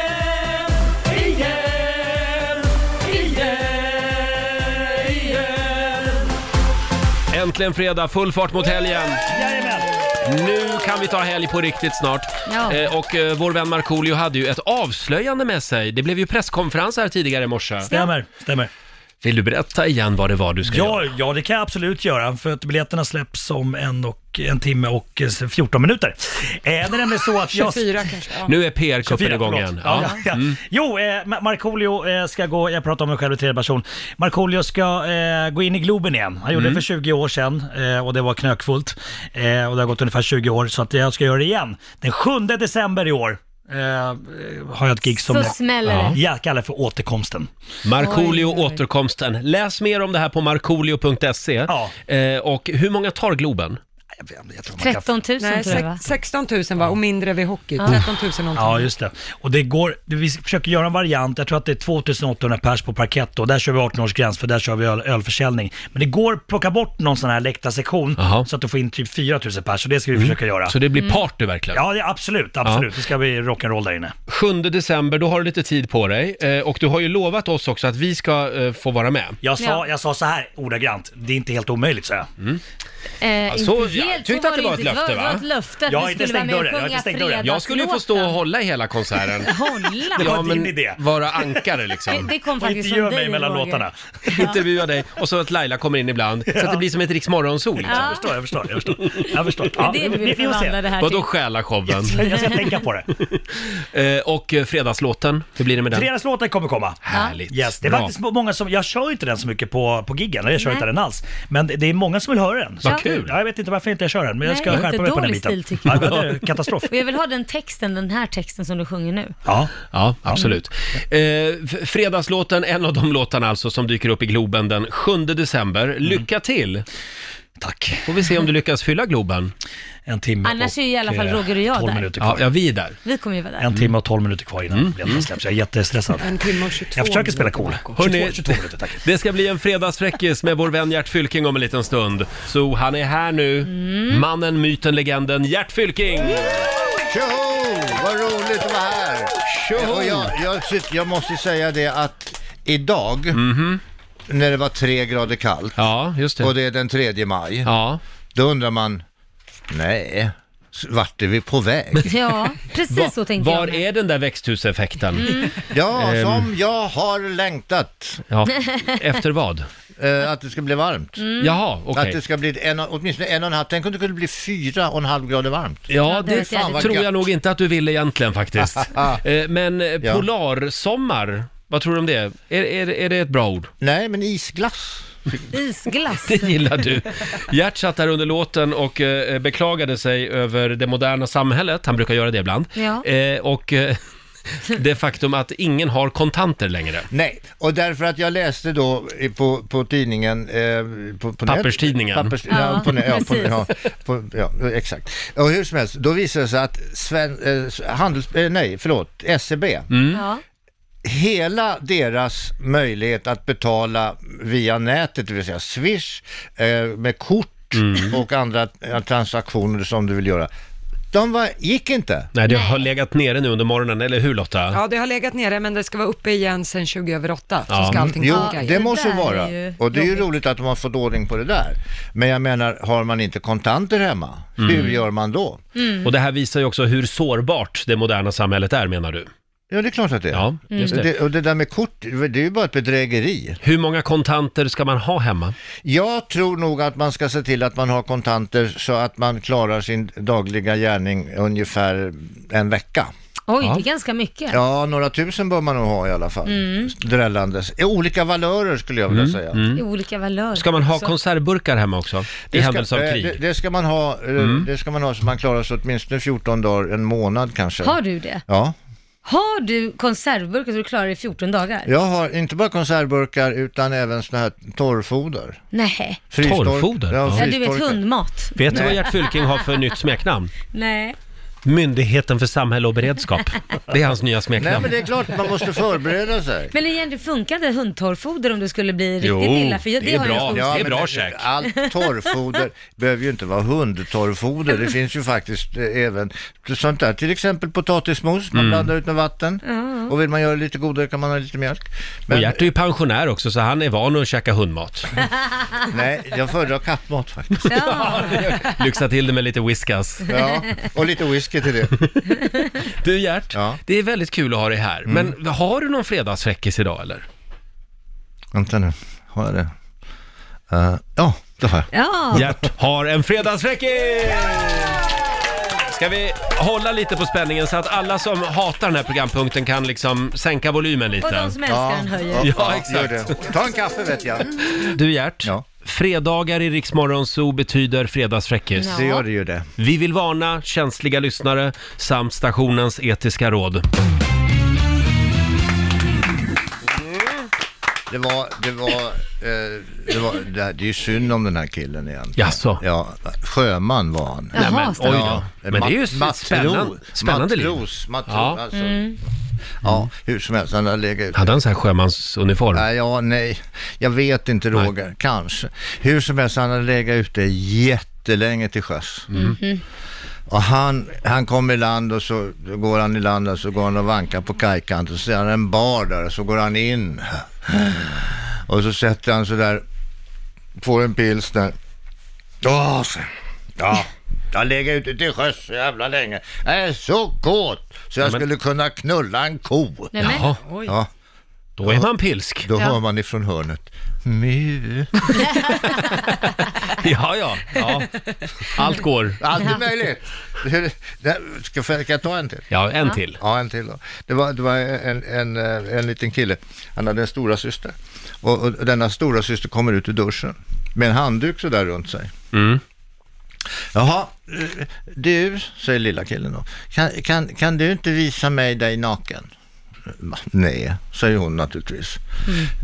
Speaker 5: Igen, igen, igen
Speaker 1: Äntligen fredag, full fart mot helgen! Nu kan vi ta helg på riktigt snart.
Speaker 5: Ja.
Speaker 1: Eh, och eh, vår vän Markoolio hade ju ett avslöjande med sig. Det blev ju presskonferens här tidigare i morse.
Speaker 7: Stämmer, stämmer.
Speaker 1: Vill du berätta igen vad det var du ska göra?
Speaker 7: Ja, ja, det kan jag absolut göra, för att biljetterna släpps om en, och, en timme och eh, 14 minuter. Eh, det är nämligen så att jag...
Speaker 3: 24 kanske, ja.
Speaker 1: Nu är PR-kuppen
Speaker 7: 24,
Speaker 1: igång
Speaker 7: förlåt.
Speaker 1: igen.
Speaker 7: Ja. Ja, ja. Jo, eh, Ma- Markoolio eh, ska gå, jag pratar om mig själv i tredje person. Markoolio ska eh, gå in i Globen igen. Han gjorde
Speaker 17: Mm.
Speaker 7: det för 20 år sedan eh, och det var knökfullt. Eh, och det har gått ungefär 20 år, så att jag ska göra det igen. Den 7 december i år. Eh, har jag ett gig som
Speaker 2: Så
Speaker 7: jag,
Speaker 2: smäller det.
Speaker 7: ja. jag kallar för återkomsten.
Speaker 1: Markoolio återkomsten. Läs mer om det här på markoolio.se. Eh, och hur många tar Globen?
Speaker 2: 13 000
Speaker 3: Nej,
Speaker 2: tror jag va?
Speaker 3: sex- 16 000 var och mindre vid hockey. 13 000 någonting.
Speaker 7: Ja, just det. Och det går, vi försöker göra en variant, jag tror att det är 2800 pers på parkett och där kör vi 18-årsgräns för där kör vi öl, ölförsäljning. Men det går att plocka bort någon sån här läktarsektion så att du får in typ 4000 pers så det ska vi
Speaker 1: Mm.
Speaker 7: försöka göra.
Speaker 1: Så det blir Mm. party verkligen?
Speaker 7: Ja, det, absolut, absolut. Det ska bli rock'n'roll där inne.
Speaker 1: 7 december, då har du lite tid på dig. Eh, och du har ju lovat oss också att vi ska eh, få vara med. Mm.
Speaker 7: Jag sa, jag sa så här ordagrant, det är inte helt omöjligt sa jag.
Speaker 18: Eh,
Speaker 1: Ja, så,
Speaker 18: inte
Speaker 1: jag
Speaker 18: helt,
Speaker 1: tyckte
Speaker 18: så
Speaker 1: att det var ett
Speaker 18: inte.
Speaker 1: löfte va?
Speaker 18: Det var ett löfte att
Speaker 1: Jag har
Speaker 18: vi
Speaker 1: inte
Speaker 18: skulle vara
Speaker 1: stängt
Speaker 18: med och
Speaker 1: dörren, jag har inte
Speaker 18: sjunga
Speaker 1: stängt dörren. Jag skulle ju få
Speaker 18: fredagslåtar.
Speaker 1: stå och hålla i hela konserten.
Speaker 18: Hålla?
Speaker 1: Ja, men Vara ankare liksom.
Speaker 18: Det- det kom Och faktiskt intervjua från mig dig, mellan Roger. låtarna.
Speaker 1: Intervjua dig och så att Laila kommer in ibland. Så att det blir som ett Rix Morgonzoo. liksom.
Speaker 18: Ja.
Speaker 19: Jag förstår, jag förstår. Jag förstår. Jag förstår.
Speaker 18: Det är det vi vill
Speaker 19: får se.
Speaker 18: förvandla det här
Speaker 1: Vadå
Speaker 18: till.
Speaker 1: själashowen?
Speaker 19: Jag ska- jag ska tänka på
Speaker 1: det. och eh, fredagslåten, hur blir det med den?
Speaker 19: Fredagslåten kommer komma.
Speaker 1: Härligt.
Speaker 19: Yes, det är
Speaker 1: Bra.
Speaker 19: faktiskt många som, jag kör ju inte den så mycket på, på giggen, eller jag kör
Speaker 1: Nej.
Speaker 19: inte den alls. Men det det är många som vill höra den.
Speaker 1: Vad kul.
Speaker 19: Ja, jag vet inte varför inte jag kör den, men jag ska
Speaker 18: Nej,
Speaker 19: skärpa mig på den biten.
Speaker 18: jättedålig stil tycker jag.
Speaker 19: Ja, det är katastrof.
Speaker 18: Och jag vill ha den texten, den här texten som du sjunger nu.
Speaker 19: Ja.
Speaker 1: ja, absolut. Eh, f- fredagslåten, en av de låtarna alltså som dyker upp i Globen den 7 december.
Speaker 19: Mm.
Speaker 1: Lycka till! Tack. Får vi se om du lyckas fylla Globen.
Speaker 19: En timme eh,
Speaker 18: Annars är ju i alla
Speaker 1: eh,
Speaker 18: fall Roger och jag där.
Speaker 1: Ja, ja, vi är där.
Speaker 18: Vi kommer ju vara där.
Speaker 19: En timme och 12 minuter kvar innan biljetterna släpps. Jag är jättestressad. En timme och 22 Jag försöker spela cool. 22, 22 minuter, tack.
Speaker 1: det ska bli en fredagsfräckis med vår vän Gert Fylking om en liten stund. Så han är här nu,
Speaker 20: Mm.
Speaker 1: mannen, myten, legenden Gert Fylking!
Speaker 20: Tjoho! Vad roligt att vara här!
Speaker 1: Tjoho!
Speaker 20: Och jag, jag, sitter- jag måste säga det att idag, när det var tre grader kallt, och det är den 3 maj, då undrar man, nej, s- vart är vi på väg?
Speaker 18: Ja,
Speaker 20: Va-
Speaker 18: precis så tänkte jag.
Speaker 20: var
Speaker 18: med.
Speaker 1: Är den där växthuseffekten?
Speaker 20: Ja,
Speaker 1: Ehm.
Speaker 20: som jag har längtat.
Speaker 1: Ja, efter vad?
Speaker 20: Eh, att det ska bli varmt.
Speaker 1: Mm. Jaha, okej.
Speaker 20: Att det ska bli en, åtminstone en och en halv, tänk om det kunde bli fyra och en halv grader varmt.
Speaker 1: Ja,
Speaker 20: det
Speaker 1: det
Speaker 20: vet jag.
Speaker 1: tror jag nog inte att du ville egentligen faktiskt. Eh, Men eh,
Speaker 20: Ja.
Speaker 1: polarsommar, vad tror du om det? Är, är, är det ett bra ord?
Speaker 20: Nej, men isglass.
Speaker 18: Isglass.
Speaker 1: Det gillar du. Gert satt där under låten och eh, beklagade sig över det moderna samhället. Han brukar göra det ibland.
Speaker 20: Ja.
Speaker 1: Eh, och eh, det faktum att ingen har kontanter längre.
Speaker 20: Nej, och därför att jag läste då i- på, på tidningen... Eh, på, på
Speaker 1: Papperstidningen.
Speaker 20: Nät, pappers, ja,
Speaker 1: Ja,
Speaker 20: på, nä- ja, på,
Speaker 1: precis.
Speaker 20: ja, på, ja, exakt. Och hur som helst, då visade det sig att Sven, eh, handels, eh, nej, förlåt, SEB,
Speaker 1: Mm.
Speaker 18: Ja.
Speaker 20: hela deras möjlighet att betala via nätet, det vill säga Swish, eh, med kort
Speaker 1: Mm.
Speaker 20: och andra eh, transaktioner som du vill göra, de var, gick inte.
Speaker 1: Nej, det har legat nere nu under morgonen, eller hur Lotta?
Speaker 3: Ja, det har legat nere men det ska vara uppe igen sen 20 över 8. Så
Speaker 20: Ja. Mm.
Speaker 3: ska allting
Speaker 20: jo,
Speaker 3: funka
Speaker 20: det
Speaker 3: igen.
Speaker 20: måste vara. och det är ju roligt att de har fått ordning på det där. Men jag menar, har man inte kontanter hemma, hur gör man då?
Speaker 1: Mm.
Speaker 3: Mm.
Speaker 1: Och det här visar ju också hur sårbart det moderna samhället är, menar du?
Speaker 20: Ja, det är klart att det är.
Speaker 1: Ja, just det.
Speaker 20: och det där med kort, det är ju bara ett bedrägeri.
Speaker 1: Hur många kontanter ska man ha hemma?
Speaker 20: Jag tror nog att man ska se till att man har kontanter så att man klarar sin dagliga gärning ungefär en vecka.
Speaker 18: Oj,
Speaker 20: Ja.
Speaker 18: det är ganska mycket.
Speaker 20: Ja, några tusen bör man nog ha i alla fall.
Speaker 18: Mm.
Speaker 20: Drällandes. I olika valörer skulle jag vilja
Speaker 1: Mm,
Speaker 20: säga.
Speaker 1: mm.
Speaker 18: I olika valörer.
Speaker 1: Ska man ha
Speaker 18: också.
Speaker 1: konservburkar hemma också? I händelse av
Speaker 20: eh,
Speaker 1: krig?
Speaker 20: Alltså- Det, det, ska man ha, eh,
Speaker 1: Mm.
Speaker 20: det ska man ha så man klarar sig åtminstone 14 dagar, en månad kanske.
Speaker 18: Har du det?
Speaker 20: Ja.
Speaker 18: Har du konservburkar så du klarar det i 14 dagar?
Speaker 20: Jag har inte bara konservburkar utan även såna här torrfoder.
Speaker 18: Nej.
Speaker 20: Frystork- Ja,
Speaker 18: Mm. Ja, du vet
Speaker 20: frystorkar.
Speaker 18: hundmat.
Speaker 1: Vet du vad Gert Fylking har för nytt smeknamn?
Speaker 18: Nej.
Speaker 1: Myndigheten för samhälle och beredskap. Det är hans nya smeknamn.
Speaker 20: Nej men det är klart, man måste förbereda sig.
Speaker 18: Men igen, det funkar inte hundtorrfoder om du skulle bli riktigt
Speaker 20: Jo,
Speaker 1: Oh,
Speaker 18: illa. För jag-
Speaker 20: det är
Speaker 18: har
Speaker 20: bra.
Speaker 18: Jag
Speaker 20: Ja,
Speaker 18: ja,
Speaker 20: men- bra käk. Allt torrfoder behöver ju inte vara hundtorrfoder. Det finns ju faktiskt eh, även sånt där, till exempel potatismos, man
Speaker 1: Mm.
Speaker 20: blandar ut med vatten.
Speaker 18: Ja.
Speaker 20: Och vill man göra det lite godare kan man ha lite mjölk.
Speaker 1: Och Gert är ju pensionär också så han är van att käka hundmat.
Speaker 20: Nej, jag föredrar kattmat faktiskt.
Speaker 1: Lyxa till det med lite whiskas.
Speaker 20: Ja, och lite whisky till det.
Speaker 1: Du Gert, det är väldigt kul att ha dig här.
Speaker 20: Mm.
Speaker 1: Men har du någon fredagsfräckis idag eller?
Speaker 20: Vänta nu, har jag det? Eh, ja, det har jag.
Speaker 18: Ja.
Speaker 1: Gert har en fredagsfräckis! Ska vi hålla lite på spänningen så att alla som hatar den här programpunkten kan liksom sänka volymen lite?
Speaker 20: Och de som älskar Ja. den höjer.
Speaker 1: Ja,
Speaker 20: Ja, gör
Speaker 1: exakt.
Speaker 20: det. Ta en kaffe vet jag.
Speaker 1: Du Gert, fredagar i Riksmorgon Zoo betyder fredagsfräckis.
Speaker 20: Ja. Det gör det ju det.
Speaker 1: Vi vill varna känsliga lyssnare samt stationens etiska råd.
Speaker 20: Det var, det var, eh, det, var det, här- det är ju synd om den här killen igen.
Speaker 1: Jaså?
Speaker 20: Ja, sjöman var han.
Speaker 1: Nej, men, Jaha, oj då. Men det är ju
Speaker 20: mat- matros,
Speaker 1: spännande- spännande liv.
Speaker 20: Matros, matros,
Speaker 1: Ja.
Speaker 20: alltså.
Speaker 18: Mm.
Speaker 20: Ja, hur som helst, han har legat ute.
Speaker 1: Hade han så här sjömansuniform?
Speaker 20: Nej, ja, nej, jag vet inte Roger, kanske. Hur som helst, han har legat ute jättelänge till sjöss.
Speaker 1: Mm.
Speaker 18: mm.
Speaker 20: Och han, han kom i land och så går han i land och så går han och vankar på kajkanten. Så ser han en bar där och så går han in. Och så sätter han sig där, får en pils där. Ja, så. ja. Jag lägger ute till sjöss så jävla länge. Jag är så kåt så jag skulle kunna knulla en ko.
Speaker 5: Nej, men- Jaha. Oj.
Speaker 20: Ja.
Speaker 1: Då är man pilsk.
Speaker 20: Då
Speaker 1: Ja.
Speaker 20: hör man ifrån hörnet. Mu.
Speaker 1: ja, ja, ja. Allt går.
Speaker 20: Allt är möjligt. Hur- det- Ska ska jag ta en till?
Speaker 1: Ja, en Ja. till.
Speaker 20: Ja, en till då. Det var, det var en, en, eh, en liten kille, han hade en stora syster. Och, och denna stora syster kommer ut ur duschen med en handduk sådär runt sig.
Speaker 1: Mm.
Speaker 20: Jaha, eh, du, säger lilla killen då, kan, kan, kan du inte visa mig dig naken? Mm, Va? Nej, säger hon naturligtvis.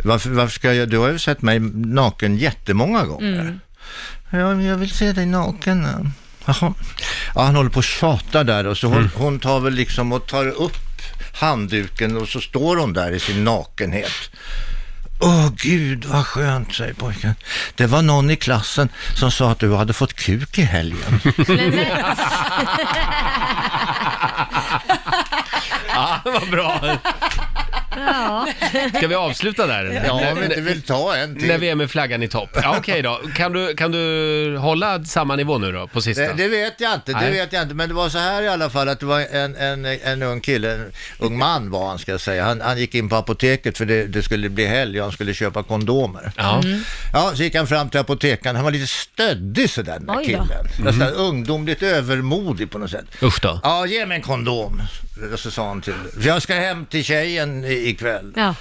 Speaker 20: Varför, varför ska jag, du har ju sett mig naken jättemånga gånger. Ja, men jag vill se dig naken. ja. Jaha. Ja, han håller på att tjata där och så hon, hon tar väl liksom och tar upp handduken och så står hon där i sin nakenhet. Åh gud vad skönt, säger pojken. Det var någon i klassen som sa att du hade fått kuk i helgen.
Speaker 1: Ja, Ah, vad bra.
Speaker 5: Ja.
Speaker 1: Ska vi avsluta där?
Speaker 20: Ja, om vi inte vill ta en till.
Speaker 1: När vi är med flaggan i topp. Ja, Okej då. Kan du, kan du hålla samma nivå nu då, på sista?
Speaker 20: Det, det vet jag inte, det
Speaker 1: Nej.
Speaker 20: vet jag inte. Men det var så här i alla fall att det var en, en, en ung kille, en ung man var han ska jag säga. Han, han gick in på apoteket för det, det skulle bli helg och han skulle köpa kondomer.
Speaker 5: Ja. Mm.
Speaker 20: ja, så gick han fram till apotekaren. Han var lite stöddig sådär den där
Speaker 5: Oj då.
Speaker 20: killen.
Speaker 5: Mhm.
Speaker 20: Nästan ungdomligt övermodig på något sätt.
Speaker 1: Usch då.
Speaker 20: Ja, ge mig en kondom. Och Så sa han till, för jag ska hem till tjejen i- ikväll.
Speaker 18: Ja.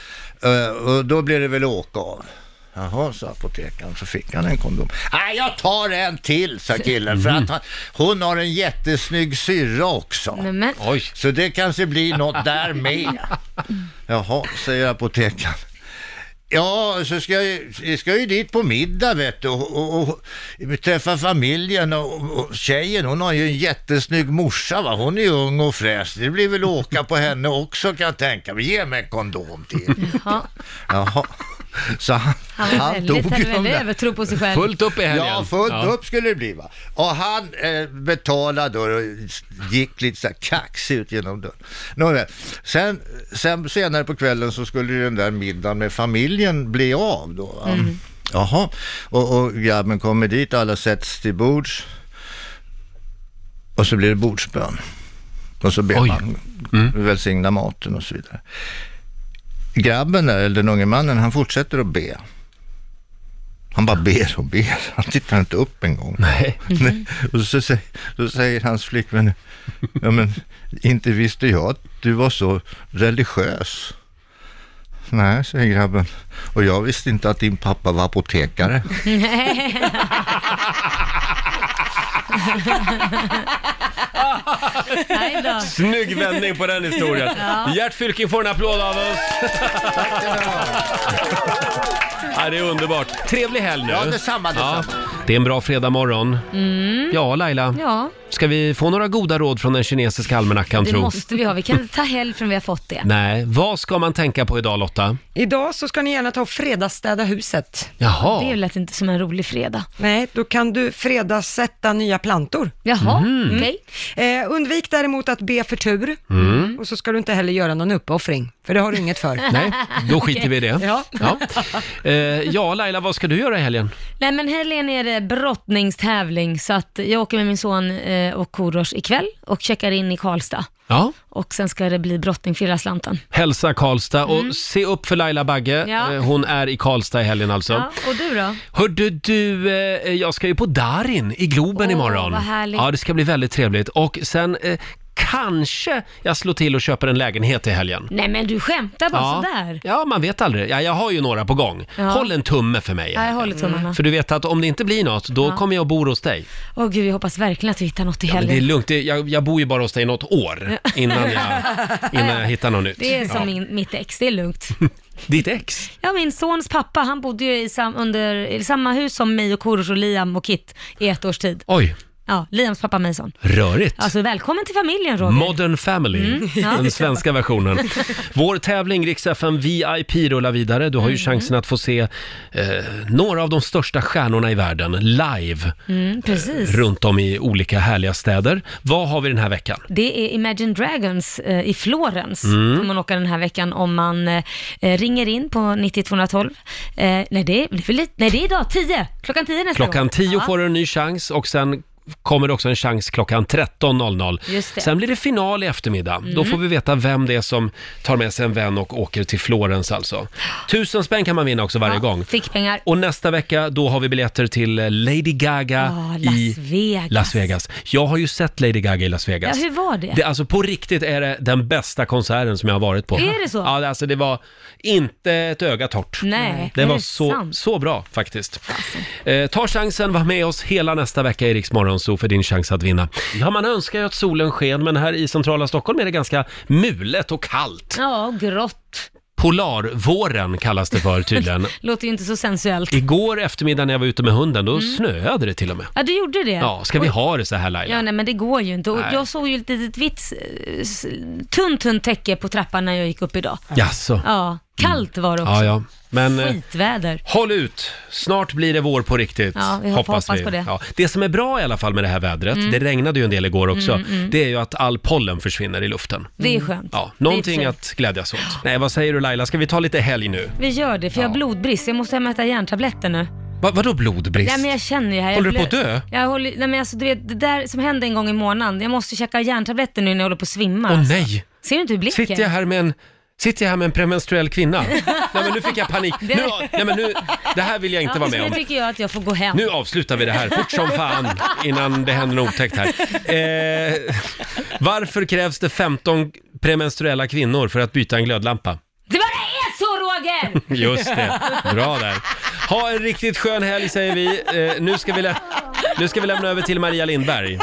Speaker 20: Eh, och då blir det väl åka av. Jaha, sa apotekaren, så fick han en kondom. Nej, jag tar en till, sa killen, för att han, hon har en jättesnygg syrra också.
Speaker 18: Nämen.
Speaker 20: Så det kanske blir något där med. Jaha, säger apotekaren. Ja, så ska jag, ju- jag ska ju dit på middag vet du och, och, och träffa familjen och, och, och tjejen hon har ju en jättesnygg morsa va, hon är ju ung och fräsch. Det blir väl åka på henne också kan jag tänka mig. Ge mig en kondom till.
Speaker 18: Jaha.
Speaker 20: Jaha. Så han,
Speaker 18: Han var väldigt, hade
Speaker 20: de
Speaker 18: väldigt
Speaker 20: där.
Speaker 18: övertro på sig själv.
Speaker 20: Ja, fullt upp skulle det bli va. Och han eh, betalade och gick lite så här kaxig ut genom dörren. Nåväl. Sen, sen senare på kvällen så skulle ju den där middagen med familjen bli av då. Va?
Speaker 5: Mm.
Speaker 20: Jaha, och, och grabben kommer dit, alla sätts till bords. Och så blir det bordsbön. Och så ber man Mm. välsigna maten och så vidare. Grabben där, eller den unge mannen, han fortsätter att be. Han bara ber och ber. Han tittar inte upp en gång. Nej. Och så säger, så säger hans flickvän, ja men inte visste jag att du var så religiös. Nej, säger grabben. Och jag visste inte att din pappa var apotekare.
Speaker 5: Nej.
Speaker 18: Nej då.
Speaker 1: Snygg vändning på den historien.
Speaker 5: Ja.
Speaker 1: Gert Fylking får en applåd av oss. Ja, det är underbart. Trevlig helg nu.
Speaker 5: Ja, detsamma, detsamma.
Speaker 1: det är en bra fredagmorgon.
Speaker 18: Mm.
Speaker 1: Ja, Laila.
Speaker 18: Ja,
Speaker 1: Ska vi få några goda råd från den kinesiska almanackan,
Speaker 18: det
Speaker 1: tro?
Speaker 18: måste vi ha. Vi kan inte ta helg förrän vi har fått det.
Speaker 1: Nej, vad ska man tänka på idag, Lotta?
Speaker 3: Idag så ska ni gärna ta och fredagsstäda huset.
Speaker 1: Jaha. Det
Speaker 18: lät inte som en rolig fredag.
Speaker 3: Nej, då kan du fredagssätta nya plantor.
Speaker 18: Jaha, Mhm. okej.
Speaker 3: Eh, undvik däremot att be för tur.
Speaker 1: Mm.
Speaker 3: Och så ska du inte heller göra någon uppoffring, för det har du inget för.
Speaker 1: Nej, då skiter vi i det.
Speaker 3: Ja.
Speaker 1: Ja. Eh, ja, Laila, vad ska du göra i helgen?
Speaker 18: Nej men helgen är det brottningstävling så att jag åker med min son eh, och Korosh ikväll och checkar in i Karlstad.
Speaker 1: Ja.
Speaker 18: Och sen ska det bli brottning för hela slanten.
Speaker 1: Hälsa Karlstad och se upp för Laila Bagge.
Speaker 18: Mm. Ja.
Speaker 1: Eh, Hon är i Karlstad i helgen alltså.
Speaker 18: Ja, och du då?
Speaker 1: Hörde du, eh, jag ska ju på Darin i Globen
Speaker 18: Åh,
Speaker 1: imorgon.
Speaker 18: vad härligt.
Speaker 1: Ja, det ska bli väldigt trevligt. Och sen eh, kanske jag slår till och köper en lägenhet i helgen.
Speaker 18: Nej men du skämtar bara
Speaker 1: Ja.
Speaker 18: sådär.
Speaker 1: Ja, man vet aldrig. Ja, jag har ju några på gång.
Speaker 18: Ja.
Speaker 1: Håll en tumme för mig. Mm.
Speaker 18: Ja, jag håller tummarna.
Speaker 1: För du vet att om det inte blir något, då
Speaker 18: Ja.
Speaker 1: kommer jag och bor hos dig.
Speaker 18: Åh gud, jag hoppas verkligen att vi hittar något i
Speaker 1: Ja, men det är
Speaker 18: helgen.
Speaker 1: lugnt, Det- jag, jag bor ju bara hos dig något år innan jag, innan jag hittar något nytt.
Speaker 18: Det är som
Speaker 1: Ja.
Speaker 18: min, mitt ex, det är lugnt.
Speaker 1: Ditt ex?
Speaker 18: Ja, min sons pappa, han bodde ju i, sam, under, i samma hus som mig och Korosh och Liam och Kit i ett års tid.
Speaker 1: Oj.
Speaker 2: Ja, Liams pappa Mason.
Speaker 1: Rörigt.
Speaker 2: Alltså välkommen till familjen Roger.
Speaker 1: Modern Family,
Speaker 2: Mm, ja.
Speaker 1: den svenska versionen. Vår tävling Rix FM VIP rullar vidare. Du har ju
Speaker 18: Mm.
Speaker 1: chansen att få se eh, några av de största stjärnorna i världen live eh,
Speaker 2: Mm, precis.
Speaker 1: runt om i olika härliga städer. Vad har vi den här veckan?
Speaker 2: Det är Imagine Dragons eh, i Florens
Speaker 1: Mm.
Speaker 2: som man åker den här veckan om man eh, ringer in på 9212. Eh, nej, det är, det är väl lite, nej, det är idag 10. Klockan 10 nästa
Speaker 1: Klockan
Speaker 2: gång.
Speaker 1: 10
Speaker 2: Ja.
Speaker 1: får du en ny chans och sen kommer det också en chans klockan 13.00.
Speaker 2: Just det.
Speaker 1: Sen blir det final i eftermiddag. Då
Speaker 2: Mm.
Speaker 1: får vi veta vem det är som tar med sig en vän och åker till Florens alltså. Tusen spänn kan man vinna också varje gång.
Speaker 2: Fick pengar.
Speaker 1: Och nästa vecka då har vi biljetter till eh, Lady Gaga
Speaker 2: Ah, Las
Speaker 1: i
Speaker 2: Vegas.
Speaker 1: Las Vegas. Jag har ju sett Lady Gaga i Las
Speaker 2: Ja,
Speaker 1: Vegas.
Speaker 2: hur var det?
Speaker 1: Det, alltså på riktigt är det den bästa konserten som jag har varit på.
Speaker 2: Är det så?
Speaker 1: Ja, alltså det var inte ett öga torrt.
Speaker 2: Nej,
Speaker 1: det
Speaker 2: är
Speaker 1: var
Speaker 2: det
Speaker 1: så,
Speaker 2: sant? Alltså.
Speaker 1: så bra faktiskt. Eh, ta chansen, var med oss hela nästa vecka i Rix Morgon Zoo för din chans att vinna. Ja, man önskar ju att solen sken, men här i centrala Stockholm är det ganska mulet och kallt.
Speaker 2: Ja, grått.
Speaker 1: Polarvåren kallas det för tydligen.
Speaker 2: Låter ju inte så sensuellt.
Speaker 1: Igår eftermiddag när jag var ute med hunden, då
Speaker 2: Mm.
Speaker 1: snöade det till och med.
Speaker 2: Ja, du gjorde det.
Speaker 1: Ja, ska vi ha det så här Laila?
Speaker 2: Ja, nej men det går ju inte. Och
Speaker 1: Nej.
Speaker 2: jag såg ju ett litet vitt, eh, s- tunt, tunt täcke på trappan när jag gick upp idag.
Speaker 1: Jaså?
Speaker 2: Ja, kallt var det också.
Speaker 1: Ja, ja. Men eh,
Speaker 2: Skitväder.
Speaker 1: håll ut! Snart blir det vår på riktigt.
Speaker 2: Ja, vi hoppas på det.
Speaker 1: Ja. Det som är bra i alla fall med det här vädret,
Speaker 2: Mm.
Speaker 1: det regnade ju en del igår också,
Speaker 2: Mm, mm.
Speaker 1: det är ju att all pollen försvinner i luften.
Speaker 2: Det är skönt.
Speaker 1: Ja,
Speaker 2: Det
Speaker 1: någonting
Speaker 2: är
Speaker 1: att glädjas åt. Nej, vad säger du Laila? Ska vi ta lite helg nu?
Speaker 2: Vi gör det, för jag har blodbrist. Jag måste hem och äta järntabletter nu.
Speaker 1: Va, vadå blodbrist?
Speaker 2: Nej men jag känner ju här. jag
Speaker 1: Håller du på
Speaker 2: blö-
Speaker 1: att dö?
Speaker 2: Jag håller, nej men alltså du vet, det där som hände en gång i månaden. Jag måste käka järntabletter nu när jag håller på att svimma.
Speaker 1: Åh
Speaker 2: alltså.
Speaker 1: nej!
Speaker 2: Ser du inte hur blicken?
Speaker 1: Sitter jag här med en Sitter jag här med en premenstruell kvinna? Nej men nu fick jag panik. Nu, nej, men nu, det här vill jag inte
Speaker 2: ja,
Speaker 1: vara
Speaker 2: så
Speaker 1: med
Speaker 2: nu
Speaker 1: om.
Speaker 2: tycker jag att jag får gå hem.
Speaker 1: Nu avslutar vi det här fort som fan innan det händer något otäckt här. Eh, varför krävs det 15 premenstruella kvinnor för att byta en glödlampa?
Speaker 2: Det bara är så Roger!
Speaker 1: Just det, bra där. Ha en riktigt skön helg säger vi. Eh, nu, ska vi lä- nu ska vi lämna över till Maria Lindberg.